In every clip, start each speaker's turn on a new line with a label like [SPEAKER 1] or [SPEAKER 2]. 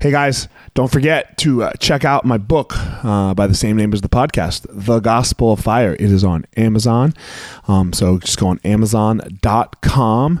[SPEAKER 1] Hey guys, don't forget to uh, check out my book uh, by the same name as the podcast, The Gospel of Fire. It is on Amazon. Um, so just go on amazon.com,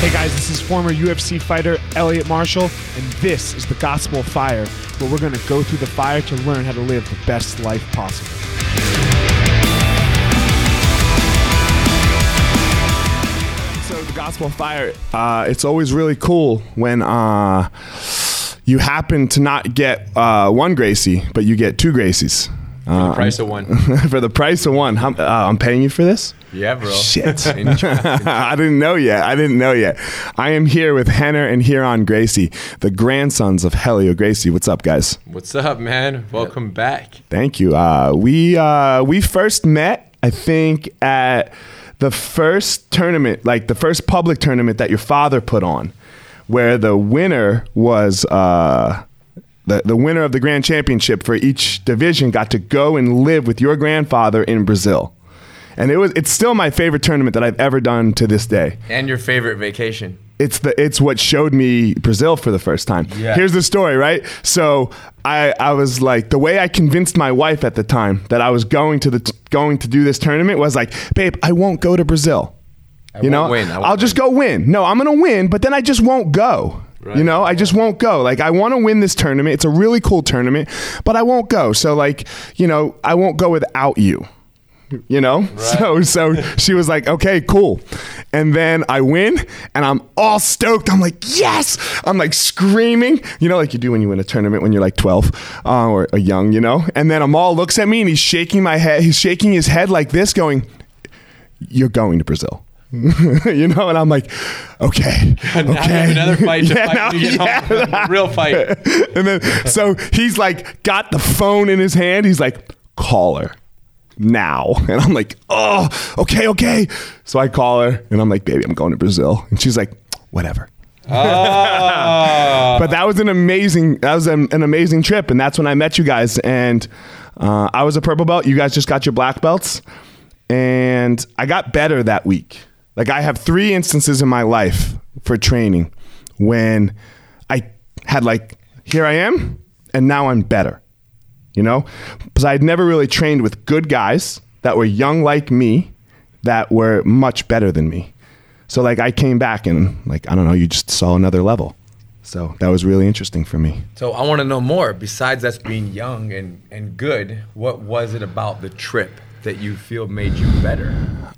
[SPEAKER 1] Hey guys, this is former UFC fighter Elliot Marshall, and this is the Gospel of Fire, where we're going to go through the fire to learn how to live the best life possible. So, the Gospel of Fire, uh, it's always really cool when. Uh, you happen to not get uh, one Gracie, but you get two Gracies
[SPEAKER 2] For
[SPEAKER 1] Uh-uh.
[SPEAKER 2] the price of one.
[SPEAKER 1] for the price of one. How, uh, I'm paying you for this?
[SPEAKER 2] Yeah, bro.
[SPEAKER 1] Shit.
[SPEAKER 2] In traffic.
[SPEAKER 1] I didn't know yet. I didn't know yet. I am here with Henner and Huron Gracie, the grandsons of Helio Gracie. What's up, guys?
[SPEAKER 2] What's up, man? Welcome back.
[SPEAKER 1] Thank you. Uh, we uh, we first met, I think, at the first tournament, like the first public tournament that your father put on, where the winner was. Uh, the, the winner of the grand championship for each division got to go and live with your grandfather in Brazil. And it was it's still my favorite tournament that I've ever done to this day.
[SPEAKER 2] And your favorite vacation.
[SPEAKER 1] it's the it's what showed me Brazil for the first time.
[SPEAKER 2] Yeah.
[SPEAKER 1] Here's the story, right? So I I was like the way I convinced my wife at the time that I was going to the t- going to do this tournament was like, babe, I won't go to Brazil. you know,
[SPEAKER 2] won't win. I won't
[SPEAKER 1] I'll just go win. No, I'm gonna win, but then I just won't go. You know, I just won't go. Like I want to win this tournament. It's a really cool tournament, but I won't go. So like, you know, I won't go without you you know so so she was like okay cool and then i win and i'm all stoked i'm like yes i'm like screaming you know like you do when you win a tournament when you're like 12 uh, or, or young you know and then amal looks at me and he's shaking my head he's shaking his head like this going you're going to brazil you know and i'm like okay
[SPEAKER 2] Now we have
[SPEAKER 1] okay
[SPEAKER 2] another fight to
[SPEAKER 1] Yeah,
[SPEAKER 2] fight
[SPEAKER 1] now-
[SPEAKER 2] when you get
[SPEAKER 1] yeah.
[SPEAKER 2] home. Real fight.
[SPEAKER 1] and then so he's like got the phone in his hand. He's like, call her now. And I'm like, oh, okay, okay. So I call her and I'm like, baby, I'm going to Brazil. And she's like, whatever.
[SPEAKER 2] Oh.
[SPEAKER 1] But that was an amazing that was an, an amazing trip, and that's when I met you guys. And uh, I was a purple belt. You guys just got your black belts, and I got better that week. Like I have three instances in my life for training when I had like here I am, and now I'm better. You know, because I had never really trained with good guys that were young like me, that were much better than me. So like I came back and like I don't know, you just saw another level. So that was really interesting for me.
[SPEAKER 2] So I want to know more. Besides us being young and, and good, what was it about the trip that you feel made you better?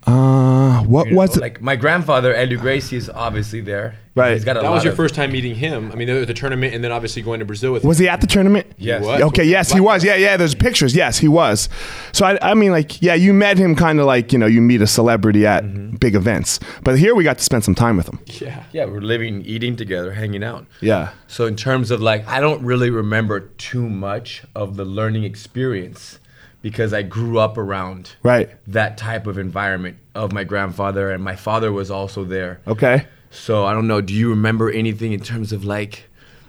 [SPEAKER 1] Uh, what
[SPEAKER 2] You know,
[SPEAKER 1] was it?
[SPEAKER 2] like my grandfather Edu Gracie is obviously there.
[SPEAKER 1] Right.
[SPEAKER 2] He's got a
[SPEAKER 3] That
[SPEAKER 2] lot
[SPEAKER 3] was your
[SPEAKER 2] of-
[SPEAKER 3] first time meeting him. I mean, the, the tournament, and then obviously going to Brazil with
[SPEAKER 1] was
[SPEAKER 3] him.
[SPEAKER 1] he at the tournament?
[SPEAKER 2] Yes.
[SPEAKER 3] was.
[SPEAKER 1] Okay. Yes, he was. Yeah, yeah. There's pictures. Yes, he was. So I, I mean, like, yeah, you met him kind of like you know you meet a celebrity at
[SPEAKER 2] Mm-hmm.
[SPEAKER 1] big events, but here we got to spend some time with him.
[SPEAKER 3] Yeah.
[SPEAKER 2] Yeah, we're living, eating together, hanging out.
[SPEAKER 1] Yeah.
[SPEAKER 2] So in terms of like, I don't really remember too much of the learning experience because I grew up around
[SPEAKER 1] Right.
[SPEAKER 2] that type of environment of my grandfather, and my father was also there.
[SPEAKER 1] Okay.
[SPEAKER 2] So I don't know. Do you remember anything in terms of like,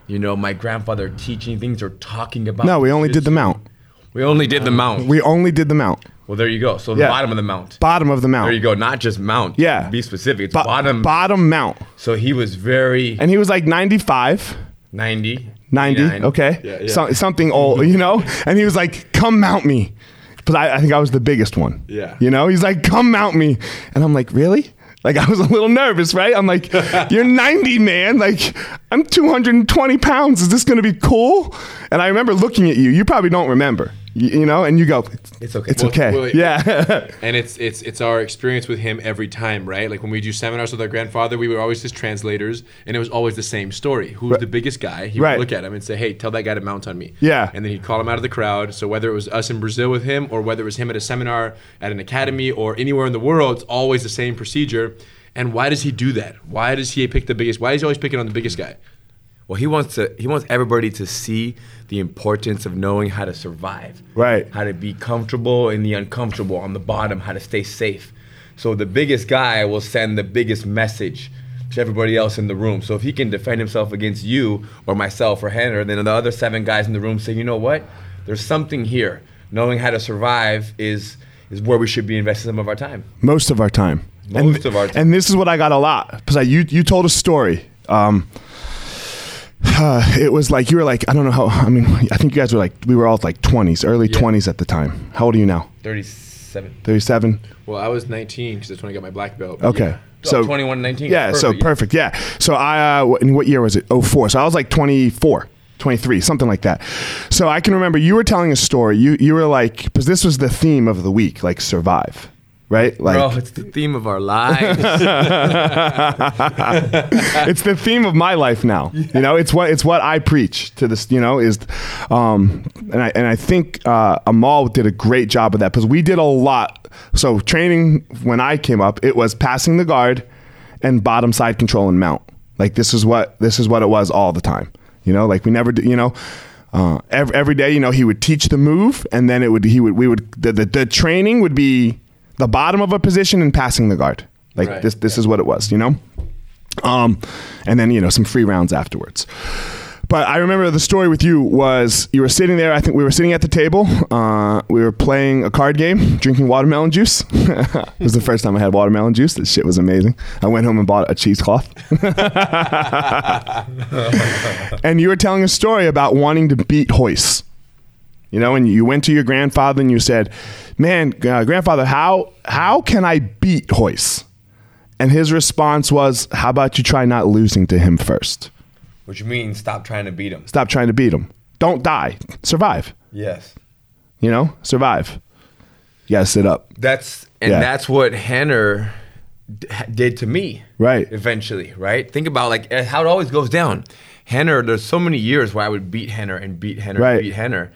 [SPEAKER 2] you know, my grandfather teaching things or talking about?
[SPEAKER 1] No, we only did the mount.
[SPEAKER 2] We only did the mount.
[SPEAKER 1] We only did the mount.
[SPEAKER 2] well, there you go. So
[SPEAKER 1] Yeah.
[SPEAKER 2] the bottom of the mount.
[SPEAKER 1] Bottom of the mount.
[SPEAKER 2] There you go. Not just mount.
[SPEAKER 1] Yeah.
[SPEAKER 2] Be specific. It's
[SPEAKER 1] Bo-
[SPEAKER 2] bottom.
[SPEAKER 1] Bottom mount.
[SPEAKER 2] so he was very
[SPEAKER 1] And he was like 95.
[SPEAKER 2] 90.
[SPEAKER 1] 90
[SPEAKER 2] 89.
[SPEAKER 1] okay
[SPEAKER 3] Yeah, yeah.
[SPEAKER 1] So, something old you know and he was like come mount me because I, I think i was the biggest one
[SPEAKER 3] Yeah.
[SPEAKER 1] you know he's like come mount me and i'm like really like i was a little nervous right i'm like you're 90 man like i'm 220 pounds is this gonna be cool and i remember looking at you you probably don't remember you, you know and you go
[SPEAKER 2] It's okay.
[SPEAKER 1] it's
[SPEAKER 2] Well,
[SPEAKER 1] okay
[SPEAKER 3] well,
[SPEAKER 1] yeah
[SPEAKER 3] And it's it's it's our experience with him every time, right? Like when we do seminars with our grandfather, we were always his translators, and it was always the same story. Who's the biggest guy? He would
[SPEAKER 1] Right.
[SPEAKER 3] look at him and say, "Hey, tell that guy to mount on me."
[SPEAKER 1] Yeah.
[SPEAKER 3] And then he'd call him out of the crowd. So whether it was us in Brazil with him, or whether it was him at a seminar at an academy, or anywhere in the world, it's always the same procedure. And why does he do that? Why does he pick the biggest? Why is he always picking on the biggest guy?
[SPEAKER 2] Well, he wants to. He wants everybody to see the importance of knowing how to survive.
[SPEAKER 1] Right.
[SPEAKER 2] How to be comfortable in the uncomfortable, on the bottom. How to stay safe. So the biggest guy will send the biggest message to everybody else in the room. So if he can defend himself against you or myself or Henner, then the other seven guys in the room say, you know what? There's something here. Knowing how to survive is is where we should be investing some of our time.
[SPEAKER 1] most of our time. and,
[SPEAKER 2] Most of our time.
[SPEAKER 1] And this is what I got a lot because you you told a story. Um, it was like you were like I don't know how I mean I think you guys were like we were all like twenties early twenties at the time. How old are you now?
[SPEAKER 2] Thirty-seven.
[SPEAKER 1] Thirty seven.
[SPEAKER 3] Well, I was 19 because that's when I got my black belt. but
[SPEAKER 1] Okay.
[SPEAKER 3] yeah.
[SPEAKER 2] So,
[SPEAKER 3] Oh,
[SPEAKER 2] 21, 19.
[SPEAKER 1] Yeah, so perfect. Yeah. So I, uh, wh- in what year was it? 04. So I was like 24, 23, something like that. So I can remember you were telling a story. You, you were like, because this was the theme of the week, like survive, right? Like,
[SPEAKER 2] Bro, it's the theme of our lives.
[SPEAKER 1] it's the theme of my life now. You know, it's what it's what I preach to this. You know, is um, and I and I think uh, Amal did a great job of that because we did a lot. So training when I came up, it was passing the guard and bottom side control and mount. Like this is what this is what it was all the time. You know, like we never did. You know. Uh, every, every day, you know, he would teach the move, and then it would he would we would the, the, the training would be the bottom of a position and passing the guard. Like
[SPEAKER 3] Right.
[SPEAKER 1] this this is what it was, you know um, and then you know some free rounds afterwards. But I remember the story with you was you were sitting there. I think we were sitting at the table. Uh, we were playing a card game, drinking watermelon juice. it was the first time I had watermelon juice. That shit was amazing. I went home and bought a cheesecloth. and you were telling a story about wanting to beat Hoist. You know, and you went to your grandfather and you said, "Man, uh, grandfather, how how can I beat Hoist?" And his response was, "How about you try not losing to him first?
[SPEAKER 2] Which means stop trying to beat them.
[SPEAKER 1] Stop trying to beat him. Don't die. Survive.
[SPEAKER 2] Yes.
[SPEAKER 1] You know, survive. You gotta sit up.
[SPEAKER 2] That's and
[SPEAKER 1] Yeah.
[SPEAKER 2] that's what Henner d- did to me.
[SPEAKER 1] Right.
[SPEAKER 2] Eventually, right? Think about like eh, how it always goes down. Henner, there's so many years where I would beat Henner and beat Henner
[SPEAKER 1] Right.
[SPEAKER 2] and beat Henner.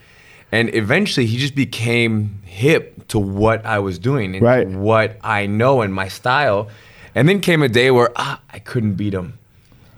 [SPEAKER 2] And eventually he just became hip to what I was doing and to
[SPEAKER 1] Right.
[SPEAKER 2] what I know and my style. And then came a day where ah, I couldn't beat him.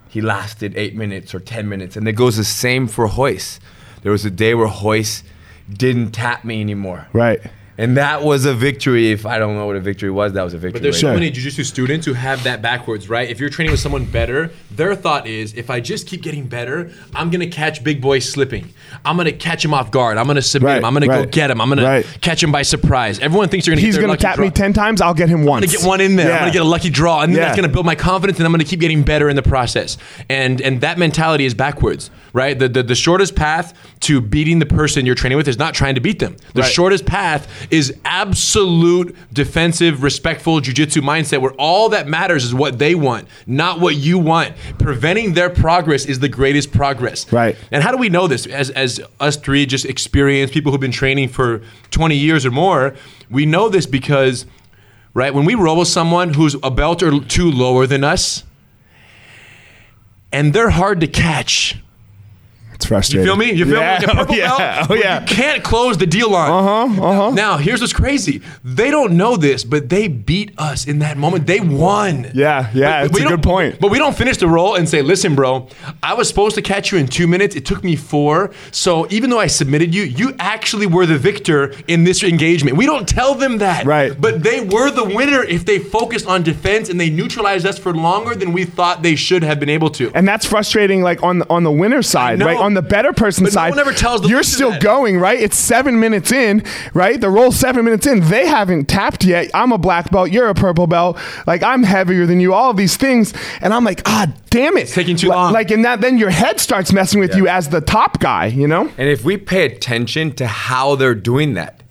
[SPEAKER 2] He lasted eight minutes or 10 minutes. And it goes the same for Hoist. There was a day where Hoist didn't tap me anymore.
[SPEAKER 1] Right.
[SPEAKER 2] And that was a victory. If I don't know what a victory was, that was a victory.
[SPEAKER 3] But there's
[SPEAKER 1] Sure.
[SPEAKER 3] so many jujitsu students who have that backwards, right? If you're training with someone better, their thought is, if I just keep getting better, I'm gonna catch big boy slipping. I'm gonna catch him off guard. I'm gonna submit
[SPEAKER 1] Right,
[SPEAKER 3] him. I'm gonna
[SPEAKER 1] right,
[SPEAKER 3] go get him. I'm gonna
[SPEAKER 1] right.
[SPEAKER 3] catch him by surprise. Everyone thinks you're gonna.
[SPEAKER 1] He's
[SPEAKER 3] get their
[SPEAKER 1] gonna
[SPEAKER 3] lucky
[SPEAKER 1] tap
[SPEAKER 3] draw.
[SPEAKER 1] me ten times. I'll get him once.
[SPEAKER 3] I'm gonna get one in there.
[SPEAKER 1] Yeah.
[SPEAKER 3] I'm gonna get a lucky draw, and then
[SPEAKER 1] Yeah.
[SPEAKER 3] that's gonna build my confidence, and I'm gonna keep getting better in the process. And and that mentality is backwards, right? The the, the shortest path to beating the person you're training with is not trying to beat them. The
[SPEAKER 1] Right.
[SPEAKER 3] shortest path is absolute defensive, respectful jujitsu mindset, where all that matters is what they want, not what you want. Preventing their progress is the greatest progress.
[SPEAKER 1] Right.
[SPEAKER 3] And how do we know this? As as us three just experienced people who've been training for 20 years or more, we know this because right, when we roll with someone who's a belt or two lower than us, and they're hard to catch.
[SPEAKER 1] It's frustrating.
[SPEAKER 3] You feel me? You feel
[SPEAKER 1] yeah.
[SPEAKER 3] me? Like a purple
[SPEAKER 1] oh, yeah.
[SPEAKER 3] belt
[SPEAKER 1] Oh
[SPEAKER 3] where
[SPEAKER 1] yeah.
[SPEAKER 3] you can't close the deal on. Uh-huh. Uh-huh. Now, here's what's crazy. They don't know this, but they beat us in that moment. They won.
[SPEAKER 1] Yeah, yeah, it's a
[SPEAKER 3] don't-
[SPEAKER 1] good point.
[SPEAKER 3] But we don't finish the roll and say, listen, bro, I was supposed to catch you in two minutes. It took me four. So even though I submitted you, you actually were the victor in this engagement. We don't tell them that.
[SPEAKER 1] Right.
[SPEAKER 3] But they were the winner if they focused on defense and they neutralized us for longer than we thought they should have been able to.
[SPEAKER 1] And that's frustrating, like on the, on the winner's side,
[SPEAKER 3] know.
[SPEAKER 1] right? On the better person's
[SPEAKER 3] But no
[SPEAKER 1] side,
[SPEAKER 3] one ever tells the
[SPEAKER 1] you're
[SPEAKER 3] loser
[SPEAKER 1] still
[SPEAKER 3] that.
[SPEAKER 1] going, right? It's seven minutes in, right? The roll's seven minutes in. They haven't tapped yet. I'm a black belt. You're a purple belt. Like I'm heavier than you. All these things, and I'm like, ah, damn it, it's
[SPEAKER 3] taking too long.
[SPEAKER 1] Like, and that then your head starts messing with you as the top guy, you know?
[SPEAKER 2] And if we pay attention to how they're doing that,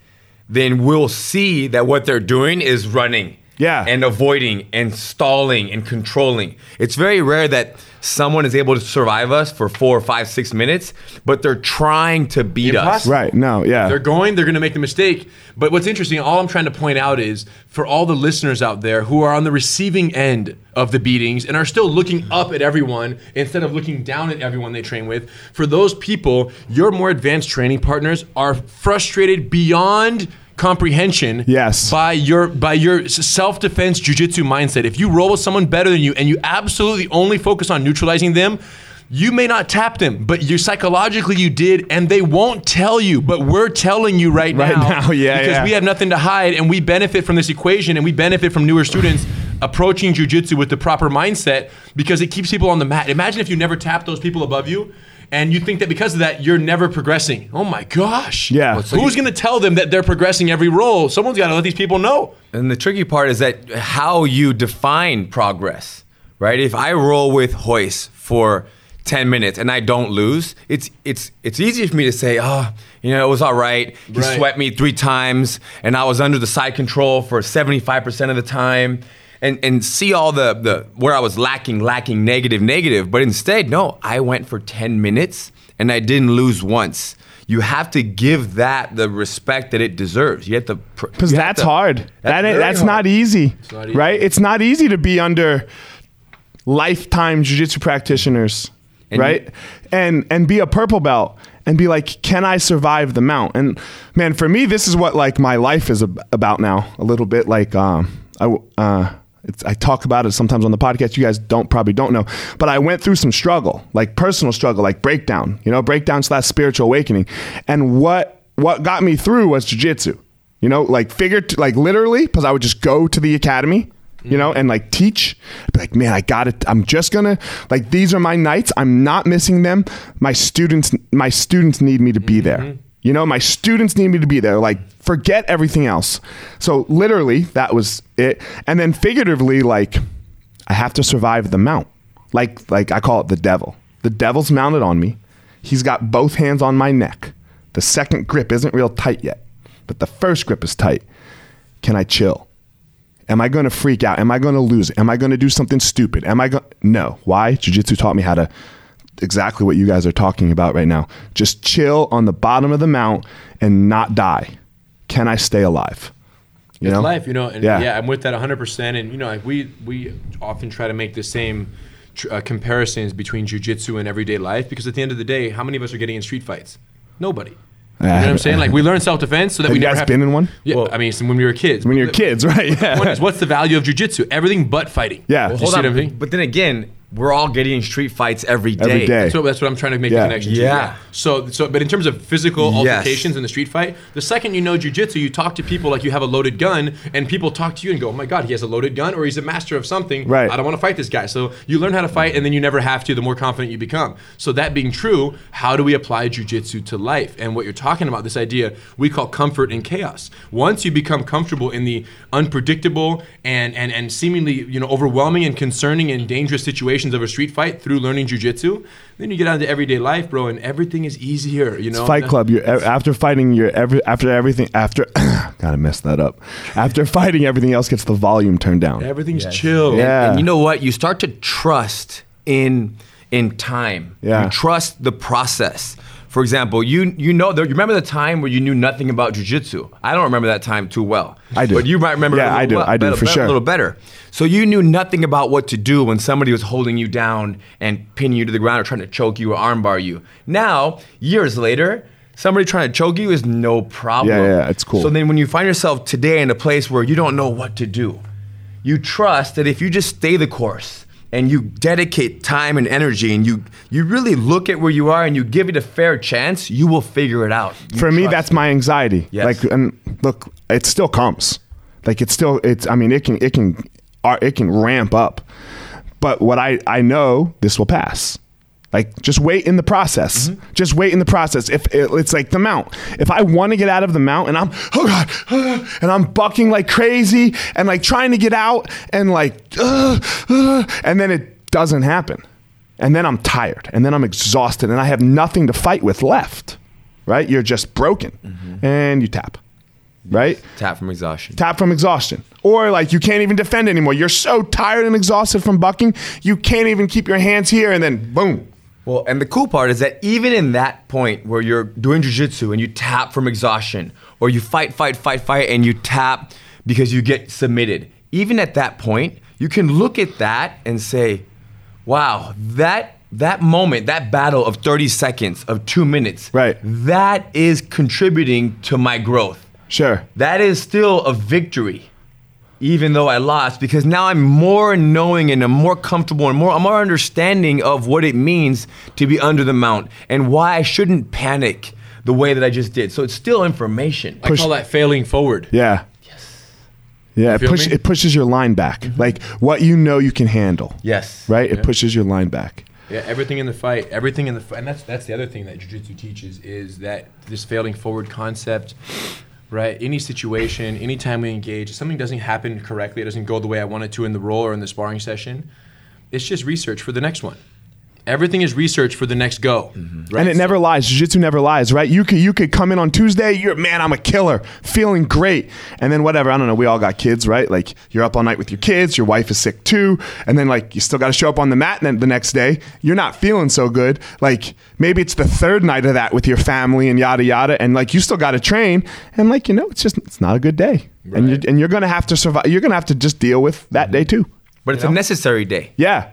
[SPEAKER 2] then we'll see that what they're doing is running.
[SPEAKER 1] Yeah.
[SPEAKER 2] And avoiding and stalling and controlling. It's very rare that someone is able to survive us for four, five, six minutes, but they're trying to beat us.
[SPEAKER 3] Impossible.
[SPEAKER 1] Right? No, yeah.
[SPEAKER 3] They're going, they're going to make the mistake. But what's interesting, all I'm trying to point out is for all the listeners out there who are on the receiving end of the beatings and are still looking up at everyone instead of looking down at everyone they train with, for those people, your more advanced training partners are frustrated beyond comprehension
[SPEAKER 1] Yes.
[SPEAKER 3] by your by your s- self-defense jujitsu mindset. If you roll with someone better than you and you absolutely only focus on neutralizing them, you may not tap them, but you psychologically you did, and they won't tell you. But we're telling you right,
[SPEAKER 1] Right
[SPEAKER 3] now,
[SPEAKER 1] now, yeah,
[SPEAKER 3] because
[SPEAKER 1] yeah.
[SPEAKER 3] we have nothing to hide, and we benefit from this equation, and we benefit from newer students approaching jujitsu with the proper mindset because it keeps people on the mat. Imagine if you never tap those people above you. And you think that because of that, you're never progressing. Oh my gosh.
[SPEAKER 1] Yeah.
[SPEAKER 3] Who's going to going to tell them that they're progressing every role. Someone's got to let these people know.
[SPEAKER 2] And the tricky part is that how you define progress, right? If I roll with Hoist for 10 minutes and I don't lose, it's it's it's easy for me to say, oh, you know, it was all right. He
[SPEAKER 3] Right.
[SPEAKER 2] swept me three times and I was under the side control for 75% of the time. And, and see all the, the where I was lacking, lacking, negative, negative. But instead, no, I went for 10 minutes and I didn't lose once. You have to give that the respect that it deserves. You have to pr-
[SPEAKER 1] Because
[SPEAKER 2] you have
[SPEAKER 1] that's
[SPEAKER 2] to-
[SPEAKER 1] hard. That's
[SPEAKER 2] very
[SPEAKER 1] that's
[SPEAKER 2] hard.
[SPEAKER 1] not easy,
[SPEAKER 3] not easy.
[SPEAKER 1] right? It's not easy to be under lifetime jujitsu practitioners,
[SPEAKER 2] And
[SPEAKER 1] right?
[SPEAKER 2] you-
[SPEAKER 1] and and be a purple belt and be like, can I survive the mount? And man, for me, this is what like my life is ab- about now. A little bit like um, I w- uh, it's, I talk about it sometimes on the podcast. You guys don't probably don't know, but I went through some struggle, like personal struggle, like breakdown. You know, breakdown slash spiritual awakening. And what what got me through was jujitsu. You know, like figure like literally, because I would just go to the academy you know, and like teach. I'd be like, man, I got it. I'm just gonna like these are my nights. I'm not missing them. My students, my students need me to be there. You know, my students need me to be there. Like, forget everything else. So literally, that was it. And then figuratively, like, I have to survive the mount. Like, like I call it the devil. The devil's mounted on me. He's got both hands on my neck. The second grip isn't real tight yet, but the first grip is tight. Can I chill? Am I going to freak out? Am I going to lose? it? Am I going to do something stupid? Am I going? No. Why? Jiu-Jitsu taught me how to exactly what you guys are talking about right now. Just chill on the bottom of the mount and not die. Can I stay alive? You
[SPEAKER 3] it's
[SPEAKER 1] know?
[SPEAKER 3] life, you know. And
[SPEAKER 1] Yeah.
[SPEAKER 3] yeah. I'm with that 100. percent And you know, like we we often try to make the same tr- uh, comparisons between jujitsu and everyday life because at the end of the day, how many of us are getting in street fights? Nobody. You know
[SPEAKER 1] Yeah.
[SPEAKER 3] what I'm saying? Like we learn self defense so that
[SPEAKER 1] Have
[SPEAKER 3] we
[SPEAKER 1] you
[SPEAKER 3] never
[SPEAKER 1] guys
[SPEAKER 3] have
[SPEAKER 1] been in one?
[SPEAKER 3] Yeah,
[SPEAKER 2] Well-
[SPEAKER 3] I mean, it's when we were kids.
[SPEAKER 1] When you're kids, right?
[SPEAKER 3] The point is,
[SPEAKER 1] Yeah.
[SPEAKER 3] what's the value of jujitsu? Everything but fighting.
[SPEAKER 1] Yeah.
[SPEAKER 3] You
[SPEAKER 1] Well,
[SPEAKER 3] see
[SPEAKER 2] Hold
[SPEAKER 3] what
[SPEAKER 2] on.
[SPEAKER 3] I'm saying?
[SPEAKER 2] But then again, we're all getting in street fights every day.
[SPEAKER 1] Every day.
[SPEAKER 3] So that's what I'm trying to make
[SPEAKER 1] Yeah.
[SPEAKER 3] the connection. To.
[SPEAKER 2] Yeah.
[SPEAKER 3] So so but in terms of physical
[SPEAKER 2] Yes.
[SPEAKER 3] altercations in the street fight, the second you know jujitsu, you talk to people like you have a loaded gun, and people talk to you and go, "Oh my god, he has a loaded gun, or he's a master of something."
[SPEAKER 1] Right.
[SPEAKER 3] I don't want to fight this guy. So you learn how to fight, and then you never have to. The more confident you become. So that being true, how do we apply jujitsu to life? And what you're talking about, this idea we call comfort in chaos. Once you become comfortable in the unpredictable and and and seemingly you know overwhelming and concerning and dangerous situations of a street fight through learning jujitsu, then you get out into everyday life, bro, and everything is easier. You know,
[SPEAKER 1] Fight Club. You're, e, after fighting, your every after everything after. gotta mess that up. After fighting, everything else gets the volume turned down.
[SPEAKER 3] Everything's chill.
[SPEAKER 1] Yeah.
[SPEAKER 2] And you know what? You start to trust in in time.
[SPEAKER 1] Yeah.
[SPEAKER 2] You trust the process. For example, you you know there, you remember the time where you knew nothing about jujitsu. I don't remember that time too well.
[SPEAKER 1] I do.
[SPEAKER 2] But you might remember. it
[SPEAKER 1] Yeah,
[SPEAKER 2] a
[SPEAKER 1] I do.
[SPEAKER 2] little well-
[SPEAKER 1] I do,
[SPEAKER 2] better-
[SPEAKER 1] for
[SPEAKER 2] better-
[SPEAKER 1] sure.
[SPEAKER 2] A little better. So you knew nothing about what to do when somebody was holding you down and pinning you to the ground or trying to choke you or armbar you. Now, years later, somebody trying to choke you is no problem.
[SPEAKER 1] Yeah, yeah, it's cool.
[SPEAKER 2] So then when you find yourself today in a place where you don't know what to do, you trust that if you just stay the course and you dedicate time and energy and you you really look at where you are and you give it a fair chance, you will figure it out. You
[SPEAKER 1] for me
[SPEAKER 2] trust
[SPEAKER 1] that's
[SPEAKER 2] it.
[SPEAKER 1] my anxiety
[SPEAKER 2] Yes.
[SPEAKER 1] like and look it still comes like it's still it's i mean it can it can uh, it can ramp up but what i i know this will pass like just wait in the process
[SPEAKER 2] Mm-hmm.
[SPEAKER 1] just wait in the process if it, it's like the mount if i want to get out of the mount and i'm oh god ah, and i'm bucking like crazy and like trying to get out and like ah, ah, and then it doesn't happen and then i'm tired and then i'm exhausted and i have nothing to fight with left right? You're just broken and you tap, right?
[SPEAKER 2] tap from exhaustion.
[SPEAKER 1] Tap from exhaustion. Or like you can't even defend anymore. You're so tired and exhausted from bucking, you can't even keep your hands here and then boom.
[SPEAKER 2] Well, and the cool part is that even in that point where you're doing jujitsu and you tap from exhaustion, or you fight, fight, fight, fight, and you tap because you get submitted, even at that point, you can look at that and say, wow, that that moment, that battle of 30 seconds, of two minutes,
[SPEAKER 1] Right.
[SPEAKER 2] that is contributing to my growth.
[SPEAKER 1] Sure.
[SPEAKER 2] That is still a victory even though I lost, because now I'm more knowing and I'm more comfortable and more I'm more understanding of what it means to be under the mount and why I shouldn't panic the way that I just did. So it's still information.
[SPEAKER 3] I call that failing forward.
[SPEAKER 1] Yeah. Yes. Yeah, it,
[SPEAKER 3] feel
[SPEAKER 1] push,
[SPEAKER 3] me?
[SPEAKER 1] it pushes your line back. Like what you know you can handle.
[SPEAKER 2] Yes.
[SPEAKER 1] Right? It pushes your line back.
[SPEAKER 3] Yeah, everything in the fight, everything in the fight, and that's that's the other thing that jujitsu teaches is that this failing forward concept, right? Any situation, anytime we engage, if something doesn't happen correctly, it doesn't go the way I want it to in the role or in the sparring session, it's just research for the next one. Everything is research for the next go, right?
[SPEAKER 1] And it never lies. Jiu-jitsu never lies, right? You could you could come in on Tuesday, you're man, I'm a killer, feeling great. And then whatever, I don't know, we all got kids, right? Like you're up all night with your kids, your wife is sick too, and then like you still got to show up on the mat then the next day. You're not feeling so good. Like maybe it's the third night of that with your family and yada yada and like you still got to train and like you know, it's just it's not a good day. And you and you're going to have to survive. You're going to have to just deal with that day too.
[SPEAKER 2] But it's a necessary day.
[SPEAKER 1] Yeah.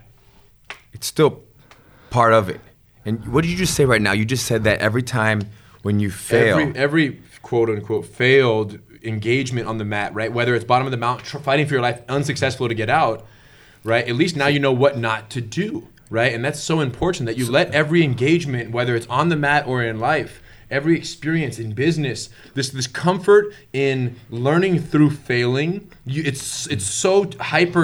[SPEAKER 2] It's still part of it. And what did you just say right now? You just said that every time when you fail.
[SPEAKER 3] Every, every quote unquote failed engagement on the mat, right? Whether it's bottom of the mount, tr- fighting for your life, unsuccessful to get out, right? At least now you know what not to do, right? And that's so important that you let every engagement, whether it's on the mat or in life, every experience in business, this this comfort in learning through failing, you, it's it's so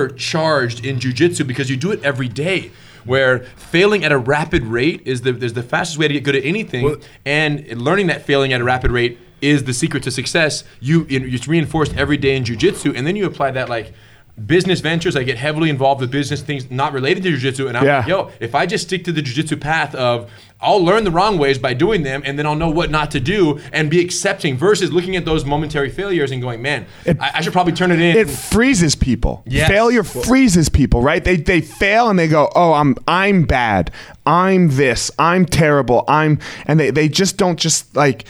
[SPEAKER 3] hypercharged in jujitsu because you do it every day. Where failing at a rapid rate is the is the fastest way to get good at anything, and learning that failing at a rapid rate is the secret to success. You it's reinforced every day in jujitsu, and then you apply that like business ventures. I get heavily involved with business things not related to jujitsu, and I'm
[SPEAKER 1] Yeah.
[SPEAKER 3] like, yo, if I just stick to the jujitsu path of I'll learn the wrong ways by doing them, and then I'll know what not to do and be accepting versus looking at those momentary failures and going, man, I, I should probably turn it in.
[SPEAKER 1] It freezes people.
[SPEAKER 3] Yes.
[SPEAKER 1] Failure freezes people, right? They they fail and they go, "Oh, I'm I'm bad. I'm this. I'm terrible. I'm." And they they just don't just like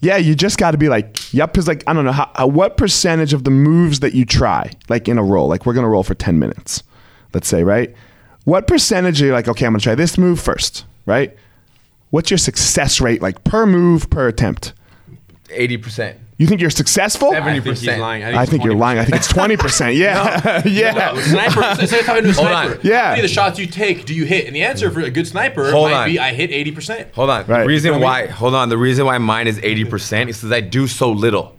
[SPEAKER 1] yeah, you just got to be like, yep, because like I don't know how, how- what percentage of the moves that you try, like in a roll, like we're gonna roll for ten minutes, let's say, right? What percentage are you like, okay, I'm gonna try this move first, right? What's your success rate like per move per attempt?
[SPEAKER 2] Eighty percent.
[SPEAKER 1] You think you're successful?
[SPEAKER 2] Seven-
[SPEAKER 3] I think he's
[SPEAKER 2] 20%.
[SPEAKER 3] lying.
[SPEAKER 1] I think you're lying. I think it's twenty percent. Yeah, yeah.
[SPEAKER 3] No, sniper. It's like talking to a
[SPEAKER 2] on.
[SPEAKER 3] sniper.
[SPEAKER 1] Yeah.
[SPEAKER 3] How many of the shots you take, do you hit? And the answer for a good sniper
[SPEAKER 2] Hold
[SPEAKER 3] might
[SPEAKER 2] on.
[SPEAKER 3] be I hit eighty percent.
[SPEAKER 2] Hold on.
[SPEAKER 1] Right.
[SPEAKER 2] The reason
[SPEAKER 1] You know what I
[SPEAKER 2] why hold on, the reason why mine is eighty percent is because I do so little.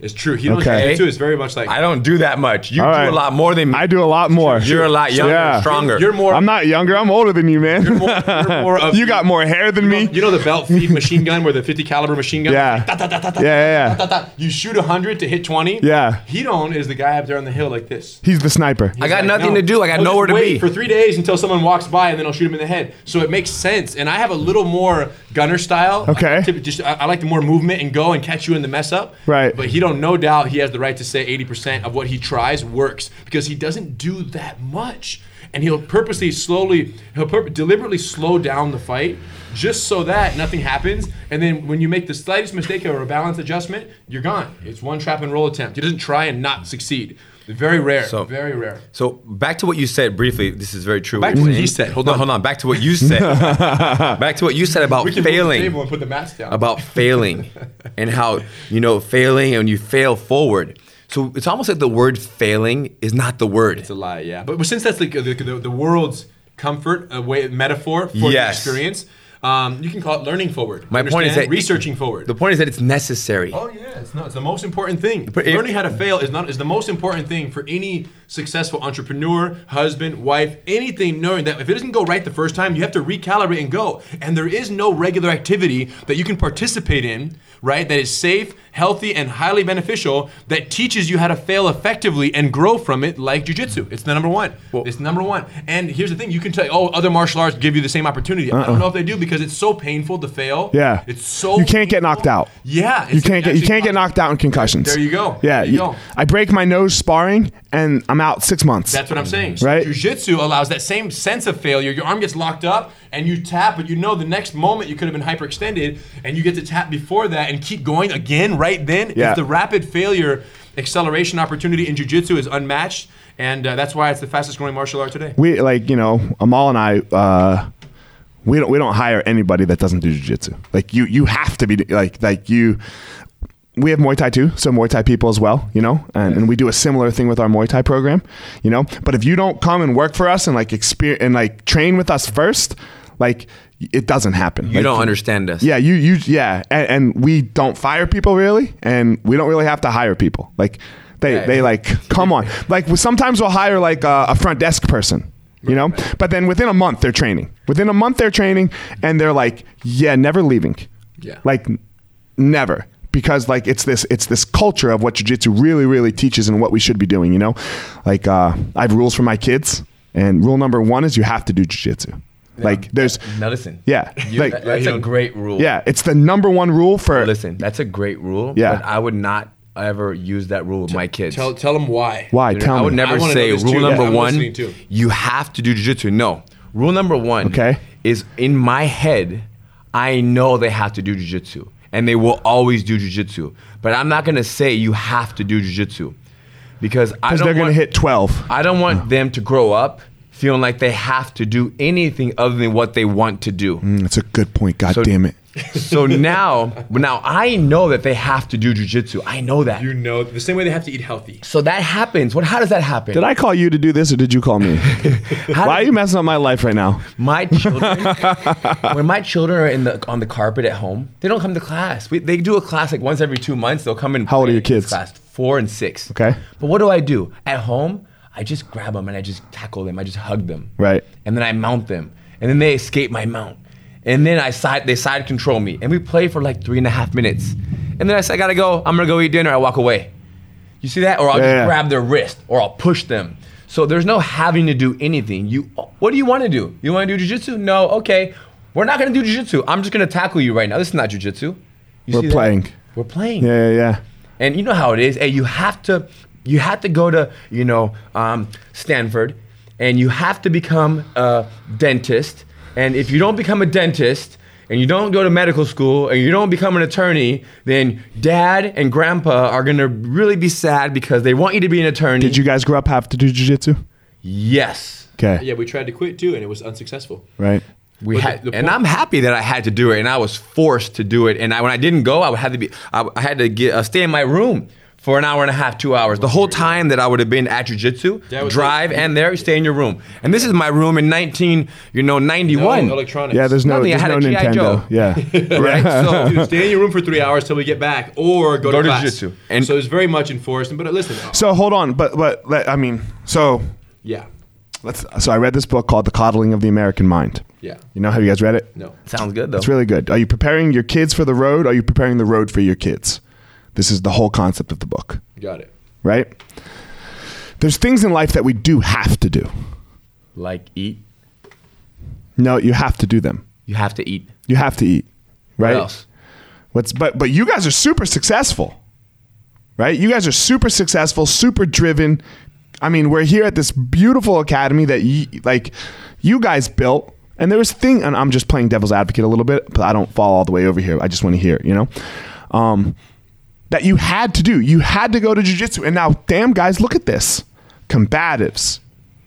[SPEAKER 3] It's true. He looks
[SPEAKER 1] Okay.
[SPEAKER 3] at it too. It's very much like
[SPEAKER 2] I don't do that much. You
[SPEAKER 1] All right.
[SPEAKER 2] do a lot more than me.
[SPEAKER 1] I do a lot more.
[SPEAKER 2] You're a lot younger,
[SPEAKER 1] Yeah.
[SPEAKER 2] and stronger.
[SPEAKER 3] You're more.
[SPEAKER 1] I'm not younger. I'm older than you, man.
[SPEAKER 3] You're more- you're more of-
[SPEAKER 1] you got more hair than me.
[SPEAKER 3] You know the belt feed machine gun where the 50 caliber machine gun?
[SPEAKER 1] Yeah.
[SPEAKER 3] like, "Ta, ta, ta, ta, ta,
[SPEAKER 1] Yeah, yeah, yeah.
[SPEAKER 3] ta, ta, ta." You shoot 100 to hit 20.
[SPEAKER 1] Yeah.
[SPEAKER 3] Hedon is the guy up there on the hill like this.
[SPEAKER 1] He's the sniper.
[SPEAKER 2] I got
[SPEAKER 3] Like,
[SPEAKER 2] nothing
[SPEAKER 3] no,
[SPEAKER 2] to do. I got
[SPEAKER 3] I'll just
[SPEAKER 2] nowhere to
[SPEAKER 3] wait
[SPEAKER 2] be.
[SPEAKER 3] for three days until someone walks by, and then I'll shoot him in the head. So it makes sense. And I have a little more gunner style.
[SPEAKER 1] Okay.
[SPEAKER 3] I, typ- just I, I like the more movement and go and catch you in the mess up.
[SPEAKER 1] Right.
[SPEAKER 3] But he don't. No doubt, he has the right to say eighty percent of what he tries works because he doesn't do that much, and he'll purposely slowly, he'll purp- deliberately slow down the fight. Just so that nothing happens, and then when you make the slightest mistake or a balance adjustment, you're gone. It's one trap and roll attempt. He doesn't try and not succeed. Very rare.
[SPEAKER 2] So-
[SPEAKER 3] very rare.
[SPEAKER 2] So back to what you said briefly. This is very true.
[SPEAKER 3] Back
[SPEAKER 2] you're
[SPEAKER 3] to what
[SPEAKER 2] saying.
[SPEAKER 3] he said. Hold
[SPEAKER 2] No,
[SPEAKER 3] on.
[SPEAKER 2] hold on. Back to what you said. back to what you said about
[SPEAKER 3] We can Move the
[SPEAKER 2] failing.
[SPEAKER 3] table and put the mats down.
[SPEAKER 2] About failing and how you know failing and you fail forward. So it's almost like the word failing is not the word.
[SPEAKER 3] it's a lie, yeah. But, but since that's like the, the, the world's comfort a way metaphor for
[SPEAKER 2] Yes.
[SPEAKER 3] the experience, um, you can call it learning forward.
[SPEAKER 2] My point is
[SPEAKER 3] Understand?
[SPEAKER 2] that
[SPEAKER 3] researching forward.
[SPEAKER 2] The point is that it's necessary.
[SPEAKER 3] oh yeah, it's not. It's the most important thing.
[SPEAKER 2] But it-
[SPEAKER 3] learning how to fail is not is the most important thing for any successful entrepreneur, husband, wife, anything. Knowing that if it doesn't go right the first time, you have to recalibrate and go. And there is no regular activity that you can participate in, right? That is safe, healthy, and highly beneficial. That teaches you how to fail effectively and grow from it, like jujitsu. It's the number one. it's number one. And here's the thing: you can tell, oh, other martial arts give you the same opportunity. I don't know if they do because it's so painful to fail.
[SPEAKER 1] Uh-uh. Yeah.
[SPEAKER 3] it's so
[SPEAKER 1] You can't get knocked out.
[SPEAKER 3] Yeah,
[SPEAKER 1] You can't get you can't get knocked out in concussions.
[SPEAKER 3] There you go.
[SPEAKER 1] Yeah,
[SPEAKER 3] There you go.
[SPEAKER 1] I break my nose sparring, and I'm out six months.
[SPEAKER 3] That's what I'm saying.
[SPEAKER 1] Right.
[SPEAKER 3] Jiu-jitsu allows that same sense of failure. Your arm gets locked up and you tap, but you know the next moment you could have been hyperextended and you get to tap before that and keep going again right then.
[SPEAKER 1] Yeah.
[SPEAKER 3] If the rapid failure acceleration opportunity in jiu-jitsu is unmatched and uh, that's why it's the fastest growing martial art today.
[SPEAKER 1] we like you know Amal and I uh, we don't we don't hire anybody that doesn't do jujitsu. Like you you have to be like like you. We have Muay Thai too, so Muay Thai people as well, you know, and, and we do a similar thing with our Muay Thai program, you know. But if you don't come and work for us and like experience and like train with us first, like it doesn't happen.
[SPEAKER 2] You don't understand us.
[SPEAKER 1] Yeah, you you yeah, and, and we don't fire people really, and we don't really have to hire people. Like they
[SPEAKER 2] Yeah.
[SPEAKER 1] they like come on. Like we- sometimes we'll hire like uh, a, a front desk person, you know. But then within a month they're training. Within a month they're training, and they're like, yeah, never leaving.
[SPEAKER 3] Yeah.
[SPEAKER 1] like n- never. Because like it's this it's this culture of what jujitsu really really teaches and what we should be doing you know, like uh, I have rules for my kids and rule number one is you have to do jujitsu, like there's
[SPEAKER 2] Now listen.
[SPEAKER 1] yeah
[SPEAKER 2] You-
[SPEAKER 1] like
[SPEAKER 2] that- that's a great rule.
[SPEAKER 1] yeah, it's the number one rule for
[SPEAKER 2] Listen, that's a great rule.
[SPEAKER 1] Yeah.
[SPEAKER 2] But I would not ever use that rule with my kids.
[SPEAKER 3] Tell tell them why.
[SPEAKER 1] why.
[SPEAKER 2] You know, I
[SPEAKER 1] Tell
[SPEAKER 2] would
[SPEAKER 1] me.
[SPEAKER 2] never
[SPEAKER 3] I wanna
[SPEAKER 2] say
[SPEAKER 3] know this
[SPEAKER 2] rule
[SPEAKER 3] too.
[SPEAKER 2] number
[SPEAKER 3] I'm
[SPEAKER 2] one.
[SPEAKER 3] listening too.
[SPEAKER 2] You have to do jujitsu. No, rule number one.
[SPEAKER 1] Okay.
[SPEAKER 2] Is in my head, I know they have to do jujitsu, and they will always do jujitsu. But I'm not gonna say you have to do jujitsu, because I
[SPEAKER 1] Because
[SPEAKER 2] don't
[SPEAKER 1] they're going to hit
[SPEAKER 2] want-
[SPEAKER 1] 12.
[SPEAKER 2] I don't want them to grow up feeling like they have to do anything other than what they want to do.
[SPEAKER 1] Mm, that's a good point. God
[SPEAKER 2] So
[SPEAKER 1] damn it.
[SPEAKER 2] So now, now I know that they have to do jujitsu. I know that.
[SPEAKER 3] You know, the same way they have to eat healthy.
[SPEAKER 2] So that happens. What? How does that happen?
[SPEAKER 1] Did I call you to do this or did you call me? Why are you messing up my life right now?
[SPEAKER 2] my children, when my children are in the on the carpet at home, they don't come to class. We, they do a class like once every two months. They'll come in.
[SPEAKER 1] How old are
[SPEAKER 2] play
[SPEAKER 1] your kids?
[SPEAKER 2] Class four and six.
[SPEAKER 1] Okay.
[SPEAKER 2] But what do I do at home? I just grab them and I just tackle them. I just hug them.
[SPEAKER 1] Right.
[SPEAKER 2] And then I mount them, and then they escape my mount, and then I side they side control me, and we play for like three and a half minutes, and then I say I gotta go. I'm gonna go eat dinner. I walk away. You see that? Or I'll
[SPEAKER 1] Yeah, yeah.
[SPEAKER 2] just grab their wrist or I'll push them. So there's no having to do anything. You what do you want to do? You want to do jujitsu? No, okay. We're not gonna do jujitsu. I'm just gonna tackle you right now. This is not jujitsu. You
[SPEAKER 1] We're
[SPEAKER 2] see that?
[SPEAKER 1] playing.
[SPEAKER 2] We're playing.
[SPEAKER 1] Yeah, yeah, yeah.
[SPEAKER 2] And you know how it is. Hey, you have to, you have to go to, you know, um, Stanford, and you have to become a dentist. And if you don't become a dentist, and you don't go to medical school, and you don't become an attorney, then dad and grandpa are gonna really be sad because they want you to be an attorney.
[SPEAKER 1] Did you guys grow up have to do jujitsu?
[SPEAKER 2] Yes.
[SPEAKER 1] Okay.
[SPEAKER 3] Yeah, we tried to quit too, and it was unsuccessful.
[SPEAKER 1] Right.
[SPEAKER 2] We
[SPEAKER 3] But
[SPEAKER 2] had,
[SPEAKER 3] the- the
[SPEAKER 2] and
[SPEAKER 3] point-
[SPEAKER 2] I'm happy that I had to do it, and I was forced to do it. And I, when I didn't go, I would have to be, I, I had to get, uh, stay in my room for an hour and a half, two hours. The whole time that I would have been at
[SPEAKER 3] That
[SPEAKER 2] jujitsu,
[SPEAKER 3] was
[SPEAKER 2] drive
[SPEAKER 3] like-
[SPEAKER 2] and there, stay in your room. And this is my room in 19, you know,
[SPEAKER 3] No
[SPEAKER 2] 91.
[SPEAKER 3] electronics.
[SPEAKER 1] Yeah, there's no,
[SPEAKER 2] Nothing, I
[SPEAKER 1] there's
[SPEAKER 2] had
[SPEAKER 1] no
[SPEAKER 2] a G.I.
[SPEAKER 1] Nintendo.
[SPEAKER 2] Joe.
[SPEAKER 1] Yeah.
[SPEAKER 2] right? So,
[SPEAKER 3] Dude, stay in your room for three hours till we get back, or go,
[SPEAKER 2] Go
[SPEAKER 3] to,
[SPEAKER 2] to
[SPEAKER 3] class.
[SPEAKER 2] jiu-jitsu. And-
[SPEAKER 3] so it's very much enforced. But listen,
[SPEAKER 1] so hold on, but but let- I mean, so
[SPEAKER 3] yeah,
[SPEAKER 1] let's. So I read this book called The Coddling of the American Mind.
[SPEAKER 3] yeah,
[SPEAKER 1] You know, have you guys read it?
[SPEAKER 3] no.
[SPEAKER 2] sounds good though.
[SPEAKER 1] It's really good. Are you preparing your kids for the road? Are you preparing the road for your kids? This is the whole concept of the book,
[SPEAKER 3] Got it.
[SPEAKER 1] right? There's things in life that we do have to do.
[SPEAKER 2] like eat.
[SPEAKER 1] No, you have to do them.
[SPEAKER 2] You have to eat.
[SPEAKER 1] You have to eat, right?
[SPEAKER 2] What else?
[SPEAKER 1] What's but but you guys are super successful, right? You guys are super successful, super driven. I mean, we're here at this beautiful academy that you like you guys built, and there was thing. And I'm just playing devil's advocate a little bit, but I don't fall all the way over here. I just want to hear, you know. Um, that you had to do. You had to go to jujitsu. And now, damn, guys, look at this combatives,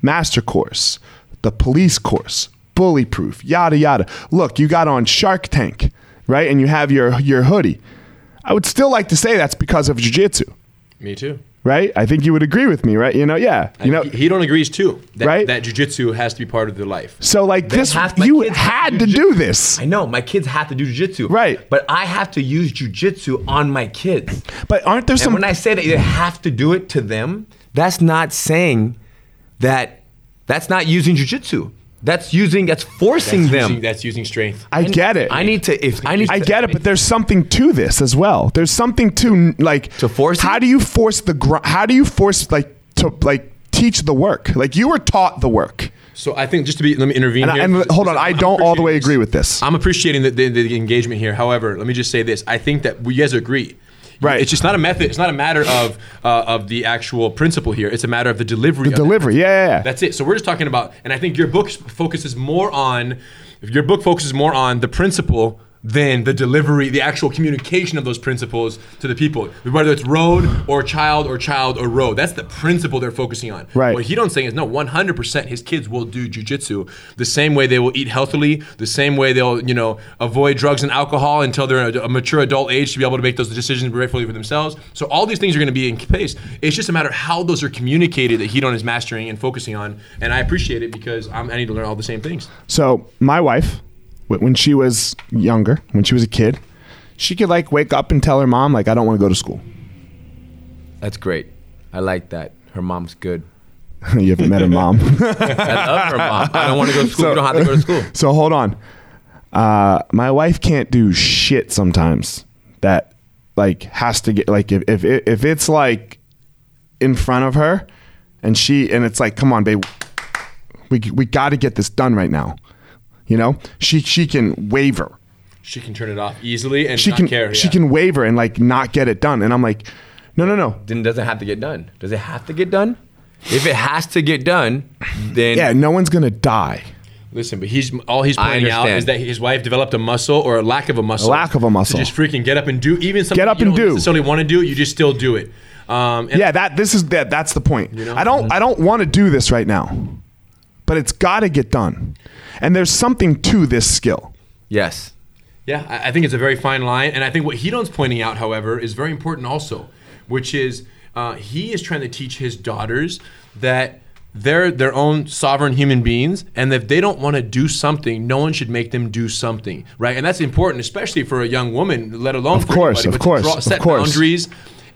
[SPEAKER 1] master course, the police course, bully proof, yada, yada. Look, you got on Shark Tank, right? And you have your, your hoodie. I would still like to say that's because of jujitsu,
[SPEAKER 3] Me too.
[SPEAKER 1] right? I think you would agree with me, right? You know, yeah. You know,
[SPEAKER 3] he, he don't agrees too. That,
[SPEAKER 1] Right?
[SPEAKER 3] That jujitsu has to be part of their life.
[SPEAKER 1] so like this,
[SPEAKER 2] half my
[SPEAKER 1] you
[SPEAKER 2] kids
[SPEAKER 1] had to do this.
[SPEAKER 2] I know my kids have to do jujitsu,
[SPEAKER 1] Right.
[SPEAKER 2] But I have to use jujitsu on my kids.
[SPEAKER 1] But aren't there
[SPEAKER 2] And
[SPEAKER 1] some
[SPEAKER 2] when I say that you have to do it to them, that's not saying that that's not using jujitsu. That's using that's forcing
[SPEAKER 3] That's
[SPEAKER 2] them.
[SPEAKER 3] using, that's using strength.
[SPEAKER 1] I get it.
[SPEAKER 2] I need to if I need
[SPEAKER 1] I
[SPEAKER 2] to,
[SPEAKER 1] get it, but there's something to this as well. There's something to like
[SPEAKER 2] To force
[SPEAKER 1] How
[SPEAKER 2] it?
[SPEAKER 1] do you force the gr- How do you force like to like teach the work? Like you were taught the work.
[SPEAKER 3] So I think just to be, let me intervene.
[SPEAKER 1] And, I,
[SPEAKER 3] here.
[SPEAKER 1] and hold on,
[SPEAKER 3] I'm-
[SPEAKER 1] I
[SPEAKER 3] I'm
[SPEAKER 1] don't all the way
[SPEAKER 3] appreciating this.
[SPEAKER 1] agree with this.
[SPEAKER 3] I'm appreciating the, the, the engagement here. However, let me just say this: I think that we you guys agree.
[SPEAKER 1] Right.
[SPEAKER 3] It's just not a method. It's not a matter of uh, of the actual principle here. It's a matter of the delivery. of it.
[SPEAKER 1] Delivery, yeah, yeah, yeah.
[SPEAKER 3] That's it. So we're just talking about, and I think your book focuses more on, if your book focuses more on the principle than the delivery, the actual communication of those principles to the people, whether it's road or child or child or road. That's the principle they're focusing on.
[SPEAKER 1] Right.
[SPEAKER 3] What he don't saying is no, 100% his kids will do jujitsu the same way they will eat healthily, the same way they'll, you know, avoid drugs and alcohol until they're a, a mature adult age to be able to make those decisions rightfully for themselves. So all these things are going to be in place. It's just a matter of how those are communicated that Hedon is mastering and focusing on. And I appreciate it because I'm, I need to learn all the same things.
[SPEAKER 1] So my wife, wh- when she was younger, when she was a kid, she could like wake up and tell her mom like I don't want to go to school.
[SPEAKER 2] That's great. I like that. Her mom's good.
[SPEAKER 1] you haven't met her mom.
[SPEAKER 2] I love her mom. I don't want to go to school.
[SPEAKER 1] So-
[SPEAKER 2] you don't have to go to school.
[SPEAKER 1] So hold on. Uh, my wife can't do shit sometimes that like has to get like if if if it's like in front of her and she and it's like come on babe we we got to get this done right now. You know? She she can waver.
[SPEAKER 3] She can turn it off easily and
[SPEAKER 1] She
[SPEAKER 3] not
[SPEAKER 1] can
[SPEAKER 3] care.
[SPEAKER 1] she
[SPEAKER 3] yeah.
[SPEAKER 1] can waver and like not get it done and I'm like no no no.
[SPEAKER 2] Then it doesn't have to get done. Does it have to get done? If it has to get done, then
[SPEAKER 1] Yeah, no one's going to die.
[SPEAKER 3] Listen, but he's all he's
[SPEAKER 2] I
[SPEAKER 3] pointing out
[SPEAKER 2] understand.
[SPEAKER 3] is that his wife developed a muscle or a lack of a muscle,
[SPEAKER 1] lack of a muscle.
[SPEAKER 3] to just freaking get up and do even something
[SPEAKER 1] Get up
[SPEAKER 3] you
[SPEAKER 1] and
[SPEAKER 3] don't
[SPEAKER 1] do.
[SPEAKER 3] necessarily want to do. You just still do it. Um, and
[SPEAKER 1] yeah that this is that that's the point
[SPEAKER 3] know?
[SPEAKER 1] i don't i don't want to do this right now but it's got to get done and there's something to this skill
[SPEAKER 2] yes.
[SPEAKER 3] Yeah, I, I think it's a very fine line. And I think what Hedon's pointing out, however, is very important also, which is uh, he is trying to teach his daughters that they're their own sovereign human beings and if they don't want to do something no one should make them do something right and that's important especially for a young woman let alone
[SPEAKER 1] Of
[SPEAKER 3] for
[SPEAKER 1] course, of
[SPEAKER 3] but to
[SPEAKER 1] course, of
[SPEAKER 3] set
[SPEAKER 1] course.
[SPEAKER 3] boundaries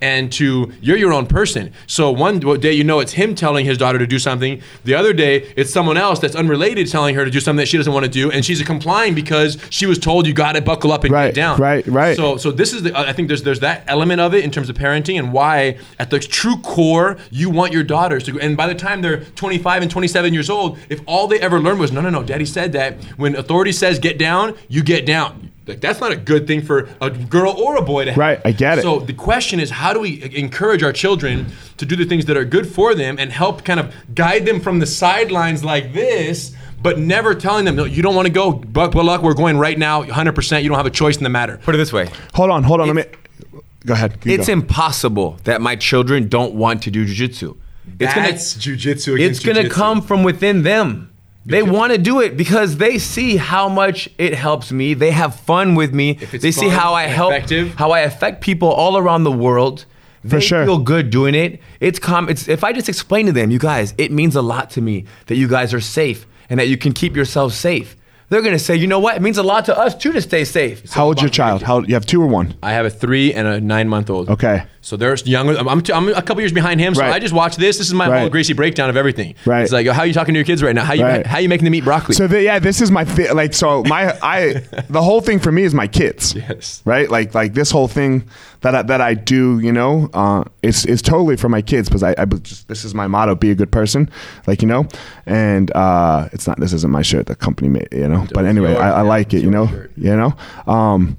[SPEAKER 3] and to you're your own person so one day you know it's him telling his daughter to do something the other day it's someone else that's unrelated telling her to do something that she doesn't want to do and she's complying because she was told you got to buckle up and
[SPEAKER 1] Right,
[SPEAKER 3] get down
[SPEAKER 1] right, right.
[SPEAKER 3] so so this is the I think there's there's that element of it in terms of parenting and why at the true core you want your daughters to and by the time they're 25 and 27 years old if all they ever learned was no no no daddy said that when authority says get down you get down like that's not a good thing for a girl or a boy to have.
[SPEAKER 1] Right, I get it.
[SPEAKER 3] So the question is how do we e-, encourage our children to do the things that are good for them and help kind of guide them from the sidelines like this but never telling them no you don't want to go but but luck we're going right now 100% you don't have a choice in the matter
[SPEAKER 2] Put it this way.
[SPEAKER 1] Hold on, hold on. Let me. Go ahead. you
[SPEAKER 2] It's
[SPEAKER 1] go.
[SPEAKER 2] impossible that my children don't want to do jujitsu. It's
[SPEAKER 3] That's jujitsu
[SPEAKER 2] It's
[SPEAKER 3] against
[SPEAKER 2] gonna
[SPEAKER 3] jujitsu.
[SPEAKER 2] come from within them. They want to do it because they see how much it helps me. They have fun with me.
[SPEAKER 3] it's
[SPEAKER 2] They see
[SPEAKER 3] fun
[SPEAKER 2] how I
[SPEAKER 3] and
[SPEAKER 2] help,
[SPEAKER 3] effective.
[SPEAKER 2] how I affect people all around the world.
[SPEAKER 1] For
[SPEAKER 2] they
[SPEAKER 1] sure.
[SPEAKER 2] feel good doing it. It's com. It's if I just explain to them, you guys, it means a lot to me that you guys are safe and that you can keep yourselves safe. They're gonna say, you know what? It means a lot to us too to stay safe.
[SPEAKER 1] How old's your child? How you have two or one?
[SPEAKER 3] I have a three and a nine month old.
[SPEAKER 1] Okay.
[SPEAKER 3] So they're younger. I'm, I'm, t- I'm a couple years behind him. So
[SPEAKER 1] Right.
[SPEAKER 3] I just watch this. This is my whole
[SPEAKER 1] Right.
[SPEAKER 3] greasy breakdown of everything.
[SPEAKER 1] Right.
[SPEAKER 3] It's like, yo, how are you talking to your kids right now? How you
[SPEAKER 1] Right.
[SPEAKER 3] how you making them eat broccoli?
[SPEAKER 1] So the, yeah, this is my thi- like. So my I the whole thing for me is my kids.
[SPEAKER 3] Yes.
[SPEAKER 1] Right. Like like this whole thing that I, that I do, you know, uh, it's it's totally for my kids because I, I be- just, this is my motto: be a good person. Like you know, and uh, it's not this isn't my shirt. The company made you know. But anyway,
[SPEAKER 3] yours,
[SPEAKER 1] I, I
[SPEAKER 3] yeah,
[SPEAKER 1] like it.
[SPEAKER 3] it's
[SPEAKER 1] You
[SPEAKER 3] your
[SPEAKER 1] know.
[SPEAKER 3] shirt.
[SPEAKER 1] You know. Um,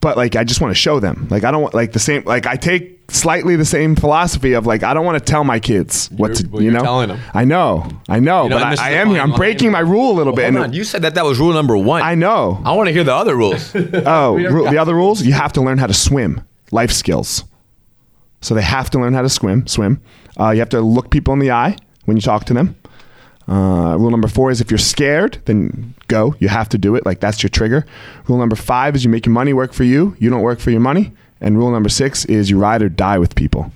[SPEAKER 1] but like I just want to show them. Like I don't want like the same. Like I take. Slightly the same philosophy of like I don't want to tell my kids what
[SPEAKER 3] You're-
[SPEAKER 1] to
[SPEAKER 3] well,
[SPEAKER 1] you
[SPEAKER 3] you're
[SPEAKER 1] know.
[SPEAKER 3] telling 'em.
[SPEAKER 1] I know, I know,
[SPEAKER 3] know,
[SPEAKER 1] but
[SPEAKER 3] and
[SPEAKER 1] I,
[SPEAKER 3] this is
[SPEAKER 1] I
[SPEAKER 3] the
[SPEAKER 1] am here. I'm
[SPEAKER 3] fine line.
[SPEAKER 1] breaking my rule a little bit.
[SPEAKER 2] Hold
[SPEAKER 1] and-
[SPEAKER 2] on. You said that that was rule number one.
[SPEAKER 1] I know.
[SPEAKER 2] I want to hear the other rules.
[SPEAKER 1] Oh, ru- the other rules? You have to learn how to swim. Life skills. So they have to learn how to swim. Swim. Uh, you have to look people in the eye when you talk to them. Uh, rule number four is if you're scared, then go. You have to do it. Like that's your trigger. Rule number five is you make your money work for you. You don't work for your money. And rule number six is you ride or die with people.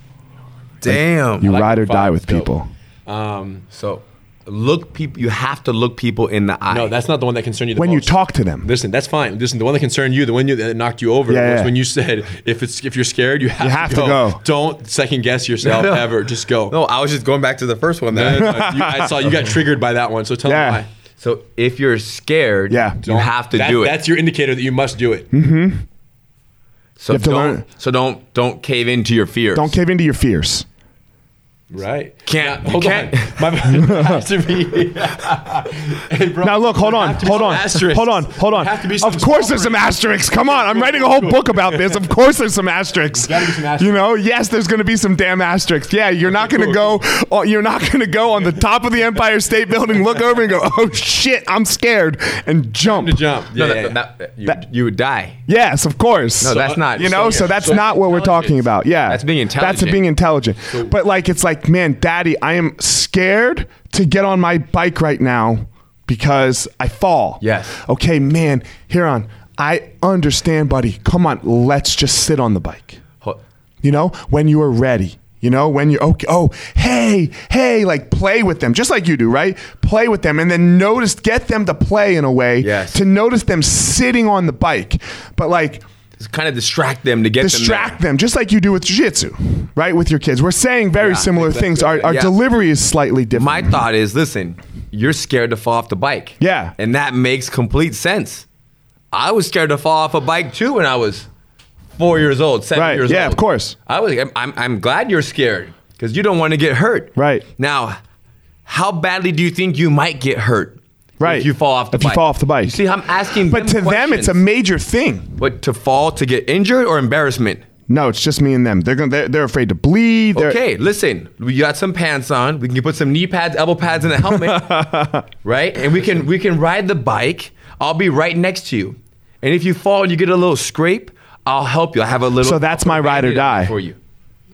[SPEAKER 2] Damn.
[SPEAKER 1] You
[SPEAKER 3] like
[SPEAKER 1] ride or
[SPEAKER 3] five.
[SPEAKER 1] die with
[SPEAKER 3] Dope.
[SPEAKER 1] people.
[SPEAKER 3] Um,
[SPEAKER 2] So look people you have to look people in the eye.
[SPEAKER 3] no, that's not the one that concerned you. The
[SPEAKER 1] When you
[SPEAKER 3] most.
[SPEAKER 1] talk to them,
[SPEAKER 3] Listen, that's fine. Listen, the one that concerned you, the one you, that knocked you over,
[SPEAKER 1] Yeah,
[SPEAKER 3] was
[SPEAKER 1] yeah.
[SPEAKER 3] when you said, "If it's if you're scared, you have,
[SPEAKER 1] have to
[SPEAKER 3] to, go.
[SPEAKER 1] go.
[SPEAKER 3] Don't second guess yourself
[SPEAKER 2] No.
[SPEAKER 3] ever. Just go."
[SPEAKER 2] No, I was just going back to the first one.
[SPEAKER 3] No, no,
[SPEAKER 2] Then.
[SPEAKER 3] no. You- I saw you got triggered by that one. So tell
[SPEAKER 1] Yeah.
[SPEAKER 3] me why.
[SPEAKER 2] so if you're scared,
[SPEAKER 1] Yeah.
[SPEAKER 2] you have to
[SPEAKER 3] That-
[SPEAKER 2] do it.
[SPEAKER 3] That's your indicator that you must do it.
[SPEAKER 2] so
[SPEAKER 1] You have to
[SPEAKER 2] don't
[SPEAKER 1] learn-
[SPEAKER 2] so don't don't cave into your fears.
[SPEAKER 1] don't cave into your fears.
[SPEAKER 3] Right.
[SPEAKER 2] Can't-
[SPEAKER 3] Now,
[SPEAKER 2] you
[SPEAKER 3] hold
[SPEAKER 2] can't-
[SPEAKER 3] on. My has to be. Hey, bro,
[SPEAKER 1] Now look, hold
[SPEAKER 3] there
[SPEAKER 1] on,
[SPEAKER 3] have to be
[SPEAKER 1] hold
[SPEAKER 3] some
[SPEAKER 1] on,
[SPEAKER 3] asterisks.
[SPEAKER 1] hold on, hold
[SPEAKER 3] There
[SPEAKER 1] on.
[SPEAKER 3] have to be
[SPEAKER 1] Of course, there's some asterisks. Come on, I'm writing a whole book about this. Of course, there's some asterisks.
[SPEAKER 3] Gotta be some asterisks.
[SPEAKER 1] You know, yes, there's going to be some damn asterisks. Yeah, you're not going to go. oh, You're not going to go on the top of the Empire State Building, look over and go, "Oh shit, I'm scared," and jump.
[SPEAKER 3] to jump. Yeah,
[SPEAKER 2] No,
[SPEAKER 3] yeah,
[SPEAKER 2] that,
[SPEAKER 3] yeah.
[SPEAKER 2] that- you, you would die.
[SPEAKER 1] Yes, of course.
[SPEAKER 2] No, that's not-
[SPEAKER 1] You know,
[SPEAKER 2] so-
[SPEAKER 1] so that's
[SPEAKER 3] so
[SPEAKER 1] not what we're talking about. Yeah,
[SPEAKER 2] That's being
[SPEAKER 1] That's
[SPEAKER 2] intelligent.
[SPEAKER 1] being intelligent. but like, it's like, man, Daddy, I am scared to get on my bike right now because I fall.
[SPEAKER 2] Yes.
[SPEAKER 1] Okay, man, Huron, I understand, buddy. Come on, let's just sit on the bike.
[SPEAKER 2] Ho-
[SPEAKER 1] You know, when you are ready. You know, when you're okay, oh, hey, hey, like play with them, just like you do, right? Play with them and then notice, get them to play in a way
[SPEAKER 2] Yes.
[SPEAKER 1] to notice them sitting on the bike. But like,
[SPEAKER 2] Just kind of distract them to get
[SPEAKER 1] distract
[SPEAKER 2] them.
[SPEAKER 1] them, just like you do with jiu-jitsu, right? With your kids. We're saying very similar things. Our, our
[SPEAKER 2] Yeah.
[SPEAKER 1] delivery is slightly
[SPEAKER 2] there.
[SPEAKER 1] different.
[SPEAKER 2] My thought is, listen, you're scared to fall off the bike.
[SPEAKER 1] Yeah.
[SPEAKER 2] and that makes complete sense. I was scared to fall off a bike too when I was four years old, seven
[SPEAKER 1] Right,
[SPEAKER 2] years old.
[SPEAKER 1] yeah, of course.
[SPEAKER 2] I was. I'm. I'm, I'm glad you're scared because you don't want to get hurt.
[SPEAKER 1] Right.
[SPEAKER 2] Now, how badly do you think you might get hurt?
[SPEAKER 1] Right.
[SPEAKER 2] If you fall off the
[SPEAKER 1] If you
[SPEAKER 2] bike.
[SPEAKER 1] fall off the bike.
[SPEAKER 2] You see, I'm asking.
[SPEAKER 1] but to them, it's a
[SPEAKER 2] questions.
[SPEAKER 1] major thing.
[SPEAKER 2] But to fall to get injured or embarrassment.
[SPEAKER 1] No, it's just me and them. They're gonna, they're, they're afraid to bleed. They're,
[SPEAKER 2] Okay, listen. We got some pants on. We can put some knee pads, elbow pads, and a helmet, right? And we can we can ride the bike. I'll be right next to you. And if you fall and you get a little scrape, I'll help you. I have a little.
[SPEAKER 1] So that's
[SPEAKER 2] I'll put
[SPEAKER 1] my
[SPEAKER 2] a
[SPEAKER 1] ride or
[SPEAKER 2] Band-Aid on
[SPEAKER 1] die.
[SPEAKER 2] for you.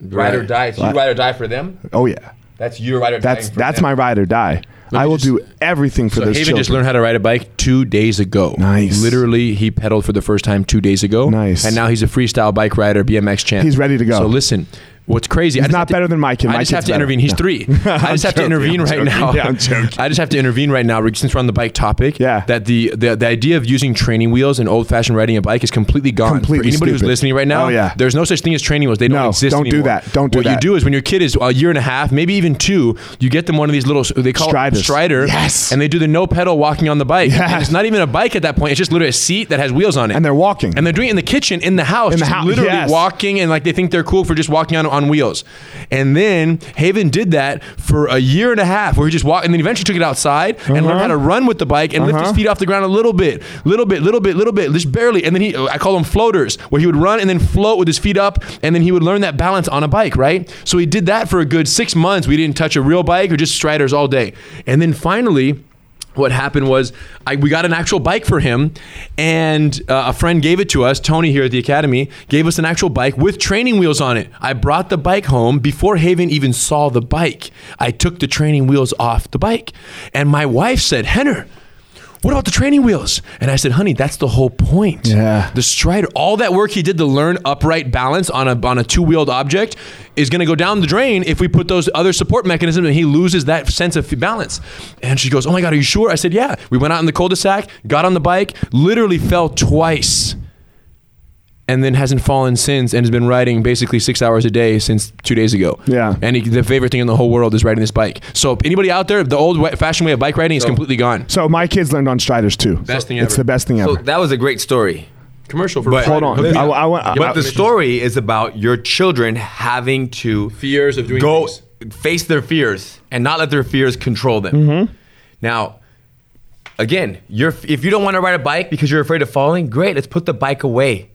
[SPEAKER 2] Ride or die. So you ride or die for them.
[SPEAKER 1] Oh yeah,
[SPEAKER 2] That's your ride or die.
[SPEAKER 1] that's that's my ride or die. I
[SPEAKER 3] me
[SPEAKER 1] will
[SPEAKER 3] just-
[SPEAKER 1] do everything for
[SPEAKER 3] So
[SPEAKER 1] this
[SPEAKER 3] Haven
[SPEAKER 1] children.
[SPEAKER 3] just learned how to ride a bike two days ago.
[SPEAKER 1] Nice.
[SPEAKER 3] Literally, he pedaled for the first time two days ago.
[SPEAKER 1] Nice.
[SPEAKER 3] And now he's a freestyle bike rider, BMX champ.
[SPEAKER 1] He's ready to go.
[SPEAKER 3] So listen, what's crazy? I
[SPEAKER 1] He's
[SPEAKER 3] just
[SPEAKER 1] not
[SPEAKER 3] have to-
[SPEAKER 1] better than my kid.
[SPEAKER 3] I
[SPEAKER 1] My
[SPEAKER 3] just have
[SPEAKER 1] kid's
[SPEAKER 3] to
[SPEAKER 1] better.
[SPEAKER 3] intervene. He's
[SPEAKER 1] No.
[SPEAKER 3] three. I
[SPEAKER 1] I'm
[SPEAKER 3] just have to
[SPEAKER 1] joking.
[SPEAKER 3] intervene
[SPEAKER 1] I'm
[SPEAKER 3] right
[SPEAKER 1] joking.
[SPEAKER 3] now.
[SPEAKER 1] Yeah, I'm joking.
[SPEAKER 3] I just have to intervene right now since we're on the bike topic.
[SPEAKER 1] Yeah.
[SPEAKER 3] That the the, the idea of using training wheels and old fashioned riding a bike is completely gone. For
[SPEAKER 1] Completely
[SPEAKER 3] anybody who's
[SPEAKER 1] stupid.
[SPEAKER 3] listening right now,
[SPEAKER 1] Oh, yeah.
[SPEAKER 3] there's no such thing as training wheels. They don't
[SPEAKER 1] No,
[SPEAKER 3] exist
[SPEAKER 1] don't do
[SPEAKER 3] anymore.
[SPEAKER 1] that. Don't do
[SPEAKER 3] what
[SPEAKER 1] that.
[SPEAKER 3] you do is when your kid is a year and a half, maybe even two, you get them one of these little they call
[SPEAKER 1] Striders.
[SPEAKER 3] it strider.
[SPEAKER 1] Yes.
[SPEAKER 3] And and they do the no pedal walking on the bike.
[SPEAKER 1] Yeah.
[SPEAKER 3] And it's not even a bike at that point. It's just literally a seat that has wheels on it.
[SPEAKER 1] And they're walking.
[SPEAKER 3] And they're doing it in the kitchen, in the house,
[SPEAKER 1] In the
[SPEAKER 3] just
[SPEAKER 1] house,
[SPEAKER 3] literally
[SPEAKER 1] yes.
[SPEAKER 3] walking and like they think they're cool for just walking on, on wheels. And then Haven did that for a year and a half where he just walked and then eventually took it outside and learned how to run with the bike and lift his
[SPEAKER 1] Uh-huh.
[SPEAKER 3] feet off the ground a little bit, little bit, little bit, little bit, just barely. And then he, I call them floaters, where he would run and then float with his feet up and then he would learn that balance on a bike, right? So he did that for a good six months. We didn't touch a real bike or just striders all day. And then finally, what happened was I, we got an actual bike for him and uh, a friend gave it to us tony here at the academy gave us an actual bike with training wheels on it i brought the bike home before haven even saw the bike i took the training wheels off the bike and my wife said henner what about the training wheels? And I said, honey, that's the whole point.
[SPEAKER 1] Yeah.
[SPEAKER 3] The Strider, all that work he did to learn upright balance on a on a two wheeled object is going to go down the drain if we put those other support mechanisms and he loses that sense of balance. And she goes, "Oh my god, are you sure?" I said, "Yeah." We went out in the cul-de-sac, got on the bike, literally fell twice, and then hasn't fallen since, and has been riding basically six hours a day since two days ago.
[SPEAKER 1] Yeah.
[SPEAKER 3] And he, the favorite thing in the whole world is riding this bike. So anybody out there, the old wa- fashioned way of bike riding is completely gone.
[SPEAKER 1] So my kids learned on striders too.
[SPEAKER 3] Best thing
[SPEAKER 1] It's
[SPEAKER 3] ever.
[SPEAKER 1] the best thing ever.
[SPEAKER 2] So that was a great story.
[SPEAKER 3] Commercial for
[SPEAKER 2] But-
[SPEAKER 1] Hold on. I, I, want- I-
[SPEAKER 2] But the story is about your children having to
[SPEAKER 3] Fears of doing
[SPEAKER 2] go
[SPEAKER 3] things.
[SPEAKER 2] face their fears and not let their fears control them.
[SPEAKER 1] Mm-hmm.
[SPEAKER 2] Now, again, you're, if you don't want to ride a bike because you're afraid of falling, great. Let's put the bike away.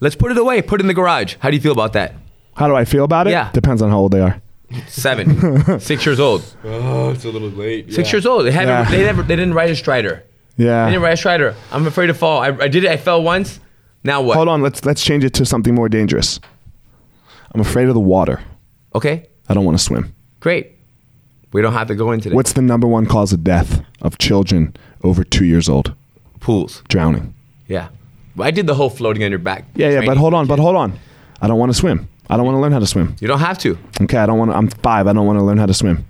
[SPEAKER 2] Let's put it away. Put it in the garage. How do you feel about that?
[SPEAKER 1] how do I feel about it?
[SPEAKER 2] Yeah.
[SPEAKER 1] Depends on how old they are.
[SPEAKER 2] Seven, six years old.
[SPEAKER 3] Oh, it's a little late.
[SPEAKER 2] Six years old. They haven't.
[SPEAKER 1] Yeah.
[SPEAKER 2] They never. They didn't ride a Strider. They didn't
[SPEAKER 1] Yeah.
[SPEAKER 2] ride a Strider. I'm afraid to fall. I, I did it. I fell once. Now what?
[SPEAKER 1] Hold on. Let's let's change it to something more dangerous. I'm afraid of the water.
[SPEAKER 2] Okay.
[SPEAKER 1] I don't want to swim.
[SPEAKER 2] Great. We don't have to go into that.
[SPEAKER 1] What's the number one cause of death of children over two years old?
[SPEAKER 2] pools?
[SPEAKER 1] Drowning.
[SPEAKER 2] Yeah. Well, I did the whole floating on your back.
[SPEAKER 1] Yeah, yeah. But
[SPEAKER 2] training.
[SPEAKER 1] hold on. But hold on. I don't want to swim. I don't want to learn how to swim.
[SPEAKER 2] You don't have to.
[SPEAKER 1] Okay. I don't want. to I'm five. I don't want to learn how to swim.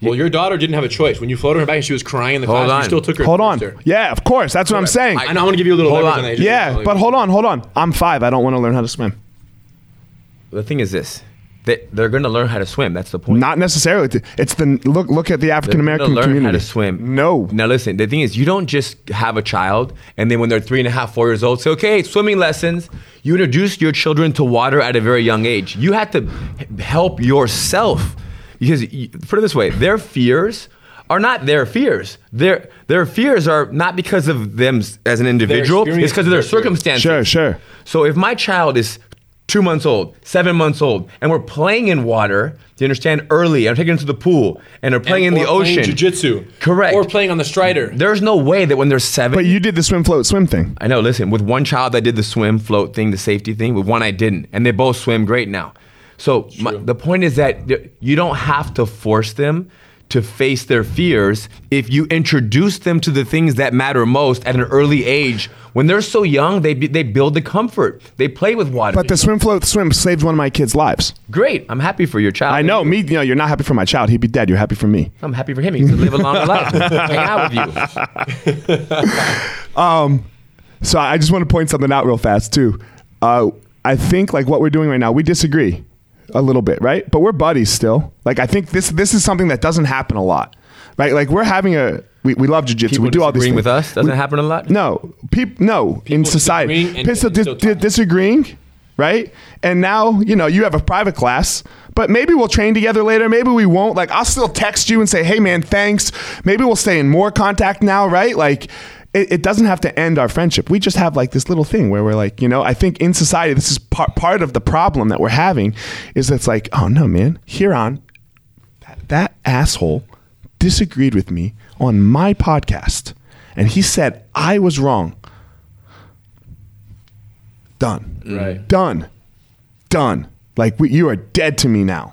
[SPEAKER 3] Well, your daughter didn't have a choice. When you floated her back and she was crying in the
[SPEAKER 2] Hold
[SPEAKER 3] class,
[SPEAKER 2] on.
[SPEAKER 3] you still took her.
[SPEAKER 1] Hold
[SPEAKER 3] and
[SPEAKER 1] on.
[SPEAKER 3] forced her.
[SPEAKER 1] Yeah. Of course. That's what I'm saying.
[SPEAKER 3] I know. I want to give you a little
[SPEAKER 2] Hold
[SPEAKER 3] leverage
[SPEAKER 2] on.
[SPEAKER 3] that.
[SPEAKER 1] Yeah. But hold on. Hold on. I'm five. I don't want to learn how to swim.
[SPEAKER 2] The thing is this. They, they're going to learn how to swim. That's the point.
[SPEAKER 1] Not necessarily. It's the look. Look at the African
[SPEAKER 2] They're gonna
[SPEAKER 1] American
[SPEAKER 2] learn
[SPEAKER 1] community.
[SPEAKER 2] how to swim.
[SPEAKER 1] No.
[SPEAKER 2] Now listen, the thing is, you don't just have a child and then when they're three and a half, four years old, say, okay, swimming lessons. You introduce your children to water at a very young age. You have to h- help yourself because y- put it this way, their fears are not their fears. Their their fears are not because of them s- as an individual. It's
[SPEAKER 3] experience
[SPEAKER 2] because
[SPEAKER 3] is
[SPEAKER 2] of their
[SPEAKER 3] their fear.
[SPEAKER 2] circumstances.
[SPEAKER 1] Sure, sure.
[SPEAKER 2] So if my child is two months old, seven months old, and we're playing in water, do you understand? Early, I'm taking them to the pool, and they're playing in the ocean.
[SPEAKER 3] Jiu-jitsu.
[SPEAKER 2] Correct.
[SPEAKER 3] Or playing on the strider.
[SPEAKER 2] There's no way that when they're seven.
[SPEAKER 1] But you did the swim, float, swim thing.
[SPEAKER 2] I know. Listen, with one child, I did the swim, float thing, the safety thing. With one, I didn't, and they both swim great now. So my, the point is that th- you don't have to force them to face their fears if you introduce them to the things that matter most at an early age. When they're so young, they be, they build the comfort. They play with water.
[SPEAKER 1] But the swim, float, swim saved one of my kids' lives.
[SPEAKER 2] great. I'm happy for your child.
[SPEAKER 1] I know. Me, you know, you're not happy for my child. He'd be dead. You're happy for me.
[SPEAKER 2] I'm happy for him. He can live a longer life. Hang out with you.
[SPEAKER 1] Um, So I just want to point something out real fast too. Uh, I think like what we're doing right now, we disagree a little bit, right? But we're buddies still. Like I think this this is something that doesn't happen a lot, right? Like we're having a we, we love jujitsu. We do all these
[SPEAKER 2] Agreeing
[SPEAKER 1] things.
[SPEAKER 2] with us doesn't happen a lot.
[SPEAKER 1] No, peop, no in society.
[SPEAKER 3] disagreeing and-
[SPEAKER 1] People
[SPEAKER 3] and
[SPEAKER 1] dis-
[SPEAKER 3] still talking.
[SPEAKER 1] disagreeing, right? And now you know you have a private class, but maybe we'll train together later. Maybe we won't. Like I'll still text you and say, "Hey, man, thanks." Maybe we'll stay in more contact now, right? Like. It, it doesn't have to end our friendship. We just have like this little thing where we're like, you know, I think in society this is part part of the problem that we're having, is that's like, oh no, man, Huron, that, that asshole disagreed with me on my podcast and he said I was wrong. Done.
[SPEAKER 3] Right.
[SPEAKER 1] Done. Done. Like we, you are dead to me now.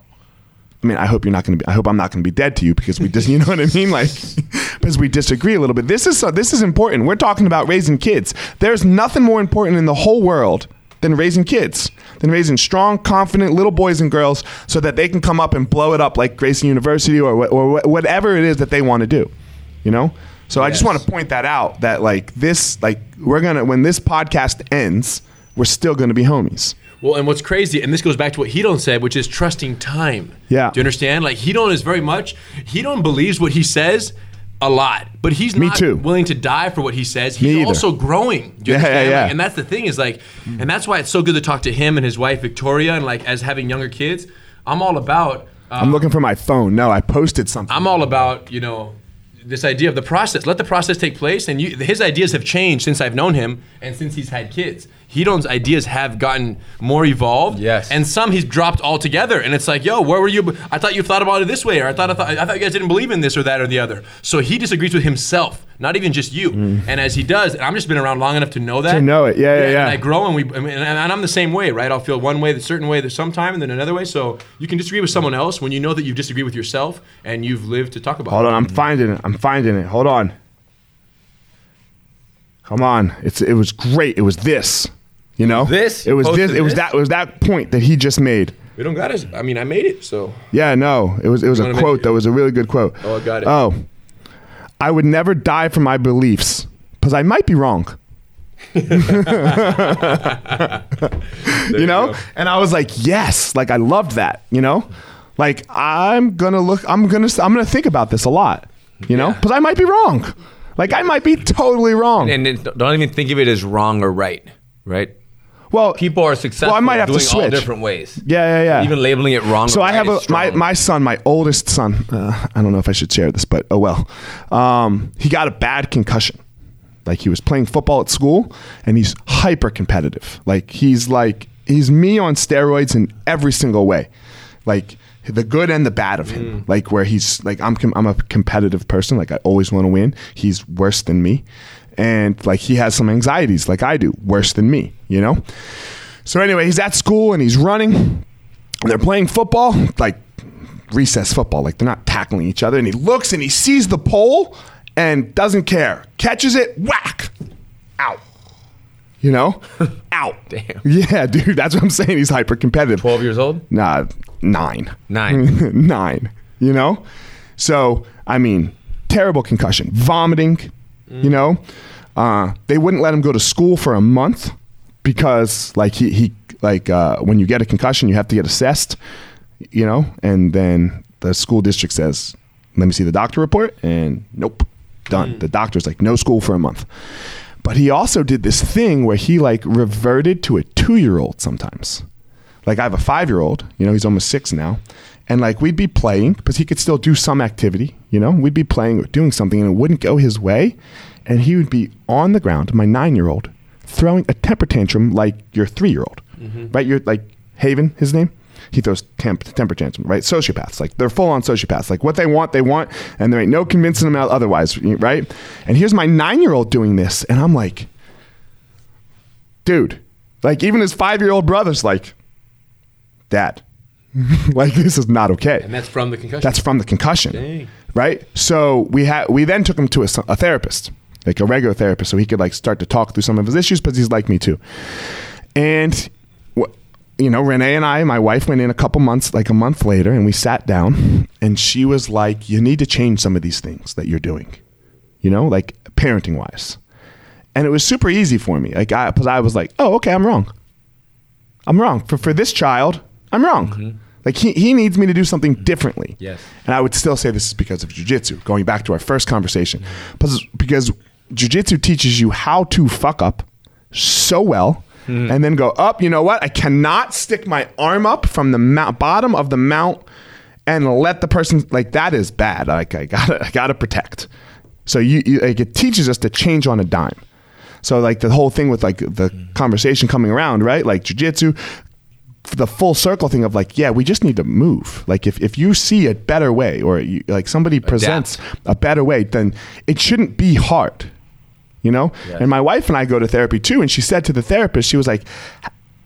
[SPEAKER 1] I mean, I hope you're not going to be. I hope I'm not going to be dead to you because we just, you know what I mean, like because we disagree a little bit. This is so, this is important. We're talking about raising kids. There's nothing more important in the whole world than raising kids, than raising strong, confident little boys and girls so that they can come up and blow it up like Grayson University or wha- or wha- whatever it is that they want to do. You know. So I just
[SPEAKER 2] Yes.
[SPEAKER 1] want to point that out that like this, like we're gonna when this podcast ends, we're still gonna be homies.
[SPEAKER 3] Well, and what's crazy, and this goes back to what Hedon said, which is trusting time.
[SPEAKER 1] Yeah.
[SPEAKER 3] Do you understand? Like Hedon is very much Hedon believes what he says a lot, but he's
[SPEAKER 1] Me
[SPEAKER 3] not
[SPEAKER 1] too.
[SPEAKER 3] willing to die for what he says.
[SPEAKER 1] Me
[SPEAKER 3] He's
[SPEAKER 1] either.
[SPEAKER 3] also growing. Do you
[SPEAKER 1] Yeah, yeah,
[SPEAKER 3] understand? Like,
[SPEAKER 1] yeah.
[SPEAKER 3] and that's the thing is like, and that's why it's so good to talk to him and his wife Victoria, and like as having younger kids, I'm all about. Uh,
[SPEAKER 1] I'm looking for my phone. No, I posted something.
[SPEAKER 3] I'm all about you know this idea of the process. Let the process take place, and you, his ideas have changed since I've known him and since he's had kids. Hedon's ideas have gotten more evolved.
[SPEAKER 2] Yes.
[SPEAKER 3] and some he's dropped altogether. And it's like, yo, where were you? I thought you thought about it this way, or I thought I thought, I thought you guys didn't believe in this or that or the other. So he disagrees with himself, not even just you. And as he does, and I'm just been around long enough to know that.
[SPEAKER 1] Mm. To know it. Yeah, yeah, yeah.
[SPEAKER 3] And I grow, and we, I mean, and, and I'm the same way, right? I'll feel one way, the certain way, the sometime, and then another way. So you can disagree with someone else when you know that you disagree with yourself, and you've lived to talk about.
[SPEAKER 1] Hold
[SPEAKER 3] it.
[SPEAKER 1] on, I'm finding it. I'm finding it. Hold on. Come on. It's it was great. It was this. You know?
[SPEAKER 2] This?
[SPEAKER 1] It was
[SPEAKER 2] Posted
[SPEAKER 1] this it was
[SPEAKER 2] this?
[SPEAKER 1] that it was that point that he just made.
[SPEAKER 3] We don't got it. I mean, I made it, so
[SPEAKER 1] Yeah, no. It was it was
[SPEAKER 3] wanna
[SPEAKER 1] a
[SPEAKER 3] make
[SPEAKER 1] quote
[SPEAKER 3] it-
[SPEAKER 1] that was a really good quote.
[SPEAKER 3] Oh, I got it.
[SPEAKER 1] Oh. I would never die for my beliefs because I might be wrong. you know?
[SPEAKER 3] go.
[SPEAKER 1] And I was like, "Yes." Like I loved that, you know? Like I'm going to look I'm going to I'm going to think about this a lot, you know?
[SPEAKER 3] Yeah.
[SPEAKER 1] Cuz I might be wrong. Like I might be totally wrong.
[SPEAKER 2] And then don't even think of it as wrong or right, right?
[SPEAKER 1] well,
[SPEAKER 2] People are successful
[SPEAKER 1] Well, I might have to
[SPEAKER 2] doing all
[SPEAKER 1] switch.
[SPEAKER 2] different ways.
[SPEAKER 1] Yeah, yeah, yeah.
[SPEAKER 2] Even labeling it wrong.
[SPEAKER 1] so
[SPEAKER 2] or
[SPEAKER 1] I
[SPEAKER 2] right
[SPEAKER 1] have a
[SPEAKER 2] is
[SPEAKER 1] my,
[SPEAKER 2] strong.
[SPEAKER 1] my son, my oldest son. Uh, I don't know if I should share this, but oh well. Um, he got a bad concussion. Like he was playing football at school, and he's hyper competitive. Like he's like he's me on steroids in every single way. Like the good and the bad of him. Like where he's like I'm com- I'm a competitive person. Like I always want to win. He's worse than me, and like he has some anxieties like I do. Worse than me, you know. So anyway, he's at school and he's running. And they're playing football, like recess football, like they're not tackling each other. And he looks and he sees the pole and doesn't care. Catches it, whack, out. You know, out.
[SPEAKER 2] Damn.
[SPEAKER 1] Yeah, dude, that's what I'm saying. He's hyper competitive.
[SPEAKER 2] twelve years old.
[SPEAKER 1] Nah, nine.
[SPEAKER 2] Nine.
[SPEAKER 1] nine. You know? So, I mean, terrible concussion, vomiting, you know? Uh, they wouldn't let him go to school for a month because, like, he, he like, uh, when you get a concussion, you have to get assessed, you know? And then the school district says, let me see the doctor report. And nope, done. The doctor's like, no school for a month. But he also did this thing where he, like, reverted to a two year old sometimes like I have a five year old, you know, he's almost six now. And like we'd be playing because he could still do some activity, you know, we'd be playing or doing something and it wouldn't go his way. And he would be on the ground, my nine year old, throwing a temper tantrum like your three year old, right? You're like Haven, his name. He throws temp, temper tantrum, right? Sociopaths, like they're full on sociopaths. Like what they want, they want, and there ain't no convincing them out otherwise, right? And here's my nine year old doing this, and I'm like, dude, like even his five year old brother's like, Dad, like this is not okay.
[SPEAKER 3] and that's from the concussion.
[SPEAKER 1] That's from the concussion,
[SPEAKER 3] Dang.
[SPEAKER 1] right? So we had we then took him to a, s- a therapist, like a regular therapist, so he could like start to talk through some of his issues. But he's like me too, and wh- you know, Renee and I, my wife, went in a couple months, like a month later, and we sat down, and she was like, "You need to change some of these things that you're doing, you know, like parenting wise." And it was super easy for me, like I, because I was like, "Oh, okay, I'm wrong." I'm wrong. For for this child, I'm wrong. Like he, he needs me to do something differently.
[SPEAKER 2] Yes.
[SPEAKER 1] And I would still say this is because of jujitsu, going back to our first conversation. Because because jujitsu teaches you how to fuck up so well and then go up, you know what? I cannot stick my arm up from the mount, bottom of the mount and let the person like that is bad. Like I gotta I gotta protect. So you, you like it teaches us to change on a dime. So like the whole thing with like the conversation coming around, right? Like jujitsu, the full circle thing of like, yeah, we just need to move. Like if, if you see a better way or you, like somebody presents a better way, then it shouldn't be hard, you know?
[SPEAKER 2] Yes.
[SPEAKER 1] And my wife and I go to therapy too. And she said to the therapist, she was like,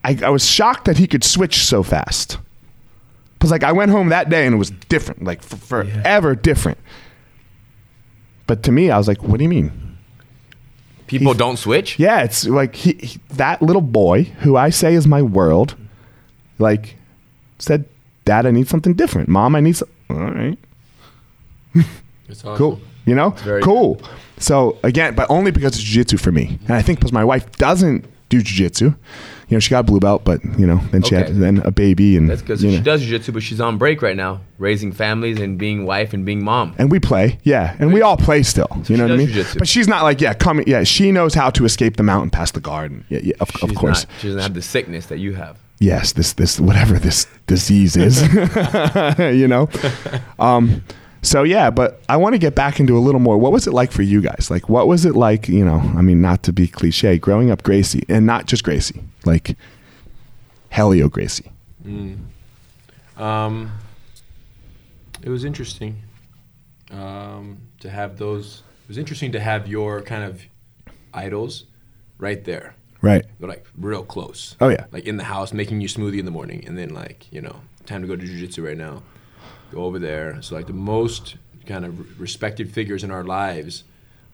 [SPEAKER 1] I, I was shocked that he could switch so fast. Because like I went home that day and it was different, like for, forever different. But to me, I was like, "What do you mean?
[SPEAKER 2] People don't switch.
[SPEAKER 1] Yeah, it's like he, he- that little boy who I say is my world, like said, "Dad, I need something different. Mom, I need some." All right,
[SPEAKER 3] It's awesome.
[SPEAKER 1] cool. You know,
[SPEAKER 2] very
[SPEAKER 1] cool. So again, but only because it's jujitsu for me, and I think because my wife doesn't do jujitsu. You know, she got a blue belt, but you know, then she
[SPEAKER 2] Okay.
[SPEAKER 1] had then a baby, and
[SPEAKER 2] That's good. So
[SPEAKER 1] you
[SPEAKER 2] she
[SPEAKER 1] know.
[SPEAKER 2] does jiu-jitsu, but she's on break right now, raising families and being wife and being mom.
[SPEAKER 1] and we play, yeah, and we all play still. you know what
[SPEAKER 2] she
[SPEAKER 1] I
[SPEAKER 2] does
[SPEAKER 1] mean?
[SPEAKER 2] jujitsu.
[SPEAKER 1] But she's not like, yeah, coming, yeah. She knows how to escape the mountain past the garden. Yeah, yeah, of, of
[SPEAKER 2] She's
[SPEAKER 1] course.
[SPEAKER 2] not- she doesn't have the sickness that you have.
[SPEAKER 1] yes, this this whatever this disease is, you know. Um, so yeah, but I want to get back into a little more. What was it like for you guys? Like, what was it like? You know, I mean, not to be cliche, growing up Gracie, and not just Gracie, like Helio Gracie.
[SPEAKER 3] Um, it was interesting um, to have those. It was interesting to have your kind of idols right there.
[SPEAKER 1] Right.
[SPEAKER 3] They're like real close.
[SPEAKER 1] Oh, yeah.
[SPEAKER 3] Like in the house, making you smoothie in the morning, and then like you know, time to go to jujitsu right now. Go over there. So like the most kind of respected figures in our lives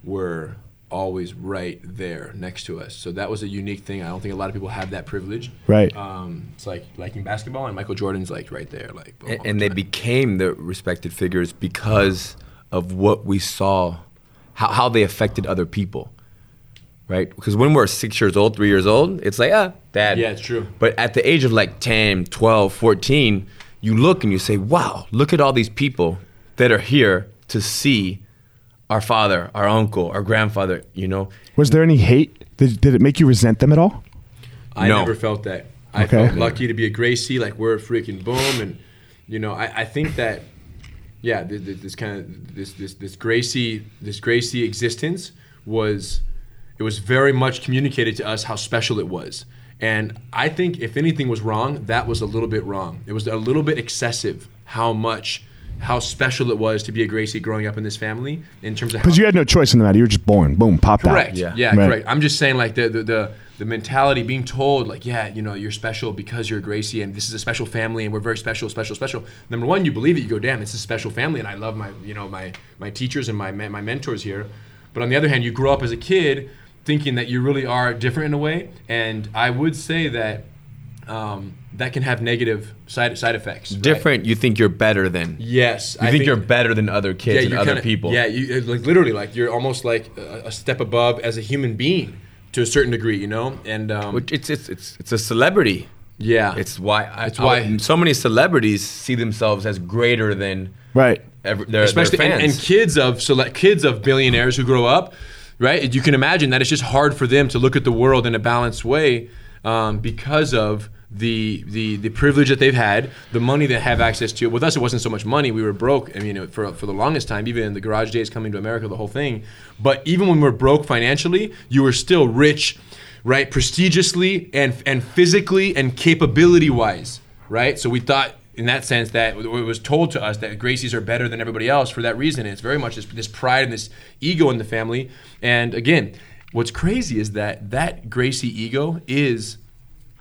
[SPEAKER 3] were always right there next to us. So that was a unique thing. I don't think a lot of people have that privilege.
[SPEAKER 1] Right.
[SPEAKER 3] Um, it's like liking basketball, and Michael Jordan's like right there, like. all
[SPEAKER 2] and,
[SPEAKER 3] the
[SPEAKER 2] and they
[SPEAKER 3] time.
[SPEAKER 2] became the respected figures because of what we saw, how, how they affected other people, right? Because when we're six years old, three years old, it's like, ah, dad.
[SPEAKER 3] Yeah, it's true.
[SPEAKER 2] But at the age of like 10, 12, 14, you look and you say, wow, look at all these people that are here to see our father, our uncle, our grandfather, you know?
[SPEAKER 1] Was there any hate? Did, did it make you resent them at all?
[SPEAKER 3] I
[SPEAKER 2] No.
[SPEAKER 3] never felt that. I
[SPEAKER 1] Okay.
[SPEAKER 3] felt lucky to be a Gracie. Like we're a freaking boom, and you know, I, I think that yeah, this, this kind of this this this Gracie this Gracie existence was it was very much communicated to us how special it was. And I think if anything was wrong, that was a little bit wrong. It was a little bit excessive how much how special it was to be a Gracie growing up in this family in terms of how
[SPEAKER 1] Because you had no choice in the matter. You were just born. Boom, popped
[SPEAKER 3] Correct.
[SPEAKER 1] out.
[SPEAKER 3] Yeah,
[SPEAKER 2] Yeah.
[SPEAKER 1] Right.
[SPEAKER 3] correct. I'm just saying like the, the the the mentality being told like yeah, you know, you're special because you're Gracie and this is a special family and we're very special, special, special. Number one, you believe it. You go, damn, it's a special family, and I love my you know my my teachers and my men- my mentors here. But on the other hand, you grow up as a kid thinking that you really are different in a way, and I would say that. Um, that can have negative side side effects. right?
[SPEAKER 2] Different, you think you're better than. You
[SPEAKER 3] Yes, I
[SPEAKER 2] think, you're better than other kids and
[SPEAKER 3] you
[SPEAKER 2] other
[SPEAKER 3] kinda-
[SPEAKER 2] people.
[SPEAKER 3] Yeah, you, it- like literally, like you're almost like a, a step above as a human being to a certain degree, you know. And um,
[SPEAKER 2] Which it's, it's, it's, it's a celebrity.
[SPEAKER 3] yeah,
[SPEAKER 2] It's why I,
[SPEAKER 3] It's
[SPEAKER 2] I would-
[SPEAKER 3] why-
[SPEAKER 2] so many celebrities see themselves as greater than
[SPEAKER 1] Right.
[SPEAKER 2] ever, their,
[SPEAKER 3] especially
[SPEAKER 2] their
[SPEAKER 3] and,
[SPEAKER 2] fans.
[SPEAKER 3] and kids of select kids of billionaires who grow up, right? You can imagine that it's just hard for them to look at the world in a balanced way um, because of. The, the the privilege that they've had, the money they have access to. With us, it wasn't so much money. We were broke. I mean, for for the longest time, even in the garage days, coming to America, the whole thing. But even when we were broke financially, you were still rich, right? Prestigiously and and physically and capability wise, right? So we thought in that sense that it was told to us that Gracies are better than everybody else for that reason. It's very much this, this pride and this ego in the family. And again, what's crazy is that that Gracie ego is,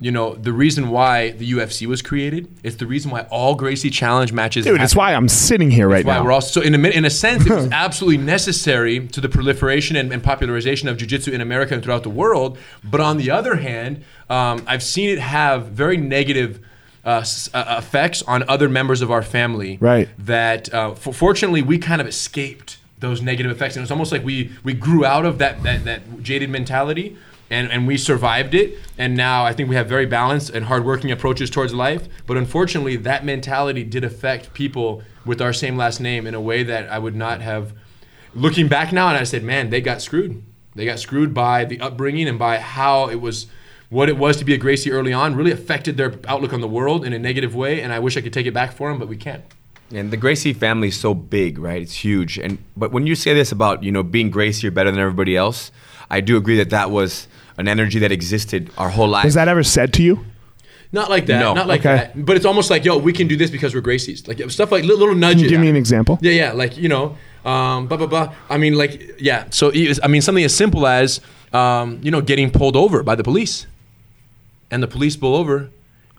[SPEAKER 3] you know, the reason why the UFC was created. It's the reason why all Gracie challenge matches.
[SPEAKER 1] Dude, it's
[SPEAKER 3] happen.
[SPEAKER 1] why I'm sitting here right
[SPEAKER 3] That's why
[SPEAKER 1] now.
[SPEAKER 3] we're also so in a min- in a sense it was absolutely necessary to the proliferation and, and popularization of jiu-jitsu in America and throughout the world. But on the other hand, um, I've seen it have very negative. Uh, s- uh, effects on other members of our family.
[SPEAKER 1] Right.
[SPEAKER 3] That uh, for- fortunately we kind of escaped those negative effects, and it's almost like we we grew out of that that, that jaded mentality, and and we survived it. And now I think we have very balanced and hardworking approaches towards life. But unfortunately, that mentality did affect people with our same last name in a way that I would not have. Looking back now, and I said, man, they got screwed. They got screwed by the upbringing and by how it was. What it was to be a Gracie early on really affected their outlook on the world in a negative way, and I wish I could take it back for them, but we can't.
[SPEAKER 2] And the Gracie family is so big, right? It's huge. And but when you say this about you know being Gracie or better than everybody else, I do agree that that was an energy that existed our whole life.
[SPEAKER 1] Was that ever said to you?
[SPEAKER 3] Not like that.
[SPEAKER 2] No.
[SPEAKER 3] Not like
[SPEAKER 1] Okay.
[SPEAKER 3] that. But it's almost like, yo, we can do this because we're Gracies. Like stuff like little, little nudges.
[SPEAKER 1] Give me an example.
[SPEAKER 3] Yeah, yeah. Like you know, um, blah blah blah. I mean, like yeah. So it is- I mean, something as simple as um, you know getting pulled over by the police, and the police pull over,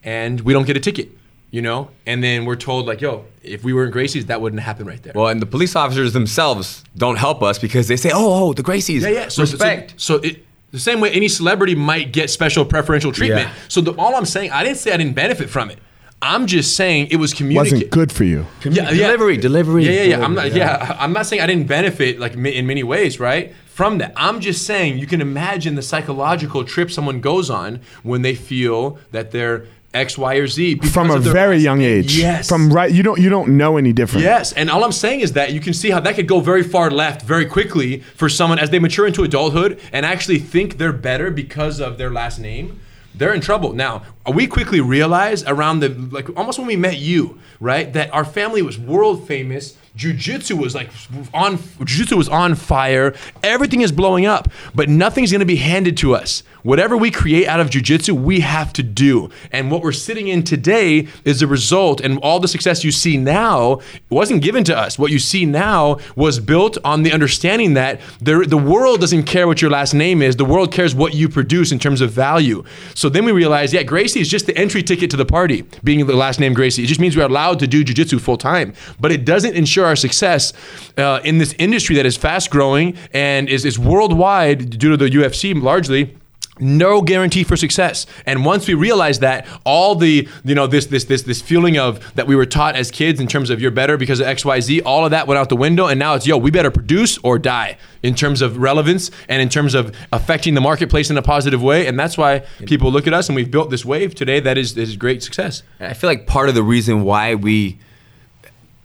[SPEAKER 3] and we don't get a ticket. you know? And then we're told, like, yo, if we were in Gracie's, that wouldn't happen right there.
[SPEAKER 2] Well, and the police officers themselves don't help us because they say, "Oh, oh, the Gracies,
[SPEAKER 3] yeah, yeah. So,
[SPEAKER 2] respect."
[SPEAKER 3] So, so it, the same way any celebrity might get special preferential treatment.
[SPEAKER 2] Yeah.
[SPEAKER 3] So the, all I'm saying, I didn't say I didn't benefit from it. I'm just saying it was
[SPEAKER 1] Wasn't
[SPEAKER 3] communicated.
[SPEAKER 1] good for you.
[SPEAKER 3] Yeah, yeah.
[SPEAKER 2] Delivery, delivery,
[SPEAKER 3] Yeah, yeah, yeah. I'm not.
[SPEAKER 2] delivery,
[SPEAKER 3] Yeah. I'm not saying I didn't benefit like ma- in many ways, right? From that, I'm just saying you can imagine the psychological trip someone goes on when they feel that they're X, Y, or Z because
[SPEAKER 1] From a
[SPEAKER 3] of their-
[SPEAKER 1] very young age.
[SPEAKER 3] Yes.
[SPEAKER 1] From right you don't you don't know any different.
[SPEAKER 3] Yes, and all I'm saying is that you can see how that could go very far left very quickly for someone as they mature into adulthood and actually think they're better because of their last name. They're in trouble. Now, we quickly realize around the like almost when we met you, right, that our family was world famous. Jiu-jitsu was like on jiu-jitsu was on fire. Everything is blowing up, but nothing's going to be handed to us. Whatever we create out of jiu-jitsu, we have to do. And what we're sitting in today is the result and all the success you see now wasn't given to us. What you see now was built on the understanding that there, the world doesn't care what your last name is. The world cares what you produce in terms of value. So then we realized, yeah, Gracie is just the entry ticket to the party, being the last name Gracie. It just means we're allowed to do jujitsu full time, but it doesn't ensure our success uh, in this industry that is fast growing and is, is worldwide due to the UFC largely no guarantee for success and once we realize that all the you know this this this this feeling of that we were taught as kids in terms of you're better because of xyz all of that went out the window and now it's yo we better produce or die in terms of relevance and in terms of affecting the marketplace in a positive way and that's why people look at us and we've built this wave today that is is great success
[SPEAKER 2] And I feel like part of the reason why we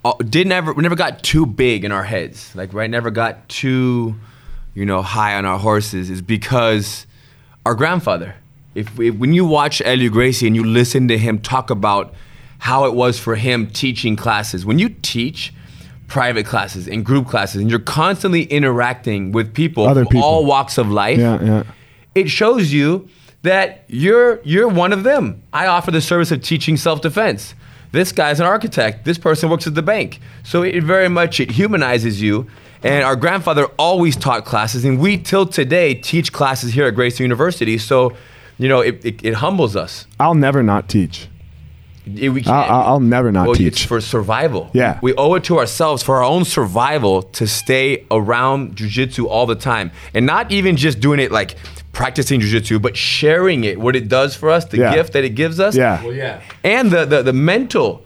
[SPEAKER 2] uh, didn't ever we never got too big in our heads, like right, never got too, you know, high on our horses, is because our grandfather. If, we when you watch Elio Gracie and you listen to him talk about how it was for him teaching classes, when you teach private classes and group classes, and you're constantly interacting with people,
[SPEAKER 1] Other
[SPEAKER 2] from all
[SPEAKER 1] people.
[SPEAKER 2] walks of life,
[SPEAKER 1] Yeah, yeah.
[SPEAKER 2] it shows you that you're you're one of them. I offer the service of teaching self-defense. This guy's an architect. This person works at the bank. So it very much it humanizes you. And our grandfather always taught classes, and we till today teach classes here at Gracie University. So, you know, it, it, it humbles us.
[SPEAKER 1] I'll never not teach.
[SPEAKER 2] It-
[SPEAKER 1] I'll,
[SPEAKER 2] we can't-
[SPEAKER 1] I'll- I'll never not
[SPEAKER 2] well, It's
[SPEAKER 1] teach.
[SPEAKER 2] for survival.
[SPEAKER 1] Yeah.
[SPEAKER 2] We owe it to ourselves for our own survival to stay around jujitsu all the time. And not even just doing it like practicing jujitsu, but sharing it, what it does for us, the
[SPEAKER 1] Yeah.
[SPEAKER 2] gift that it gives us.
[SPEAKER 1] yeah.
[SPEAKER 3] yeah
[SPEAKER 2] And the, the, the mental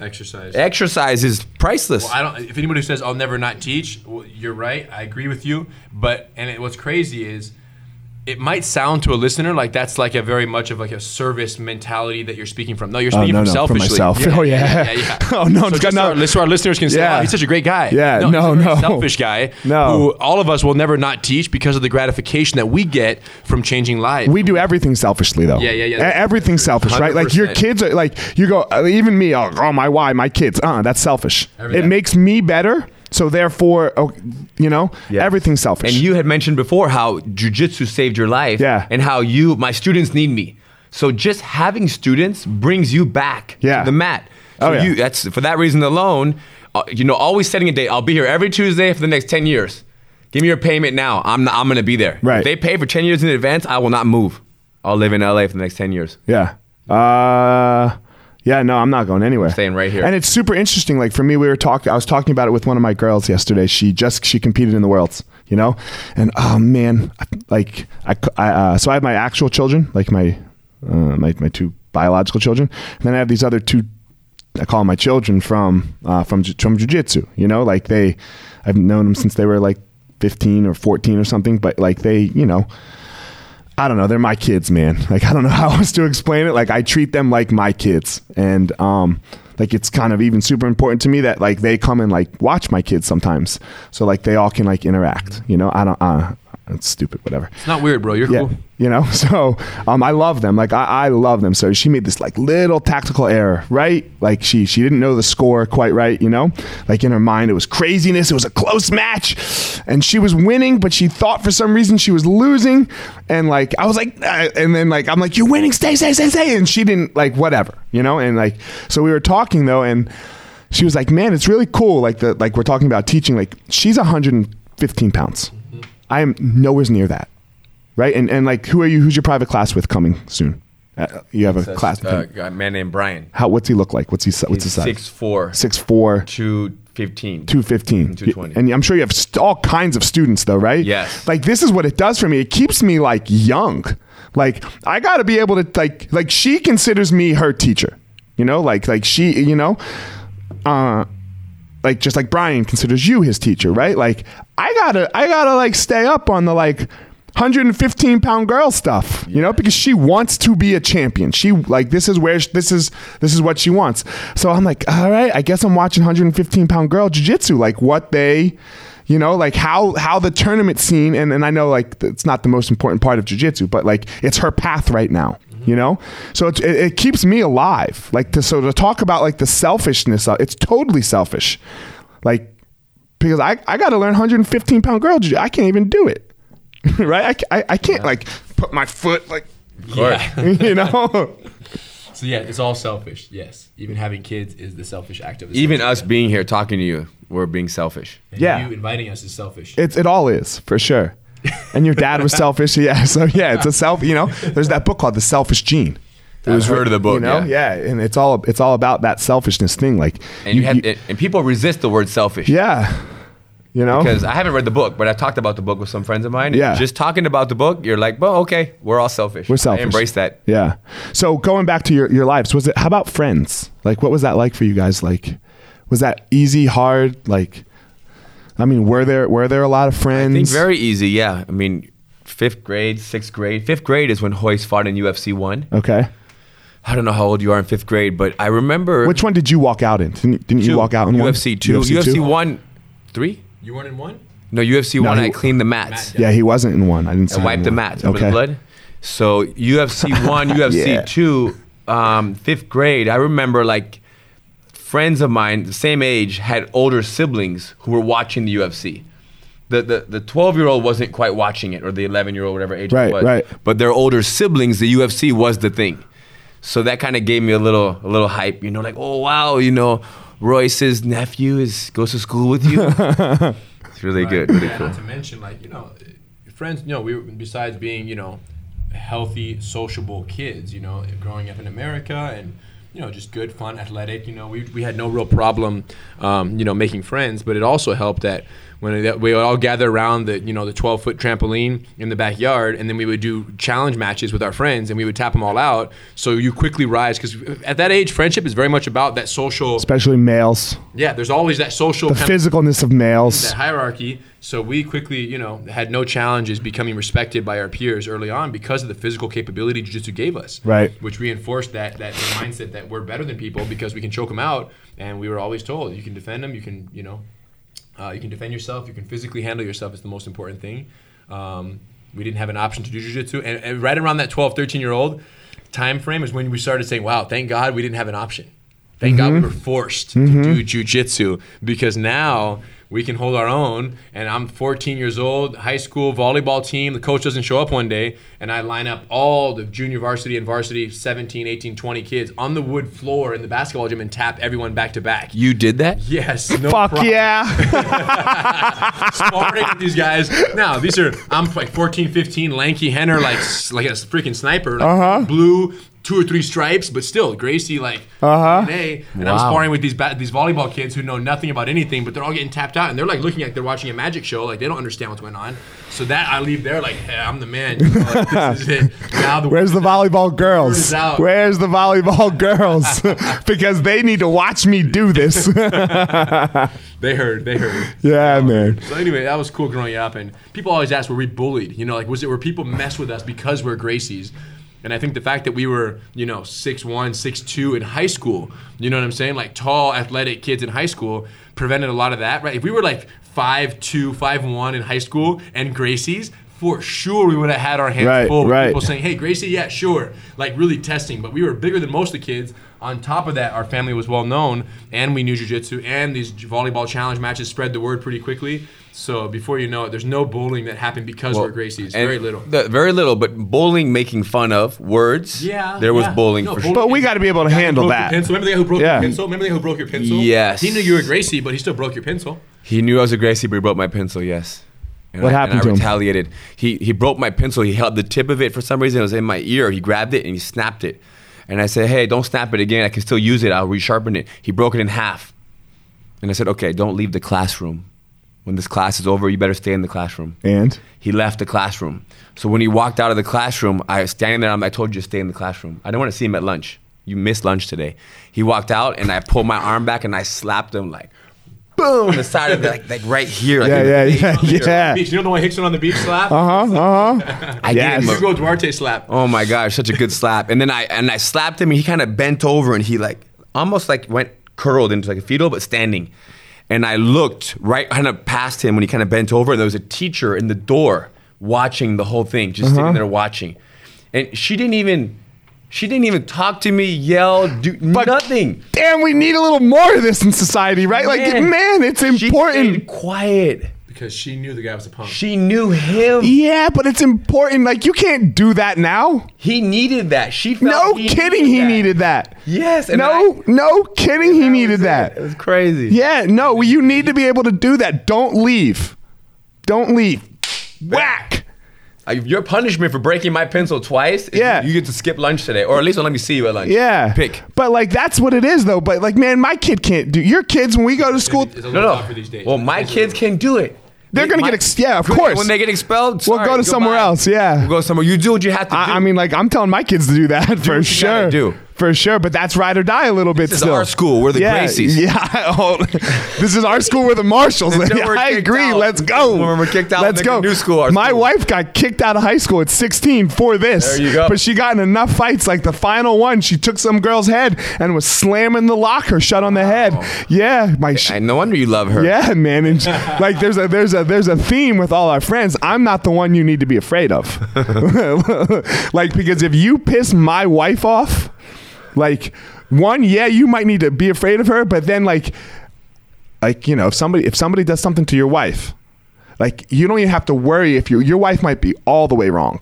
[SPEAKER 3] exercise
[SPEAKER 2] exercise is priceless.
[SPEAKER 3] Well, I don't. If anybody says I'll never not teach, well, you're right. I agree with you. But and it, what's crazy is, it might sound to a listener like that's like a very much of like a service mentality that you're speaking from. No, you're
[SPEAKER 1] Oh
[SPEAKER 3] speaking
[SPEAKER 1] no
[SPEAKER 3] from
[SPEAKER 1] no
[SPEAKER 3] selfishly.
[SPEAKER 1] for myself. oh yeah.
[SPEAKER 3] yeah, yeah.
[SPEAKER 1] oh no, it's
[SPEAKER 3] So
[SPEAKER 1] got
[SPEAKER 3] just so
[SPEAKER 1] no.
[SPEAKER 3] our, so our listeners can say,
[SPEAKER 1] Yeah.
[SPEAKER 3] oh, he's such a great guy.
[SPEAKER 1] Yeah,
[SPEAKER 3] he's
[SPEAKER 1] no,
[SPEAKER 3] a very
[SPEAKER 1] no.
[SPEAKER 3] Selfish guy
[SPEAKER 1] No.
[SPEAKER 3] who all of us will never not teach because of the gratification that we get from changing lives.
[SPEAKER 1] We do everything selfishly though.
[SPEAKER 3] Yeah, yeah, yeah.
[SPEAKER 1] E- Everything selfish, right? Like your
[SPEAKER 2] 100%.
[SPEAKER 1] kids are like you go uh, even me, oh, oh, my why, my kids. Uh, that's selfish.
[SPEAKER 3] Everything.
[SPEAKER 1] It makes me better, so therefore, oh, you know,
[SPEAKER 2] Yeah.
[SPEAKER 1] everything's selfish.
[SPEAKER 2] And you had mentioned before how jujitsu saved your life.
[SPEAKER 1] Yeah.
[SPEAKER 2] And how you, my students need me. So just having students brings you back
[SPEAKER 1] Yeah.
[SPEAKER 2] to the mat. So
[SPEAKER 1] Oh, yeah.
[SPEAKER 2] you, that's for that reason alone, uh, you know, always setting a date. I'll be here every Tuesday for the next 10 years. Give me your payment now. I'm not, I'm going to be there.
[SPEAKER 1] Right.
[SPEAKER 2] If they pay for 10 years in advance, I will not move. I'll live in LA for the next 10 years.
[SPEAKER 1] Yeah. Uh, yeah, no, I'm not going anywhere.
[SPEAKER 2] Staying right here.
[SPEAKER 1] And it's super interesting. Like for me, we were talking. I was talking about it with one of my girls yesterday. She just she competed in the worlds, you know, and oh man, I- like I, c- I, uh, so I have my actual children, like my uh, my my two biological children, and then I have these other two. I call them my children from uh, from ju- from jujitsu. You know, like they, I've known them since they were like 15 or 14 or something. But like they, you know, I don't know. They're my kids, man. Like I don't know how else to explain it. Like I treat them like my kids, and um, like it's kind of even super important to me that like they come and like watch my kids sometimes. So like they all can like interact. You know, I don't. Uh, it's stupid. Whatever.
[SPEAKER 3] it's not weird, bro. You're
[SPEAKER 1] Yeah.
[SPEAKER 3] cool.
[SPEAKER 1] You know, so um, I love them. Like I, I love them. So she made this like little tactical error, right? Like she she didn't know the score quite right. You know, like in her mind it was craziness. It was a close match, and she was winning, but she thought for some reason she was losing. And like I was like, uh, and then like I'm like, you're winning, stay, stay, stay, stay. And she didn't like whatever, you know. And like so we were talking though, and she was like, man, it's really cool. Like the like we're talking about teaching. Like she's 115 pounds. I am nowhere near that right? And and like, who are you? Who's your private class with coming soon? Uh, you have a
[SPEAKER 2] That's,
[SPEAKER 1] class.
[SPEAKER 2] uh, a man named Brian.
[SPEAKER 1] How? What's he look like? What's he? si- What's his size?
[SPEAKER 2] He's six four,
[SPEAKER 1] Six four.
[SPEAKER 2] two fifteen.
[SPEAKER 1] 215
[SPEAKER 2] 220.
[SPEAKER 1] and i'm sure you have st- all kinds of students though right
[SPEAKER 2] Yes.
[SPEAKER 1] like this is what it does for me it keeps me like young like i gotta be able to like like she considers me her teacher you know like like she you know uh like just like brian considers you his teacher right like i gotta i gotta like stay up on the like 115 pound girl stuff you know because she wants to be a champion she like this is where sh- this is this is what she wants so i'm like all right i guess i'm watching 115 pound girl jiu-jitsu like what they you know like how how the tournament scene and, and i know like th- it's not the most important part of jiu-jitsu but like it's her path right now you know so it, it, it keeps me alive like to so to talk about like the selfishness of, it's totally selfish like because i, I got to learn 115 pound girl jiu- i can't even do it right I ca- I, I can't like put my foot like
[SPEAKER 3] Yeah.
[SPEAKER 1] you know
[SPEAKER 3] so yeah, it's all selfish. Yes, even having kids is the selfish act of the
[SPEAKER 2] Even
[SPEAKER 3] selfish
[SPEAKER 2] us
[SPEAKER 3] act.
[SPEAKER 2] being here talking to you, we're being selfish.
[SPEAKER 3] And
[SPEAKER 1] Yeah.
[SPEAKER 3] you inviting us is selfish.
[SPEAKER 1] It's it all is for sure. And your dad was selfish, yeah. So yeah, it's a self. You know, there's that book called The Selfish Gene. It
[SPEAKER 2] I've heard of the book,
[SPEAKER 1] You know, yeah.
[SPEAKER 2] yeah.
[SPEAKER 1] and it's all it's all about that selfishness thing. Like,
[SPEAKER 2] And you, have, and- and people resist the word selfish.
[SPEAKER 1] yeah, you know,
[SPEAKER 2] Because I haven't read the book, but I talked about the book with some friends of mine.
[SPEAKER 1] Yeah.
[SPEAKER 2] Just talking about the book, you're like, well, okay, we're all selfish.
[SPEAKER 1] we're selfish.
[SPEAKER 2] I embrace that.
[SPEAKER 1] Yeah. So going back to your your lives, was it? How about friends? Like, what was that like for you guys? Like, was that easy, hard? Like, I mean, were there were there a lot of
[SPEAKER 2] I
[SPEAKER 1] friends?
[SPEAKER 2] think very easy, yeah. I mean, fifth grade, sixth grade. Fifth grade is when Hoyce fought in UFC 1.
[SPEAKER 1] okay.
[SPEAKER 2] I don't know how old you are in fifth grade, but I remember.
[SPEAKER 1] Which one did you walk out in? Didn't, didn't you
[SPEAKER 2] Two.
[SPEAKER 1] walk out in one?
[SPEAKER 2] UFC 2. UFC, 1, 3?
[SPEAKER 3] You weren't in one.
[SPEAKER 2] No, UFC 1,
[SPEAKER 1] he-
[SPEAKER 2] I cleaned the mats.
[SPEAKER 1] Yeah, he wasn't in one. I didn't. see
[SPEAKER 2] and
[SPEAKER 1] him
[SPEAKER 2] wipe
[SPEAKER 1] in
[SPEAKER 2] the
[SPEAKER 1] one.
[SPEAKER 2] mats with blood. So UFC one, UFC
[SPEAKER 1] Yeah.
[SPEAKER 2] two, um, fifth grade. I remember like friends of mine, the same age, had older siblings who were watching the UFC. The the the twelve year old wasn't quite watching it, or the eleven year old, whatever age
[SPEAKER 1] Right,
[SPEAKER 2] it was.
[SPEAKER 1] right.
[SPEAKER 2] But their older siblings, the UFC was the thing. So that kind of gave me a little a little hype, you know, like oh wow, you know, Royce's nephew is goes to school with you. it's really good, really
[SPEAKER 3] Yeah,
[SPEAKER 2] cool.
[SPEAKER 3] Not to mention, like you know, friends. You know, we were, besides being you know healthy, sociable kids. You know, growing up in America and you know just good, fun, athletic. You know, we, we had no real problem. Um, you know, making friends, but it also helped that when that we would all gather around the you know the twelve foot trampoline in the backyard, and then we would do challenge matches with our friends, and we would tap them all out. So you quickly rise because at that age, friendship is very much about that social.
[SPEAKER 1] especially males.
[SPEAKER 3] Yeah, there's always that social.
[SPEAKER 1] The
[SPEAKER 3] kind of-
[SPEAKER 1] physicalness of males.
[SPEAKER 3] that hierarchy. So we quickly, you know, had no challenges becoming respected by our peers early on because of the physical capability jiu-jitsu gave us.
[SPEAKER 1] Right.
[SPEAKER 3] Which reinforced that that mindset that we're better than people because we can choke them out. And we were always told you can defend them, you can, you know, uh, you can defend yourself, you can physically handle yourself is the most important thing. Um, we didn't have an option to do jiu-jitsu. And, and right around that 12, 13 year old time frame is when we started saying, wow, thank God we didn't have an option. Thank God we were forced to do jujitsu because now we can hold our own. And I'm 14 years old, high school volleyball team. The coach doesn't show up one day, and I line up all the junior varsity and varsity 17, 18, 20 kids on the wood floor in the basketball gym and tap everyone back to back.
[SPEAKER 2] You did that?
[SPEAKER 3] Yes, no
[SPEAKER 1] Fuck
[SPEAKER 3] problem.
[SPEAKER 1] yeah!
[SPEAKER 3] Sparring with these guys. Now these are I'm like 14, 15, lanky Henner, like s- like a freaking sniper, like blue, two or three stripes, but still Gracie like uh-huh. DNA. And I'm
[SPEAKER 2] Wow.
[SPEAKER 3] sparring with these ba- these volleyball kids who know nothing about anything, but they're all getting tapped out, and they're like looking like they're watching a magic show, like they don't understand what's going on. So that I leave there like hey, I'm the man. you know, like, this is it. Now the
[SPEAKER 1] Where's the volleyball
[SPEAKER 3] Word
[SPEAKER 1] girls?
[SPEAKER 3] is out.
[SPEAKER 1] Where's the volleyball girls? because they need to watch me do this.
[SPEAKER 3] they heard they heard.
[SPEAKER 1] yeah, man.
[SPEAKER 3] So anyway, that was cool growing up, and people always ask, were we bullied? You know, like was it were people mess with us because we're Gracies? And I think the fact that we were, you know, 6'1", 6'2", in high school, you know what I'm saying, like tall, athletic kids in high school, prevented a lot of that, right? If we were like 5'2", 5'1", in high school and Gracies, for sure we would have had our hands
[SPEAKER 1] Right,
[SPEAKER 3] full with
[SPEAKER 1] right.
[SPEAKER 3] people saying, "Hey, Gracie, yeah, sure," like really testing. But we were bigger than most of the kids. On top of that, our family was well known, and we knew jujitsu. And these volleyball challenge matches spread the word pretty quickly. So before you know it, there's no bullying that happened because we're
[SPEAKER 2] And
[SPEAKER 3] Gracies. Very little.
[SPEAKER 2] the- very little, but bullying, making fun of words.
[SPEAKER 3] Yeah,
[SPEAKER 2] There was
[SPEAKER 3] yeah.
[SPEAKER 2] bullying
[SPEAKER 3] No,
[SPEAKER 2] for
[SPEAKER 3] bullying-
[SPEAKER 2] sure.
[SPEAKER 1] But we got to be able to
[SPEAKER 3] Guy who
[SPEAKER 1] handle
[SPEAKER 3] broke your
[SPEAKER 1] that.
[SPEAKER 3] Pencil. Remember the guy who broke
[SPEAKER 1] Yeah.
[SPEAKER 3] your pencil? Remember the guy who broke your pencil?
[SPEAKER 2] Yes.
[SPEAKER 3] He knew you were Gracie, but he still broke your pencil.
[SPEAKER 2] He knew I was a Gracie, but he broke my pencil. Yes. And
[SPEAKER 1] What
[SPEAKER 2] I,
[SPEAKER 1] happened
[SPEAKER 2] and I
[SPEAKER 1] to him?
[SPEAKER 2] retaliated. He he broke my pencil. He held the tip of it for some reason. It was in my ear. He grabbed it and he snapped it. And I said, "Hey, don't snap it again. I can still use it. I'll resharpen it." He broke it in half. And I said, "Okay, don't leave the classroom. When this class is over, you better stay in the classroom."
[SPEAKER 1] And
[SPEAKER 2] He left the classroom. So when he walked out of the classroom, I was standing there. I'm, I told you to stay in the classroom. I didn't want to see him at lunch. You missed lunch today. He walked out, and I pulled my arm back and I slapped him like, boom, the side of the, like, like right here. like
[SPEAKER 1] yeah,
[SPEAKER 2] in the
[SPEAKER 1] yeah,
[SPEAKER 2] face.
[SPEAKER 1] yeah, yeah.
[SPEAKER 3] Beach, you know the one Hickson on the beach slap?
[SPEAKER 1] Uh huh. Uh huh.
[SPEAKER 2] I
[SPEAKER 1] Yes.
[SPEAKER 2] gave him a,
[SPEAKER 3] Hugo Duarte slap.
[SPEAKER 2] oh my gosh, such a good slap. And then I and I slapped him, and he kind of bent over, and he like almost like went curled into like a fetal, but standing. And I looked right kind of past him when he kind of bent over, and there was a teacher in the door watching the whole thing, just
[SPEAKER 1] Uh-huh.
[SPEAKER 2] sitting there watching. And she didn't even she didn't even talk to me, yell, do nothing.
[SPEAKER 1] Damn, we need a little more of this in society, right? Like, man, it's
[SPEAKER 2] She stayed
[SPEAKER 1] important.
[SPEAKER 2] quiet.
[SPEAKER 3] Because she knew the guy was a punk.
[SPEAKER 2] She knew him.
[SPEAKER 1] Yeah, but it's important. Like, you can't do that now.
[SPEAKER 2] He needed that. She felt
[SPEAKER 1] No
[SPEAKER 2] he
[SPEAKER 1] kidding, he needed that.
[SPEAKER 2] Yes, and
[SPEAKER 1] no, no kidding, he needed that.
[SPEAKER 2] It was crazy.
[SPEAKER 1] Yeah, no, you need to be able to do that. Don't leave. Don't leave. Whack.
[SPEAKER 2] Uh, Your punishment for breaking my pencil twice is
[SPEAKER 1] Yeah.
[SPEAKER 2] you get to skip lunch today, or at least don't let me see you at lunch.
[SPEAKER 1] Yeah.
[SPEAKER 2] Pick.
[SPEAKER 1] But like that's what it is though. But like man, my kid can't do. Your kids when we go to school,
[SPEAKER 3] It's a
[SPEAKER 2] No,
[SPEAKER 3] little tough for these
[SPEAKER 2] no.
[SPEAKER 3] days.
[SPEAKER 2] Well, my kids can do it.
[SPEAKER 1] They're
[SPEAKER 2] They-
[SPEAKER 1] gonna
[SPEAKER 2] my-
[SPEAKER 1] get ex- yeah, of
[SPEAKER 2] Good.
[SPEAKER 1] course.
[SPEAKER 2] When they get expelled,
[SPEAKER 1] We'll
[SPEAKER 2] sorry,
[SPEAKER 1] go to somewhere
[SPEAKER 2] goodbye.
[SPEAKER 1] else, yeah.
[SPEAKER 2] We'll go somewhere. You do what you have to do.
[SPEAKER 1] I, I mean like I'm telling my kids to do that for
[SPEAKER 2] what you
[SPEAKER 1] sure.
[SPEAKER 2] gotta do.
[SPEAKER 1] For sure, but that's ride or die a little bit
[SPEAKER 2] this is
[SPEAKER 1] still.
[SPEAKER 2] our school. We're the
[SPEAKER 1] yeah,
[SPEAKER 2] Gracies.
[SPEAKER 1] yeah. Oh, this is our school. We're the Marshalls.
[SPEAKER 2] Until we're
[SPEAKER 1] I
[SPEAKER 2] kicked
[SPEAKER 1] agree.
[SPEAKER 2] out.
[SPEAKER 1] Let's go.
[SPEAKER 2] When we're kicked out,
[SPEAKER 1] Let's
[SPEAKER 2] we'll
[SPEAKER 1] go.
[SPEAKER 2] make a new school our
[SPEAKER 1] My
[SPEAKER 2] school.
[SPEAKER 1] wife got kicked out of high school at 16 for this.
[SPEAKER 2] There you go.
[SPEAKER 1] But she got in enough fights. Like the final one, she took some girl's head and was slamming the locker shut on the head. Yeah, my. sh-
[SPEAKER 2] And no wonder you love her.
[SPEAKER 1] yeah, man. And sh- like, there's a there's a there's a theme with all our friends. I'm not the one you need to be afraid of. like, because if you piss my wife off, like, one, yeah, you might need to be afraid of her, but then like, like you know, if somebody if somebody does something to your wife, like you don't even have to worry if your your wife might be all the way wrong,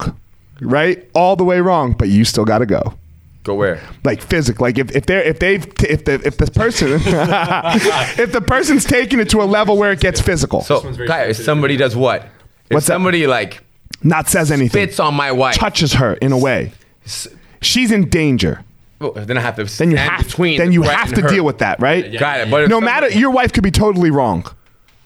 [SPEAKER 1] right? All the way wrong, but you still got to go
[SPEAKER 2] Go where?
[SPEAKER 1] like physic like if, if they're if they've if the if the person if the person's taking it to a level where it gets physical
[SPEAKER 2] So,
[SPEAKER 3] one's very
[SPEAKER 2] Kai, if
[SPEAKER 3] sensitive.
[SPEAKER 2] somebody does what? If
[SPEAKER 1] What's that?
[SPEAKER 2] somebody like
[SPEAKER 1] not says anything
[SPEAKER 2] fits on my wife,
[SPEAKER 1] touches her in a way she's in danger
[SPEAKER 2] oh, then I have to.
[SPEAKER 1] then you
[SPEAKER 2] stand
[SPEAKER 1] have
[SPEAKER 2] between.
[SPEAKER 1] then
[SPEAKER 2] the
[SPEAKER 1] you
[SPEAKER 2] threat
[SPEAKER 1] have
[SPEAKER 2] and
[SPEAKER 1] to
[SPEAKER 2] her.
[SPEAKER 1] deal with that right
[SPEAKER 3] yeah.
[SPEAKER 2] Got it. But if
[SPEAKER 1] no
[SPEAKER 2] somebody-
[SPEAKER 1] matter your wife could be totally wrong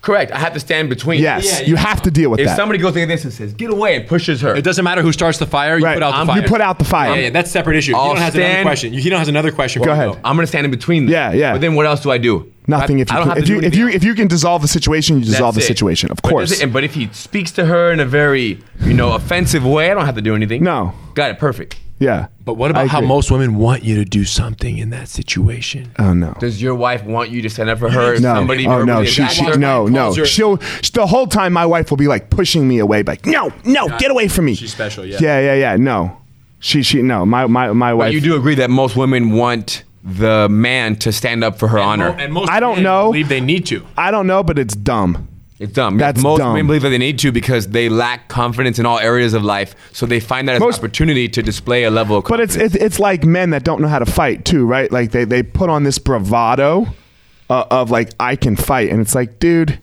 [SPEAKER 2] Correct. I have to stand between.
[SPEAKER 1] yes
[SPEAKER 3] yeah.
[SPEAKER 1] you have to deal with
[SPEAKER 2] If
[SPEAKER 1] that
[SPEAKER 2] somebody goes like this and says, "Get away," and pushes her,
[SPEAKER 3] It doesn't matter who starts the fire. You
[SPEAKER 1] right
[SPEAKER 3] put out the
[SPEAKER 1] Um,
[SPEAKER 3] fire.
[SPEAKER 1] you put out the fire
[SPEAKER 3] Yeah, yeah, that's a separate issue.
[SPEAKER 2] I'll
[SPEAKER 3] He don't has another
[SPEAKER 2] stand-
[SPEAKER 3] question. He don't has another question.
[SPEAKER 1] Go
[SPEAKER 3] for you,
[SPEAKER 1] ahead.
[SPEAKER 3] though.
[SPEAKER 2] I'm gonna stand in between. Them.
[SPEAKER 1] Yeah, yeah.
[SPEAKER 2] But then what else do I do?
[SPEAKER 1] nothing
[SPEAKER 2] I,
[SPEAKER 1] if you
[SPEAKER 2] I don't
[SPEAKER 1] can-
[SPEAKER 2] have
[SPEAKER 1] if
[SPEAKER 2] to
[SPEAKER 1] you
[SPEAKER 2] do
[SPEAKER 1] if you
[SPEAKER 2] anything.
[SPEAKER 1] if you can dissolve the situation you dissolve the
[SPEAKER 2] That's it.
[SPEAKER 1] situation of
[SPEAKER 2] But does
[SPEAKER 1] course
[SPEAKER 2] it- and- But, if he speaks to her in a very, you know, offensive way, I don't have to do anything.
[SPEAKER 1] No.
[SPEAKER 2] Got it. Perfect.
[SPEAKER 1] yeah
[SPEAKER 3] But what about
[SPEAKER 1] I
[SPEAKER 3] how
[SPEAKER 1] agree.
[SPEAKER 3] most women want you to do something in that situation?
[SPEAKER 2] Uh,
[SPEAKER 1] oh no
[SPEAKER 2] Does your wife want you to stand up for her? if
[SPEAKER 1] No,
[SPEAKER 2] Somebody
[SPEAKER 1] oh no,
[SPEAKER 2] verbally
[SPEAKER 1] she,
[SPEAKER 2] attacks
[SPEAKER 1] she
[SPEAKER 2] her?
[SPEAKER 1] no, no.
[SPEAKER 3] calls her-
[SPEAKER 1] She'll sh- the whole time my wife will be like pushing me away, like no, no, get away from me.
[SPEAKER 3] She's special, yeah.
[SPEAKER 1] yeah, yeah, yeah. No, she, she, no. My, my, my
[SPEAKER 2] But
[SPEAKER 1] wife.
[SPEAKER 2] you do agree that most women want the man to stand up for her honor.
[SPEAKER 3] And most
[SPEAKER 1] I don't
[SPEAKER 3] men
[SPEAKER 1] know.
[SPEAKER 3] Believe they need to.
[SPEAKER 1] I don't know, but it's dumb.
[SPEAKER 2] it's dumb.
[SPEAKER 1] That's
[SPEAKER 2] most
[SPEAKER 1] dumb.
[SPEAKER 2] women believe that they need to because they lack confidence in all areas of life, so they find that as
[SPEAKER 1] Most-
[SPEAKER 2] an opportunity to display a level of.
[SPEAKER 1] But it's, it's it's like men that don't know how to fight too, right? Like they they put on this bravado uh, of like I can fight, and it's like, dude, you,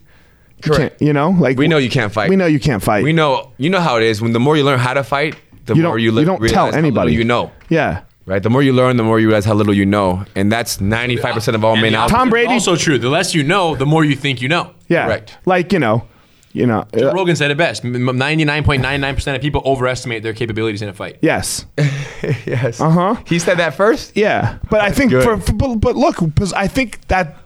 [SPEAKER 1] can't,
[SPEAKER 2] Correct.
[SPEAKER 1] you know, like
[SPEAKER 2] We know you can't fight.
[SPEAKER 1] We know you can't fight.
[SPEAKER 2] We know. You know how it is. When the more you learn how to fight, the
[SPEAKER 1] you
[SPEAKER 2] more
[SPEAKER 1] don't
[SPEAKER 2] you, le-
[SPEAKER 1] you don't
[SPEAKER 2] realize
[SPEAKER 1] tell
[SPEAKER 2] how little
[SPEAKER 1] anybody.
[SPEAKER 2] You know.
[SPEAKER 1] Yeah.
[SPEAKER 2] Right? The more you learn, the more you realize how little you know. And that's 95% of all men out
[SPEAKER 1] Tom
[SPEAKER 2] there.
[SPEAKER 1] Brady-
[SPEAKER 3] Also true. The less you know, the more you think you know.
[SPEAKER 1] Yeah.
[SPEAKER 2] Correct.
[SPEAKER 1] Like you know, you know. uh,
[SPEAKER 3] Rogan said it best. Ninety-nine point nine nine percent of people overestimate their capabilities in a fight.
[SPEAKER 1] yes.
[SPEAKER 2] Yes. Uh
[SPEAKER 1] Uh-huh.
[SPEAKER 2] huh. He said that first?
[SPEAKER 1] Yeah, but I think
[SPEAKER 2] good.
[SPEAKER 1] for, for but, but look, 'cause I think that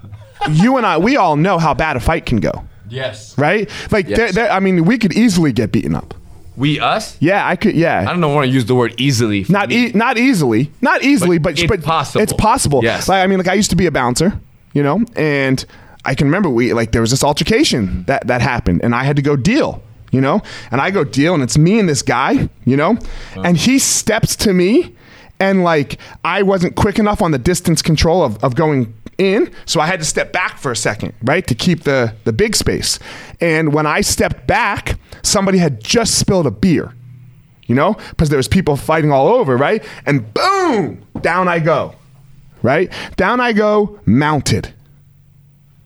[SPEAKER 1] you and I we all know how bad a fight can go,
[SPEAKER 3] Yes.
[SPEAKER 1] right? Like,
[SPEAKER 2] Yes.
[SPEAKER 1] there there I mean, we could easily get beaten up.
[SPEAKER 2] We, us?
[SPEAKER 1] Yeah, I could. Yeah,
[SPEAKER 2] I don't know, want to use the word easily. for
[SPEAKER 1] not
[SPEAKER 2] me.
[SPEAKER 1] e- not easily, not easily, but
[SPEAKER 2] it's
[SPEAKER 1] but
[SPEAKER 2] possible.
[SPEAKER 1] It's possible.
[SPEAKER 2] Yes.
[SPEAKER 1] Like I mean, like I used to be a bouncer, you know, and I can remember we like there was this altercation that that happened, and I had to go deal, you know, and I go deal, and it's me and this guy, you know, and he steps to me, and like I wasn't quick enough on the distance control of of going in so i had to step back for a second right to keep the the big space and when i stepped back somebody had just spilled a beer you know, because there was people fighting all over, right? And boom, down I go, right? Down I go, mounted,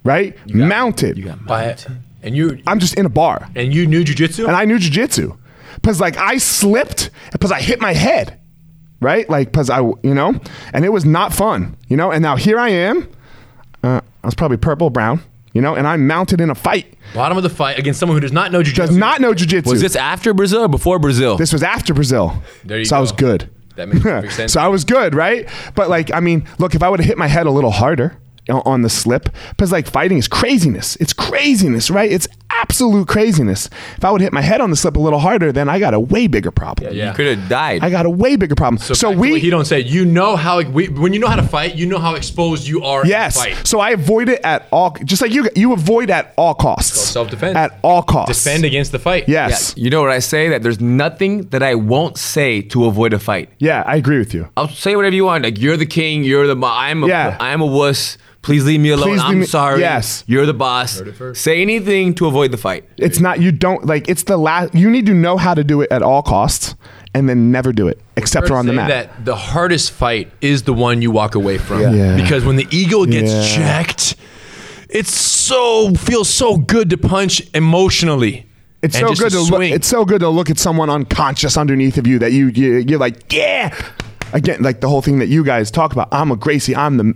[SPEAKER 1] right? mounted.
[SPEAKER 2] You got
[SPEAKER 3] By And you
[SPEAKER 1] I'm just in a bar.
[SPEAKER 3] and you knew jujitsu.
[SPEAKER 1] and I knew jujitsu. Cause like I slipped, cause I hit my head, right? Like cause I, you know, and it was not fun, you know. And now here I am. Uh, I was probably purple brown, you know, and I'm mounted in a fight.
[SPEAKER 4] Bottom of the fight against someone who does not know jujitsu.
[SPEAKER 1] Does not know jujitsu.
[SPEAKER 4] Was this after Brazil or before Brazil?
[SPEAKER 1] This was after Brazil,
[SPEAKER 3] There you
[SPEAKER 1] so I was
[SPEAKER 3] go.
[SPEAKER 1] good.
[SPEAKER 3] That makes perfect sense.
[SPEAKER 1] so I was good, right? But like, I mean, look, if I would have hit my head a little harder o- on the slip, because like fighting is craziness. It's craziness, right? It's absolute craziness. If I would hit my head on the slip a little harder, then I got a way bigger problem.
[SPEAKER 4] Yeah.
[SPEAKER 2] You could have died.
[SPEAKER 1] I got a way bigger problem. So,
[SPEAKER 3] Back to what he
[SPEAKER 1] we,
[SPEAKER 3] don't say. You know how we, when you know how to fight, you know how exposed you are.
[SPEAKER 1] yes.
[SPEAKER 3] in a fight.
[SPEAKER 1] So I avoid it at all, just like you, you avoid at all costs.
[SPEAKER 3] self-defense.
[SPEAKER 1] At all costs.
[SPEAKER 3] defend against the fight.
[SPEAKER 2] Yeah,
[SPEAKER 1] Yes. Yeah.
[SPEAKER 2] you know what I say? That there's nothing that I won't say to avoid a fight.
[SPEAKER 1] I agree with you.
[SPEAKER 2] I'll say whatever you want. Like you're the king. You're the. Mo- I'm a.
[SPEAKER 1] Yeah.
[SPEAKER 2] am a wuss. Please leave me alone.
[SPEAKER 1] Please leave
[SPEAKER 2] I'm
[SPEAKER 1] me-
[SPEAKER 2] sorry.
[SPEAKER 1] yes.
[SPEAKER 2] You're the boss.
[SPEAKER 3] it first.
[SPEAKER 2] Say anything to avoid the fight.
[SPEAKER 1] It's not you don't like it's the last you need to know how to do it at all costs and then never do it except for on the
[SPEAKER 3] Say
[SPEAKER 1] mat.
[SPEAKER 3] That the hardest fight is the one you walk away from.
[SPEAKER 1] Yeah.
[SPEAKER 3] Because when the ego gets
[SPEAKER 1] Yeah.
[SPEAKER 3] checked, it's so feels so good to punch emotionally.
[SPEAKER 1] It's so
[SPEAKER 3] and just
[SPEAKER 1] good to look
[SPEAKER 3] swing.
[SPEAKER 1] it's so good to look at someone unconscious underneath of you that you, you you're like, "Yeah." Again, like the whole thing that you guys talk about. I'm a Gracie. I'm the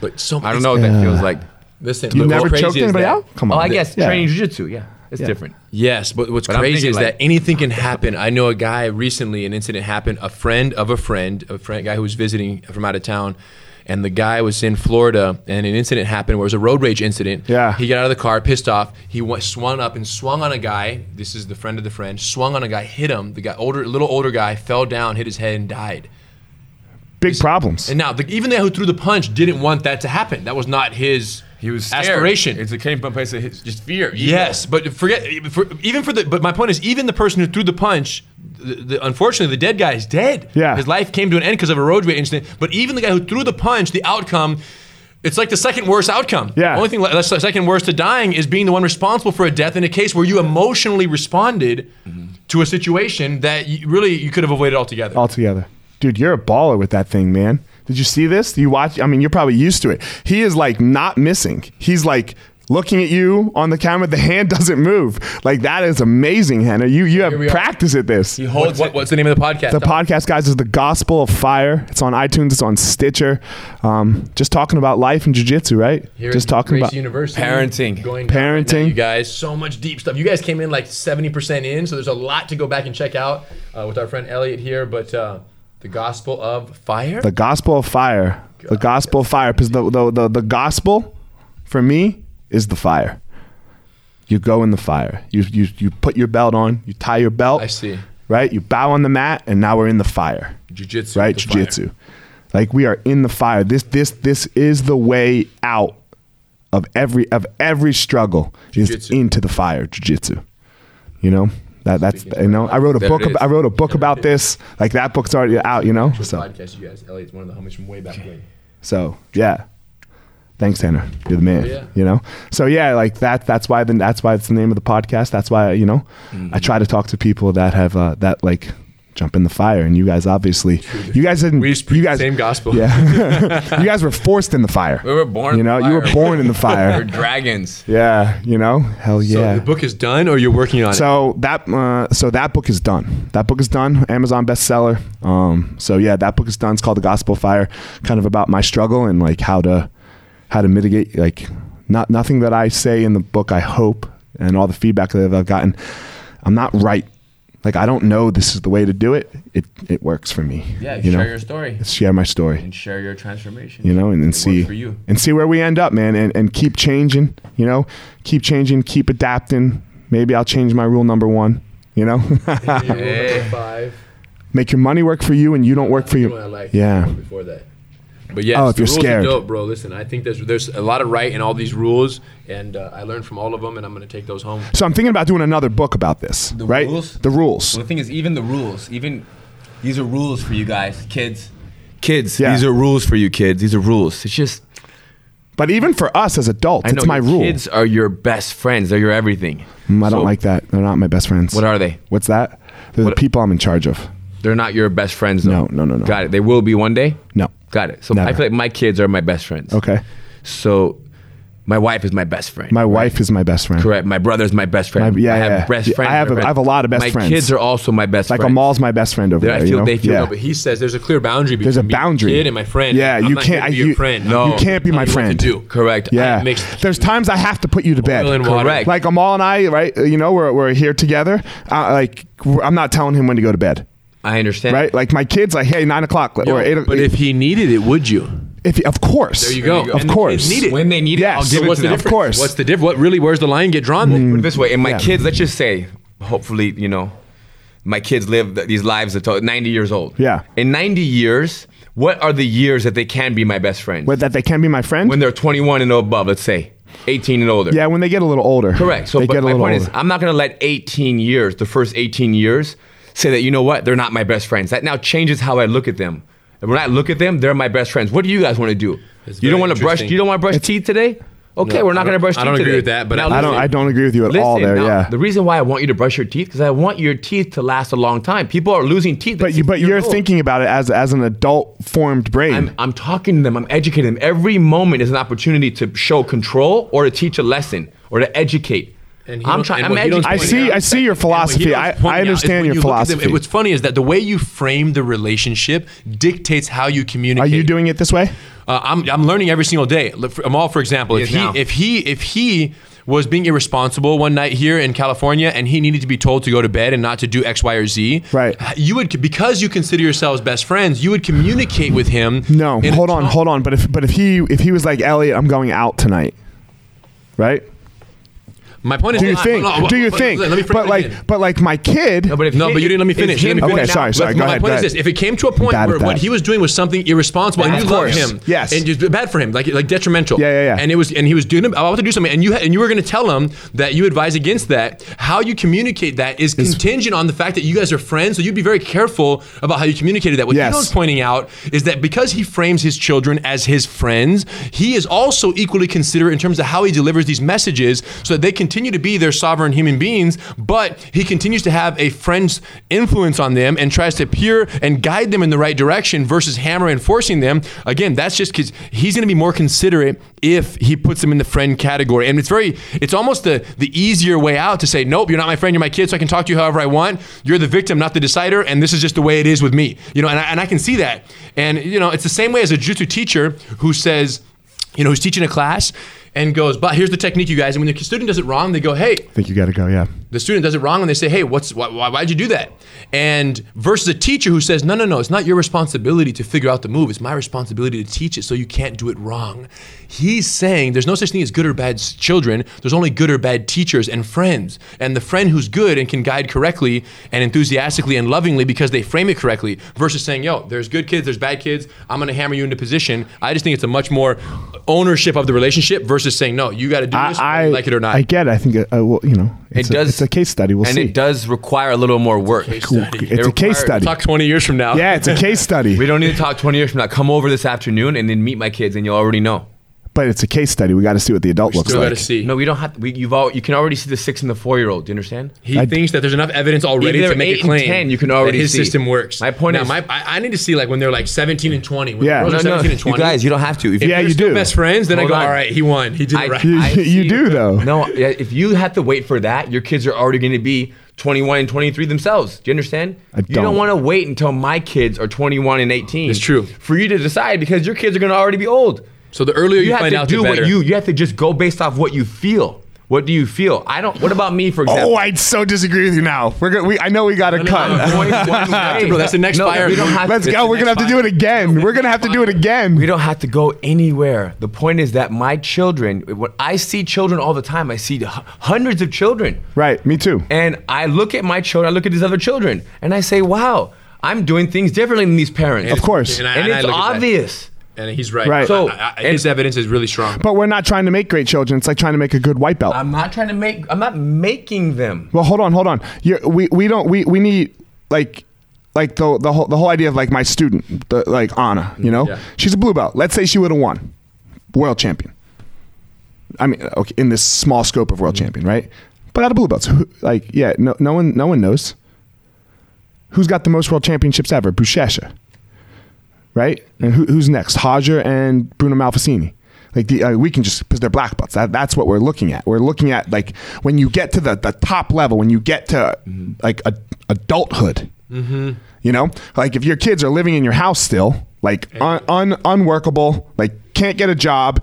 [SPEAKER 3] but so
[SPEAKER 2] I don't know what that feels like.
[SPEAKER 3] Listen,
[SPEAKER 1] You
[SPEAKER 3] but
[SPEAKER 1] never
[SPEAKER 3] what's crazy
[SPEAKER 1] choked
[SPEAKER 3] is
[SPEAKER 1] anybody
[SPEAKER 3] that-
[SPEAKER 1] out? Come on.
[SPEAKER 2] Oh, I guess
[SPEAKER 1] Yeah.
[SPEAKER 2] training jujitsu. Yeah, it's different.
[SPEAKER 3] Yes, but what's
[SPEAKER 2] But I'm
[SPEAKER 3] crazy
[SPEAKER 2] thinking
[SPEAKER 3] is
[SPEAKER 2] like-
[SPEAKER 3] that anything can happen. I know a guy recently, an incident happened. A friend of a friend, a friend guy who was visiting from out of town, and the guy was in Florida, and an incident happened where it was a road rage incident.
[SPEAKER 1] Yeah.
[SPEAKER 3] he got out of the car, pissed off. He went, swung up and swung on a guy. This is the friend of the friend. Swung on a guy, hit him. The guy, older, little older guy, fell down, hit his head, and died.
[SPEAKER 1] Big problems.
[SPEAKER 3] And now, the, even the guy who threw the punch didn't want that to happen. That was not his.
[SPEAKER 2] He was scared.
[SPEAKER 3] aspiration.
[SPEAKER 2] It's a came from a place of his, just fear. ego.
[SPEAKER 3] Yes, but forget for, even for the. But my point is, even the person who threw the punch, the, the, unfortunately, the dead guy is dead.
[SPEAKER 1] Yeah.
[SPEAKER 3] his life came to an end because of a road rage incident. But even the guy who threw the punch, the outcome, it's like the second worst outcome.
[SPEAKER 1] Yeah.
[SPEAKER 3] The only thing le- that's the second worst to dying is being the one responsible for a death in a case where you emotionally responded
[SPEAKER 1] Mm-hmm.
[SPEAKER 3] to a situation that you, really you could have avoided altogether.
[SPEAKER 1] all together. Dude, you're a baller with that thing, man. Did you see this? You watch I mean, you're probably used to it. He is like not missing. He's like looking at you on the camera. The hand doesn't move. Like that is amazing, Hannah. You you have
[SPEAKER 3] we are.
[SPEAKER 1] practice at this.
[SPEAKER 3] He holds. What, what's the name of the podcast?
[SPEAKER 1] The podcast, guys, is the Gospel of Fire. It's on iTunes. It's on Stitcher. Um, just talking about life and jujitsu, right?
[SPEAKER 3] Here
[SPEAKER 1] just
[SPEAKER 3] at
[SPEAKER 1] talking
[SPEAKER 3] Grace
[SPEAKER 1] about
[SPEAKER 3] University,
[SPEAKER 2] Parenting.
[SPEAKER 3] going down right now,
[SPEAKER 1] Parenting.
[SPEAKER 3] you guys, so much deep stuff. You guys came in like seventy percent in, so there's a lot to go back and check out uh, with our friend Elliot here. But uh, the gospel of fire.
[SPEAKER 1] the Gospel of Fire. The Gospel of Fire, because the, the the the gospel for me is the fire. You go in the fire. You you you put your belt on. You tie your belt.
[SPEAKER 3] I see.
[SPEAKER 1] Right. You bow on the mat, and now we're in the fire.
[SPEAKER 3] Jiu-jitsu,
[SPEAKER 1] Right.
[SPEAKER 3] the
[SPEAKER 1] Jiu-jitsu. Like we are in the fire. This this this is the way out of every of every struggle is
[SPEAKER 3] Jiu-jitsu.
[SPEAKER 1] into the fire. Jiu-jitsu. You know. That, that's you know I wrote a
[SPEAKER 2] There
[SPEAKER 1] book ab-
[SPEAKER 2] it is.
[SPEAKER 1] I wrote a book about this like that book's already out you know so
[SPEAKER 3] podcast, you guys. Elliot's one of the homies from way back when.
[SPEAKER 1] so yeah, thanks, Tanner. You're the man.
[SPEAKER 3] Yeah.
[SPEAKER 1] You know. So yeah, like that. That's why. Then that's why it's the name of the podcast. That's why you know,
[SPEAKER 3] Mm-hmm.
[SPEAKER 1] I try to talk to people that have uh, that like jump in the fire, and you guys obviously, you guys didn't.
[SPEAKER 3] We
[SPEAKER 1] you
[SPEAKER 3] just preach the
[SPEAKER 1] guys
[SPEAKER 3] same gospel.
[SPEAKER 1] Yeah. you guys were forced in the fire.
[SPEAKER 2] We were born in
[SPEAKER 1] You know,
[SPEAKER 2] the
[SPEAKER 1] you were
[SPEAKER 2] fire.
[SPEAKER 1] born in the
[SPEAKER 2] They're
[SPEAKER 1] fire.
[SPEAKER 2] dragons.
[SPEAKER 1] yeah. You know. Hell
[SPEAKER 3] So
[SPEAKER 1] yeah.
[SPEAKER 3] the book is done, or you're working on it.
[SPEAKER 1] So that uh, so that book is done. That book is done. Amazon bestseller. Um, so yeah, that book is done. It's called The Gospel of Fire. Kind of about my struggle and like how to how to mitigate like not nothing that I say in the book. I hope and all the feedback that I've gotten. I'm not right. Like I don't know this is the way to do it. It it works for me.
[SPEAKER 2] story
[SPEAKER 1] share my story
[SPEAKER 2] and share your transformation.
[SPEAKER 1] you know, and, and
[SPEAKER 2] It works
[SPEAKER 1] see
[SPEAKER 2] for you.
[SPEAKER 1] and see where we end up, man, and, and keep changing, you know, keep changing, keep adapting. Maybe I'll change my rule number one, you know,
[SPEAKER 2] Yeah.
[SPEAKER 3] Five.
[SPEAKER 1] make your money work for you and you don't work for
[SPEAKER 3] That's the one I
[SPEAKER 1] you.
[SPEAKER 3] liked, the
[SPEAKER 1] Yeah.
[SPEAKER 3] one Before that. But yes,
[SPEAKER 1] Oh, if
[SPEAKER 3] the
[SPEAKER 1] you're
[SPEAKER 3] rules
[SPEAKER 1] scared.
[SPEAKER 3] are dope, bro. Listen, I think there's there's a lot of right in all these rules, and uh, I learned from all of them, and I'm gonna take those home.
[SPEAKER 1] So I'm thinking about doing another book about this,
[SPEAKER 2] The
[SPEAKER 1] right?
[SPEAKER 2] rules?
[SPEAKER 1] The rules.
[SPEAKER 2] Well, the thing is, even the rules, even these are rules for you guys, kids. Kids,
[SPEAKER 1] Yeah.
[SPEAKER 2] these are rules for you, kids. These are rules. It's just
[SPEAKER 1] But even for us as adults, it's my
[SPEAKER 2] your
[SPEAKER 1] rule.
[SPEAKER 2] Kids are your best friends. They're your everything.
[SPEAKER 1] Mm, I don't
[SPEAKER 2] So,
[SPEAKER 1] like that. They're not my best friends.
[SPEAKER 2] What are they?
[SPEAKER 1] What's that? They're the
[SPEAKER 2] What-
[SPEAKER 1] people I'm in charge of.
[SPEAKER 2] They're not your best friends. Though.
[SPEAKER 1] No, no, no, no.
[SPEAKER 2] Got it. They will be one day.
[SPEAKER 1] No.
[SPEAKER 2] Got it. So
[SPEAKER 1] Never.
[SPEAKER 2] I feel like my kids are my best friends.
[SPEAKER 1] Okay.
[SPEAKER 2] So My wife is my best friend.
[SPEAKER 1] My wife is my best friend.
[SPEAKER 2] Correct. My brother's my best friend.
[SPEAKER 1] My- yeah,
[SPEAKER 2] I have
[SPEAKER 1] yeah.
[SPEAKER 2] best
[SPEAKER 1] Yeah, I
[SPEAKER 2] friends.
[SPEAKER 1] have
[SPEAKER 2] my
[SPEAKER 1] a-
[SPEAKER 2] best-
[SPEAKER 1] I have a lot of best
[SPEAKER 2] my
[SPEAKER 1] friends.
[SPEAKER 2] kids are also my best
[SPEAKER 1] Like
[SPEAKER 2] friends.
[SPEAKER 1] Amal's my best friend over
[SPEAKER 2] They're- I
[SPEAKER 1] there. you
[SPEAKER 2] feel-
[SPEAKER 1] know?
[SPEAKER 2] they feel-
[SPEAKER 1] yeah.
[SPEAKER 2] no,
[SPEAKER 3] But he says there's a clear boundary between
[SPEAKER 1] There's a
[SPEAKER 3] me,
[SPEAKER 1] boundary.
[SPEAKER 3] kid and my friend.
[SPEAKER 1] Yeah,
[SPEAKER 3] I'm
[SPEAKER 1] you
[SPEAKER 3] not
[SPEAKER 1] can't-
[SPEAKER 3] gonna
[SPEAKER 1] I-
[SPEAKER 3] Be your
[SPEAKER 1] you-
[SPEAKER 3] friend.
[SPEAKER 1] No. you can't be
[SPEAKER 3] Tell
[SPEAKER 1] my
[SPEAKER 3] you what
[SPEAKER 1] friend.
[SPEAKER 3] To do.
[SPEAKER 2] Correct.
[SPEAKER 1] Yeah.
[SPEAKER 3] It makes-
[SPEAKER 1] There's times I have to put you to bed.
[SPEAKER 3] Oil and water.
[SPEAKER 2] Correct.
[SPEAKER 1] Like Amal and I, right? You know, we're, we're here together. Uh, like, we're- I'm not telling him when to go to bed,
[SPEAKER 2] I understand.
[SPEAKER 1] right? Like, my kid's like, hey, nine o'clock
[SPEAKER 3] Yo,
[SPEAKER 1] or eight o'clock.
[SPEAKER 3] but if he needed it, would you?
[SPEAKER 1] if, of course.
[SPEAKER 3] There you go.
[SPEAKER 1] Of
[SPEAKER 3] And the
[SPEAKER 1] course.
[SPEAKER 3] kids need it.
[SPEAKER 2] When they
[SPEAKER 1] Yes.
[SPEAKER 2] need it,
[SPEAKER 1] So
[SPEAKER 2] I'll give it
[SPEAKER 1] what's
[SPEAKER 2] to
[SPEAKER 1] the
[SPEAKER 2] them.
[SPEAKER 1] Of difference? course.
[SPEAKER 3] What's the diff? What really? Where's the line get drawn? then?
[SPEAKER 2] Put it this way, and my
[SPEAKER 1] Yeah.
[SPEAKER 2] kids, let's just say, hopefully, you know, my kids live th- these lives until 90 years old.
[SPEAKER 1] Yeah.
[SPEAKER 2] In 90 years, what are the years that they can be my best friend?
[SPEAKER 1] But that they can be my friend?
[SPEAKER 2] when they're 21 and above, let's say 18 and older.
[SPEAKER 1] yeah, when they get a little older.
[SPEAKER 2] Correct. So,
[SPEAKER 1] they
[SPEAKER 2] but
[SPEAKER 1] get a
[SPEAKER 2] my
[SPEAKER 1] little
[SPEAKER 2] point
[SPEAKER 1] older.
[SPEAKER 2] is, I'm not going to let 18 years, the first 18 years, say that you know what, they're not my best friends. That now changes how I look at them. And when I look at them, they're my best friends. What do you guys want to do?
[SPEAKER 3] It's
[SPEAKER 2] you don't
[SPEAKER 3] very
[SPEAKER 2] want to brush.
[SPEAKER 3] interesting.
[SPEAKER 2] You don't want to brush teeth today. Okay,
[SPEAKER 3] No,
[SPEAKER 2] we're not
[SPEAKER 3] I don't-
[SPEAKER 2] going to brush.
[SPEAKER 3] I
[SPEAKER 2] teeth
[SPEAKER 3] don't agree
[SPEAKER 2] today.
[SPEAKER 3] with that, but
[SPEAKER 2] Now
[SPEAKER 3] I
[SPEAKER 1] I don't.
[SPEAKER 2] listen.
[SPEAKER 1] I don't agree with you at all.
[SPEAKER 2] Listen,
[SPEAKER 1] There,
[SPEAKER 2] now,
[SPEAKER 1] yeah.
[SPEAKER 2] The reason why I want you to brush your teeth because I want your teeth to last a long time. People are losing teeth. at
[SPEAKER 1] but you, but
[SPEAKER 2] 60
[SPEAKER 1] you're
[SPEAKER 2] years old.
[SPEAKER 1] thinking about it as as an adult formed brain.
[SPEAKER 2] I'm, I'm talking to them. I'm educating them. Every moment is an opportunity to show control or to teach a lesson or to educate.
[SPEAKER 3] And he
[SPEAKER 2] I'm
[SPEAKER 3] don't-
[SPEAKER 2] trying.
[SPEAKER 3] and
[SPEAKER 2] I'm
[SPEAKER 3] what he don't
[SPEAKER 1] I
[SPEAKER 2] educating.
[SPEAKER 3] point
[SPEAKER 1] see.
[SPEAKER 3] out-
[SPEAKER 1] I see your philosophy. I, I understand your philosophy.
[SPEAKER 3] What's funny is that the way you frame the relationship dictates how you
[SPEAKER 1] Are
[SPEAKER 3] communicate.
[SPEAKER 1] you doing it this way?
[SPEAKER 3] Uh, I'm, I'm learning every single day. Look, for- Amal, for example, if
[SPEAKER 2] He is now.
[SPEAKER 3] he, if he if he was being irresponsible one night here in California and he needed to be told to go to bed and not to do X, Y, or Z,
[SPEAKER 1] Right.
[SPEAKER 3] You would because you consider yourselves best friends, you would communicate with him.
[SPEAKER 1] No.
[SPEAKER 3] in a
[SPEAKER 1] Hold on.
[SPEAKER 3] tone-
[SPEAKER 1] Hold on. But if but if he if he was like Elliot, I'm going out tonight, right?
[SPEAKER 3] My point is,
[SPEAKER 1] Do you
[SPEAKER 3] No,
[SPEAKER 1] think?
[SPEAKER 3] no, no,
[SPEAKER 1] Do you
[SPEAKER 3] but-
[SPEAKER 1] think?
[SPEAKER 3] Let me frame
[SPEAKER 1] But
[SPEAKER 3] it
[SPEAKER 1] like,
[SPEAKER 3] again.
[SPEAKER 1] but like my kid.
[SPEAKER 2] No, but if
[SPEAKER 3] no,
[SPEAKER 2] he-
[SPEAKER 3] but you didn't let me
[SPEAKER 2] if
[SPEAKER 3] finish.
[SPEAKER 2] he-
[SPEAKER 3] Let me finish.
[SPEAKER 1] Okay, sorry, sorry,
[SPEAKER 3] But
[SPEAKER 1] go
[SPEAKER 3] my
[SPEAKER 1] ahead,
[SPEAKER 3] point
[SPEAKER 1] go
[SPEAKER 3] is
[SPEAKER 1] ahead.
[SPEAKER 3] this: if it came to a point
[SPEAKER 1] Bad
[SPEAKER 3] where
[SPEAKER 1] at
[SPEAKER 3] what
[SPEAKER 1] that.
[SPEAKER 3] he was doing was something irresponsible, and
[SPEAKER 1] Of
[SPEAKER 3] you loved
[SPEAKER 1] course.
[SPEAKER 3] him,
[SPEAKER 1] Yes.
[SPEAKER 3] and just bad for him, like like detrimental,
[SPEAKER 1] Yeah, yeah, yeah.
[SPEAKER 3] and it was, and he was doing about to do something, and you had- and you were going to tell him that you advise against that. How you communicate that is contingent on the fact that you guys are friends, so you'd be very careful about how you communicated that. What
[SPEAKER 1] Yes.
[SPEAKER 3] Tito's pointing out is that because he frames his children as his friends, he is also equally considerate in terms of how he delivers these messages so that they continue to be their sovereign human beings, but he continues to have a friend's influence on them and tries to peer and guide them in the right direction versus hammer and forcing them. Again, that's just because he's going to be more considerate if he puts them in the friend category. And it's very, it's almost the, the easier way out to say, nope, you're not my friend, you're my kid, so I can talk to you however I want. You're the victim, not the decider, and this is just the way it is with me. You know, and I, and I can see that. And, you know, it's the same way as a jutsu teacher who says, you know, who's teaching a class and goes, but here's the technique, you guys. And when the student does it wrong, they go, hey,
[SPEAKER 1] I think you got to go. Yeah.
[SPEAKER 3] the student does it wrong and they say, "Hey, what's why, why why'd you do that?" And versus a teacher who says, "No, no, no, it's not your responsibility to figure out the move. It's my responsibility to teach it, so you can't do it wrong." He's saying there's no such thing as good or bad s- children. There's only good or bad teachers and friends. And the friend who's good and can guide correctly and enthusiastically and lovingly because they frame it correctly versus saying, "Yo, there's good kids, there's bad kids. I'm going to hammer you into position." I just think it's a much more ownership of the relationship versus saying, "No, you got to do this, whether
[SPEAKER 1] I, I
[SPEAKER 3] you like it or not."
[SPEAKER 1] I get. It. I think. Uh, well, you know, it's
[SPEAKER 2] It
[SPEAKER 1] a,
[SPEAKER 2] does.
[SPEAKER 1] It's a case study. We'll
[SPEAKER 2] and
[SPEAKER 1] see.
[SPEAKER 2] it does require a little more work.
[SPEAKER 1] It's a case study.
[SPEAKER 3] Talk 20 years from now.
[SPEAKER 1] Yeah, it's a case study.
[SPEAKER 2] We don't need to talk 20 years from now. Come over this afternoon and then meet my kids, and you'll already know.
[SPEAKER 1] But it's a case study. We got to see what the adult looks
[SPEAKER 3] Still
[SPEAKER 1] like.
[SPEAKER 3] got to see.
[SPEAKER 2] No, we don't have. We, you've all. You can already see the six and the four year old. Do you understand?
[SPEAKER 3] He thinks that there's enough evidence already
[SPEAKER 2] Either
[SPEAKER 3] to make
[SPEAKER 2] eight
[SPEAKER 3] a
[SPEAKER 2] and
[SPEAKER 3] claim.
[SPEAKER 2] 10, you can
[SPEAKER 3] that
[SPEAKER 2] already
[SPEAKER 3] his
[SPEAKER 2] see.
[SPEAKER 3] system works.
[SPEAKER 2] My point
[SPEAKER 3] now,
[SPEAKER 2] is-
[SPEAKER 3] my, I, I need to see like when they're like 17 and 20. When
[SPEAKER 1] Yeah.
[SPEAKER 3] the girls are
[SPEAKER 2] No, no,
[SPEAKER 3] 17 and
[SPEAKER 2] you
[SPEAKER 3] 20.
[SPEAKER 2] guys, you don't have to. If
[SPEAKER 1] Yeah,
[SPEAKER 2] you're
[SPEAKER 1] you
[SPEAKER 2] still
[SPEAKER 1] do.
[SPEAKER 3] best friends. Then
[SPEAKER 2] Hold
[SPEAKER 3] I go,
[SPEAKER 2] on.
[SPEAKER 3] all right, he won. He did
[SPEAKER 2] I-
[SPEAKER 3] it right.
[SPEAKER 1] You,
[SPEAKER 2] I
[SPEAKER 1] you
[SPEAKER 2] see.
[SPEAKER 1] do though.
[SPEAKER 2] No, yeah, if you have to wait for that, your kids are already going to be 21 and 23 themselves. Do you understand?
[SPEAKER 1] I
[SPEAKER 2] You don't
[SPEAKER 1] don't.
[SPEAKER 2] want to wait until my kids are 21 and 18.
[SPEAKER 3] It's true.
[SPEAKER 2] For you to decide because your kids are going to already be old.
[SPEAKER 3] so the earlier you,
[SPEAKER 2] You, have
[SPEAKER 3] find
[SPEAKER 2] to
[SPEAKER 3] out,
[SPEAKER 2] do
[SPEAKER 3] the
[SPEAKER 2] what
[SPEAKER 3] better.
[SPEAKER 2] you you have to just go based off what you feel. What do you feel? I don't. What about me, for example?
[SPEAKER 1] Oh, I so disagree with you now. We're gonna, we, I know we got to
[SPEAKER 2] I'm
[SPEAKER 1] cut.
[SPEAKER 2] going one way.
[SPEAKER 3] Bro, that's the next
[SPEAKER 2] No,
[SPEAKER 3] fire.
[SPEAKER 2] We don't have
[SPEAKER 1] Let's
[SPEAKER 2] it's
[SPEAKER 1] go.
[SPEAKER 2] the
[SPEAKER 1] We're gonna have
[SPEAKER 2] next
[SPEAKER 1] to do it again. We're gonna have to do it
[SPEAKER 2] We
[SPEAKER 1] again.
[SPEAKER 2] don't have to go anywhere. The point is that my children, when I see children all the time, I see h- hundreds of children.
[SPEAKER 1] Right. Me too.
[SPEAKER 2] And I look at my children, I look at these other children, and I say, wow, I'm doing things differently than these parents.
[SPEAKER 1] Of course.
[SPEAKER 3] And, I,
[SPEAKER 2] And
[SPEAKER 3] and I
[SPEAKER 2] it's
[SPEAKER 3] look at that.
[SPEAKER 2] obvious.
[SPEAKER 3] And he's right.
[SPEAKER 1] Right.
[SPEAKER 3] So
[SPEAKER 2] So-
[SPEAKER 3] I, I, his evidence is really strong.
[SPEAKER 1] But we're not trying to make great children. It's like trying to make a good white belt.
[SPEAKER 2] I'm not trying to make, I'm not making them.
[SPEAKER 1] Well, hold on, hold on. You're, we we don't we, we need like like the the whole the whole idea of like my student the, like Anna. You know,
[SPEAKER 3] Yeah.
[SPEAKER 1] she's a blue belt. Let's say she would have won, world champion. I mean, okay, in this small scope of world champion, right? But out of blue belts, who, like yeah, no no one no one knows. Who's got the most world championships ever? Bushesha. Right? And who, who's next? Hodger and Bruno Malfacini. Like the, uh, we can just because they're black belts. That, that's what we're looking at. We're looking at like when you get to the, the top level, when you get to like a, adulthood. You know, like if your kids are living in your house still, like un, un, unworkable, like can't get a job,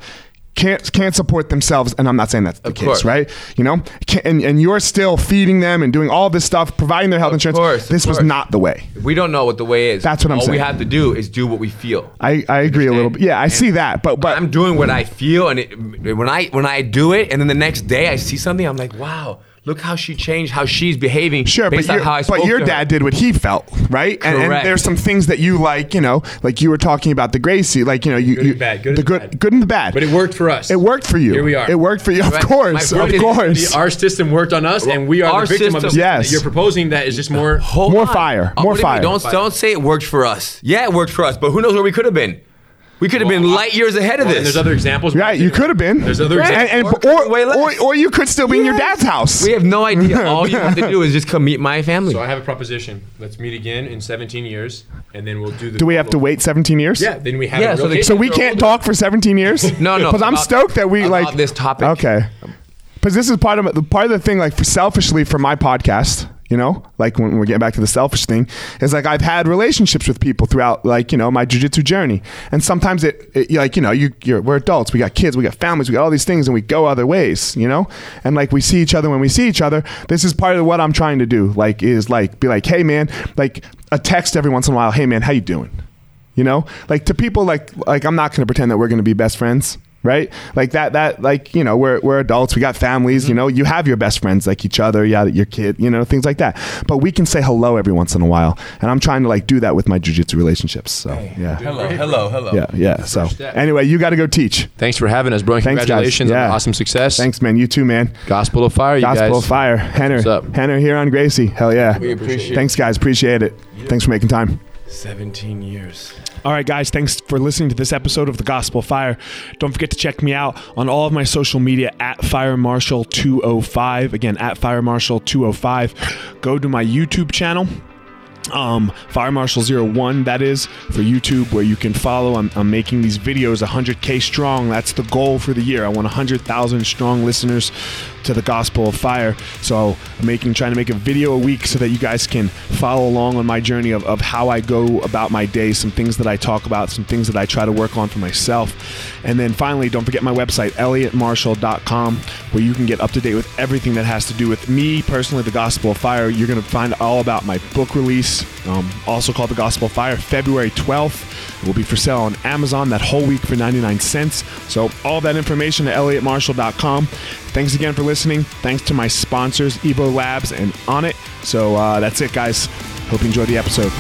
[SPEAKER 1] can't can't support themselves. And I'm not saying that's the case,
[SPEAKER 2] course.
[SPEAKER 1] right? You know, can, and and you're still feeding them and doing all this stuff, providing their health insurance.
[SPEAKER 2] course, of
[SPEAKER 1] this was
[SPEAKER 2] course.
[SPEAKER 1] not the way.
[SPEAKER 2] We don't know what the way is.
[SPEAKER 1] That's what I'm
[SPEAKER 2] All
[SPEAKER 1] saying.
[SPEAKER 2] we have to do is do what we feel.
[SPEAKER 1] I, I agree a little bit. Yeah, I see that, but but
[SPEAKER 2] I'm doing what I feel, and it, when I when I do it, and then the next day I see something, I'm like, wow, look how she changed, how she's behaving.
[SPEAKER 1] Sure,
[SPEAKER 2] based
[SPEAKER 1] but,
[SPEAKER 2] on
[SPEAKER 1] your,
[SPEAKER 2] how I
[SPEAKER 1] but
[SPEAKER 2] spoke
[SPEAKER 1] your
[SPEAKER 2] to her.
[SPEAKER 1] dad did what he felt, right? And, and
[SPEAKER 2] Correct.
[SPEAKER 1] there's some things that you like, you know, like you were talking about the Gracie, like you know, you,
[SPEAKER 3] Good
[SPEAKER 1] you
[SPEAKER 3] and bad, good
[SPEAKER 1] the
[SPEAKER 3] and
[SPEAKER 1] good,
[SPEAKER 3] bad.
[SPEAKER 1] good and the bad.
[SPEAKER 3] But it worked for us.
[SPEAKER 1] It worked for you.
[SPEAKER 3] Here we are.
[SPEAKER 1] It worked for you, of
[SPEAKER 2] Right.
[SPEAKER 1] course,
[SPEAKER 2] My
[SPEAKER 1] of
[SPEAKER 2] point is-
[SPEAKER 1] course.
[SPEAKER 3] Our system worked on us, and we are
[SPEAKER 2] Our
[SPEAKER 3] the victim of
[SPEAKER 2] system-
[SPEAKER 3] the system
[SPEAKER 1] Yes.
[SPEAKER 3] that you're proposing that is just more.
[SPEAKER 2] Hold
[SPEAKER 1] More
[SPEAKER 2] on.
[SPEAKER 1] fire,
[SPEAKER 2] Uh,
[SPEAKER 1] more
[SPEAKER 2] what do you mean?
[SPEAKER 1] fire.
[SPEAKER 2] Don't don't say it worked for us. Yeah, it worked for us, but who knows where we could have been? We could have been
[SPEAKER 3] Well, I-
[SPEAKER 2] light years ahead of
[SPEAKER 3] And
[SPEAKER 2] this.
[SPEAKER 3] there's other examples.
[SPEAKER 1] Right, you could have been.
[SPEAKER 3] There's other
[SPEAKER 1] and,
[SPEAKER 3] examples.
[SPEAKER 1] and,
[SPEAKER 2] examples.
[SPEAKER 1] or,
[SPEAKER 2] Way
[SPEAKER 1] or,
[SPEAKER 2] less.
[SPEAKER 1] or you could still be in your
[SPEAKER 2] Yes.
[SPEAKER 1] dad's house.
[SPEAKER 2] we have no idea. All you have to do is just come meet my family.
[SPEAKER 3] So I have a proposition. Let's meet again in 17 years, and then we'll do the.
[SPEAKER 1] Do we have to wait 17 years?
[SPEAKER 3] Yeah. Then we have.
[SPEAKER 2] Yeah,
[SPEAKER 3] A
[SPEAKER 2] so
[SPEAKER 3] real
[SPEAKER 2] they-
[SPEAKER 3] case.
[SPEAKER 1] So we can't talk for 17 years?
[SPEAKER 2] No, no,
[SPEAKER 1] Because I'm
[SPEAKER 2] about-
[SPEAKER 1] stoked that we
[SPEAKER 2] about
[SPEAKER 1] like
[SPEAKER 2] this topic.
[SPEAKER 1] Okay. Because this is part of the part of the thing. Like for selfishly for my podcast, you know, like when we're getting back to the selfish thing, is like I've had relationships with people throughout, like you know, my jujitsu journey, and sometimes it, it like you know, you you're, we're adults, we got kids, we got families, we got all these things, and we go other ways, you know, and like we see each other when we see each other. This is part of what I'm trying to do. Like is like be like, hey man, like a text every once in a while, hey man, how you doing? you know like to people like like i'm not going to pretend that we're going to be best friends right like that that like you know we're, we're adults we got families you know you have your best friends like each other yeah your kid you know things like that but we can say hello every once in a while and i'm trying to like do that with my jujitsu relationships so yeah
[SPEAKER 2] Hello, hello, hello.
[SPEAKER 1] yeah yeah so
[SPEAKER 3] step.
[SPEAKER 1] anyway you got to go teach
[SPEAKER 4] Thanks for having us, bro. and
[SPEAKER 1] Thanks, guys.
[SPEAKER 4] Congratulations on
[SPEAKER 1] Yeah.
[SPEAKER 4] the awesome success.
[SPEAKER 1] thanks man you too man
[SPEAKER 4] Gospel of Fire, you
[SPEAKER 1] gospel
[SPEAKER 4] guys.
[SPEAKER 1] of fire henner
[SPEAKER 4] what's up.
[SPEAKER 1] henner here on gracie hell yeah
[SPEAKER 2] We appreciate it.
[SPEAKER 1] thanks guys appreciate it thanks for making time
[SPEAKER 2] 17 years.
[SPEAKER 1] All right, guys, thanks for listening to this episode of The Gospel Fire. Don't forget to check me out on all of my social media at Fire Marshal 205. Again, at Fire Marshal 205. Go to my YouTube channel. Um, Fire Marshal 01, that is for YouTube, where you can follow. I'm, I'm making these videos 100k strong. That's the goal for the year. I want 100,000 strong listeners to the Gospel of Fire. So I'm making, trying to make a video a week so that you guys can follow along on my journey of, of how I go about my day, some things that I talk about, some things that I try to work on for myself. And then finally, don't forget my website, elliottmarshall.com, where you can get up to date with everything that has to do with me personally, the Gospel of Fire. You're going to find all about my book release, um, also called The Gospel of Fire, February 12th. It will be for sale on Amazon that whole week for 99 cents. So, all that information at elliottmarshall.com. Thanks again for listening. Thanks to my sponsors, Evo Labs and On It. So, uh, that's it, guys. Hope you enjoyed the episode.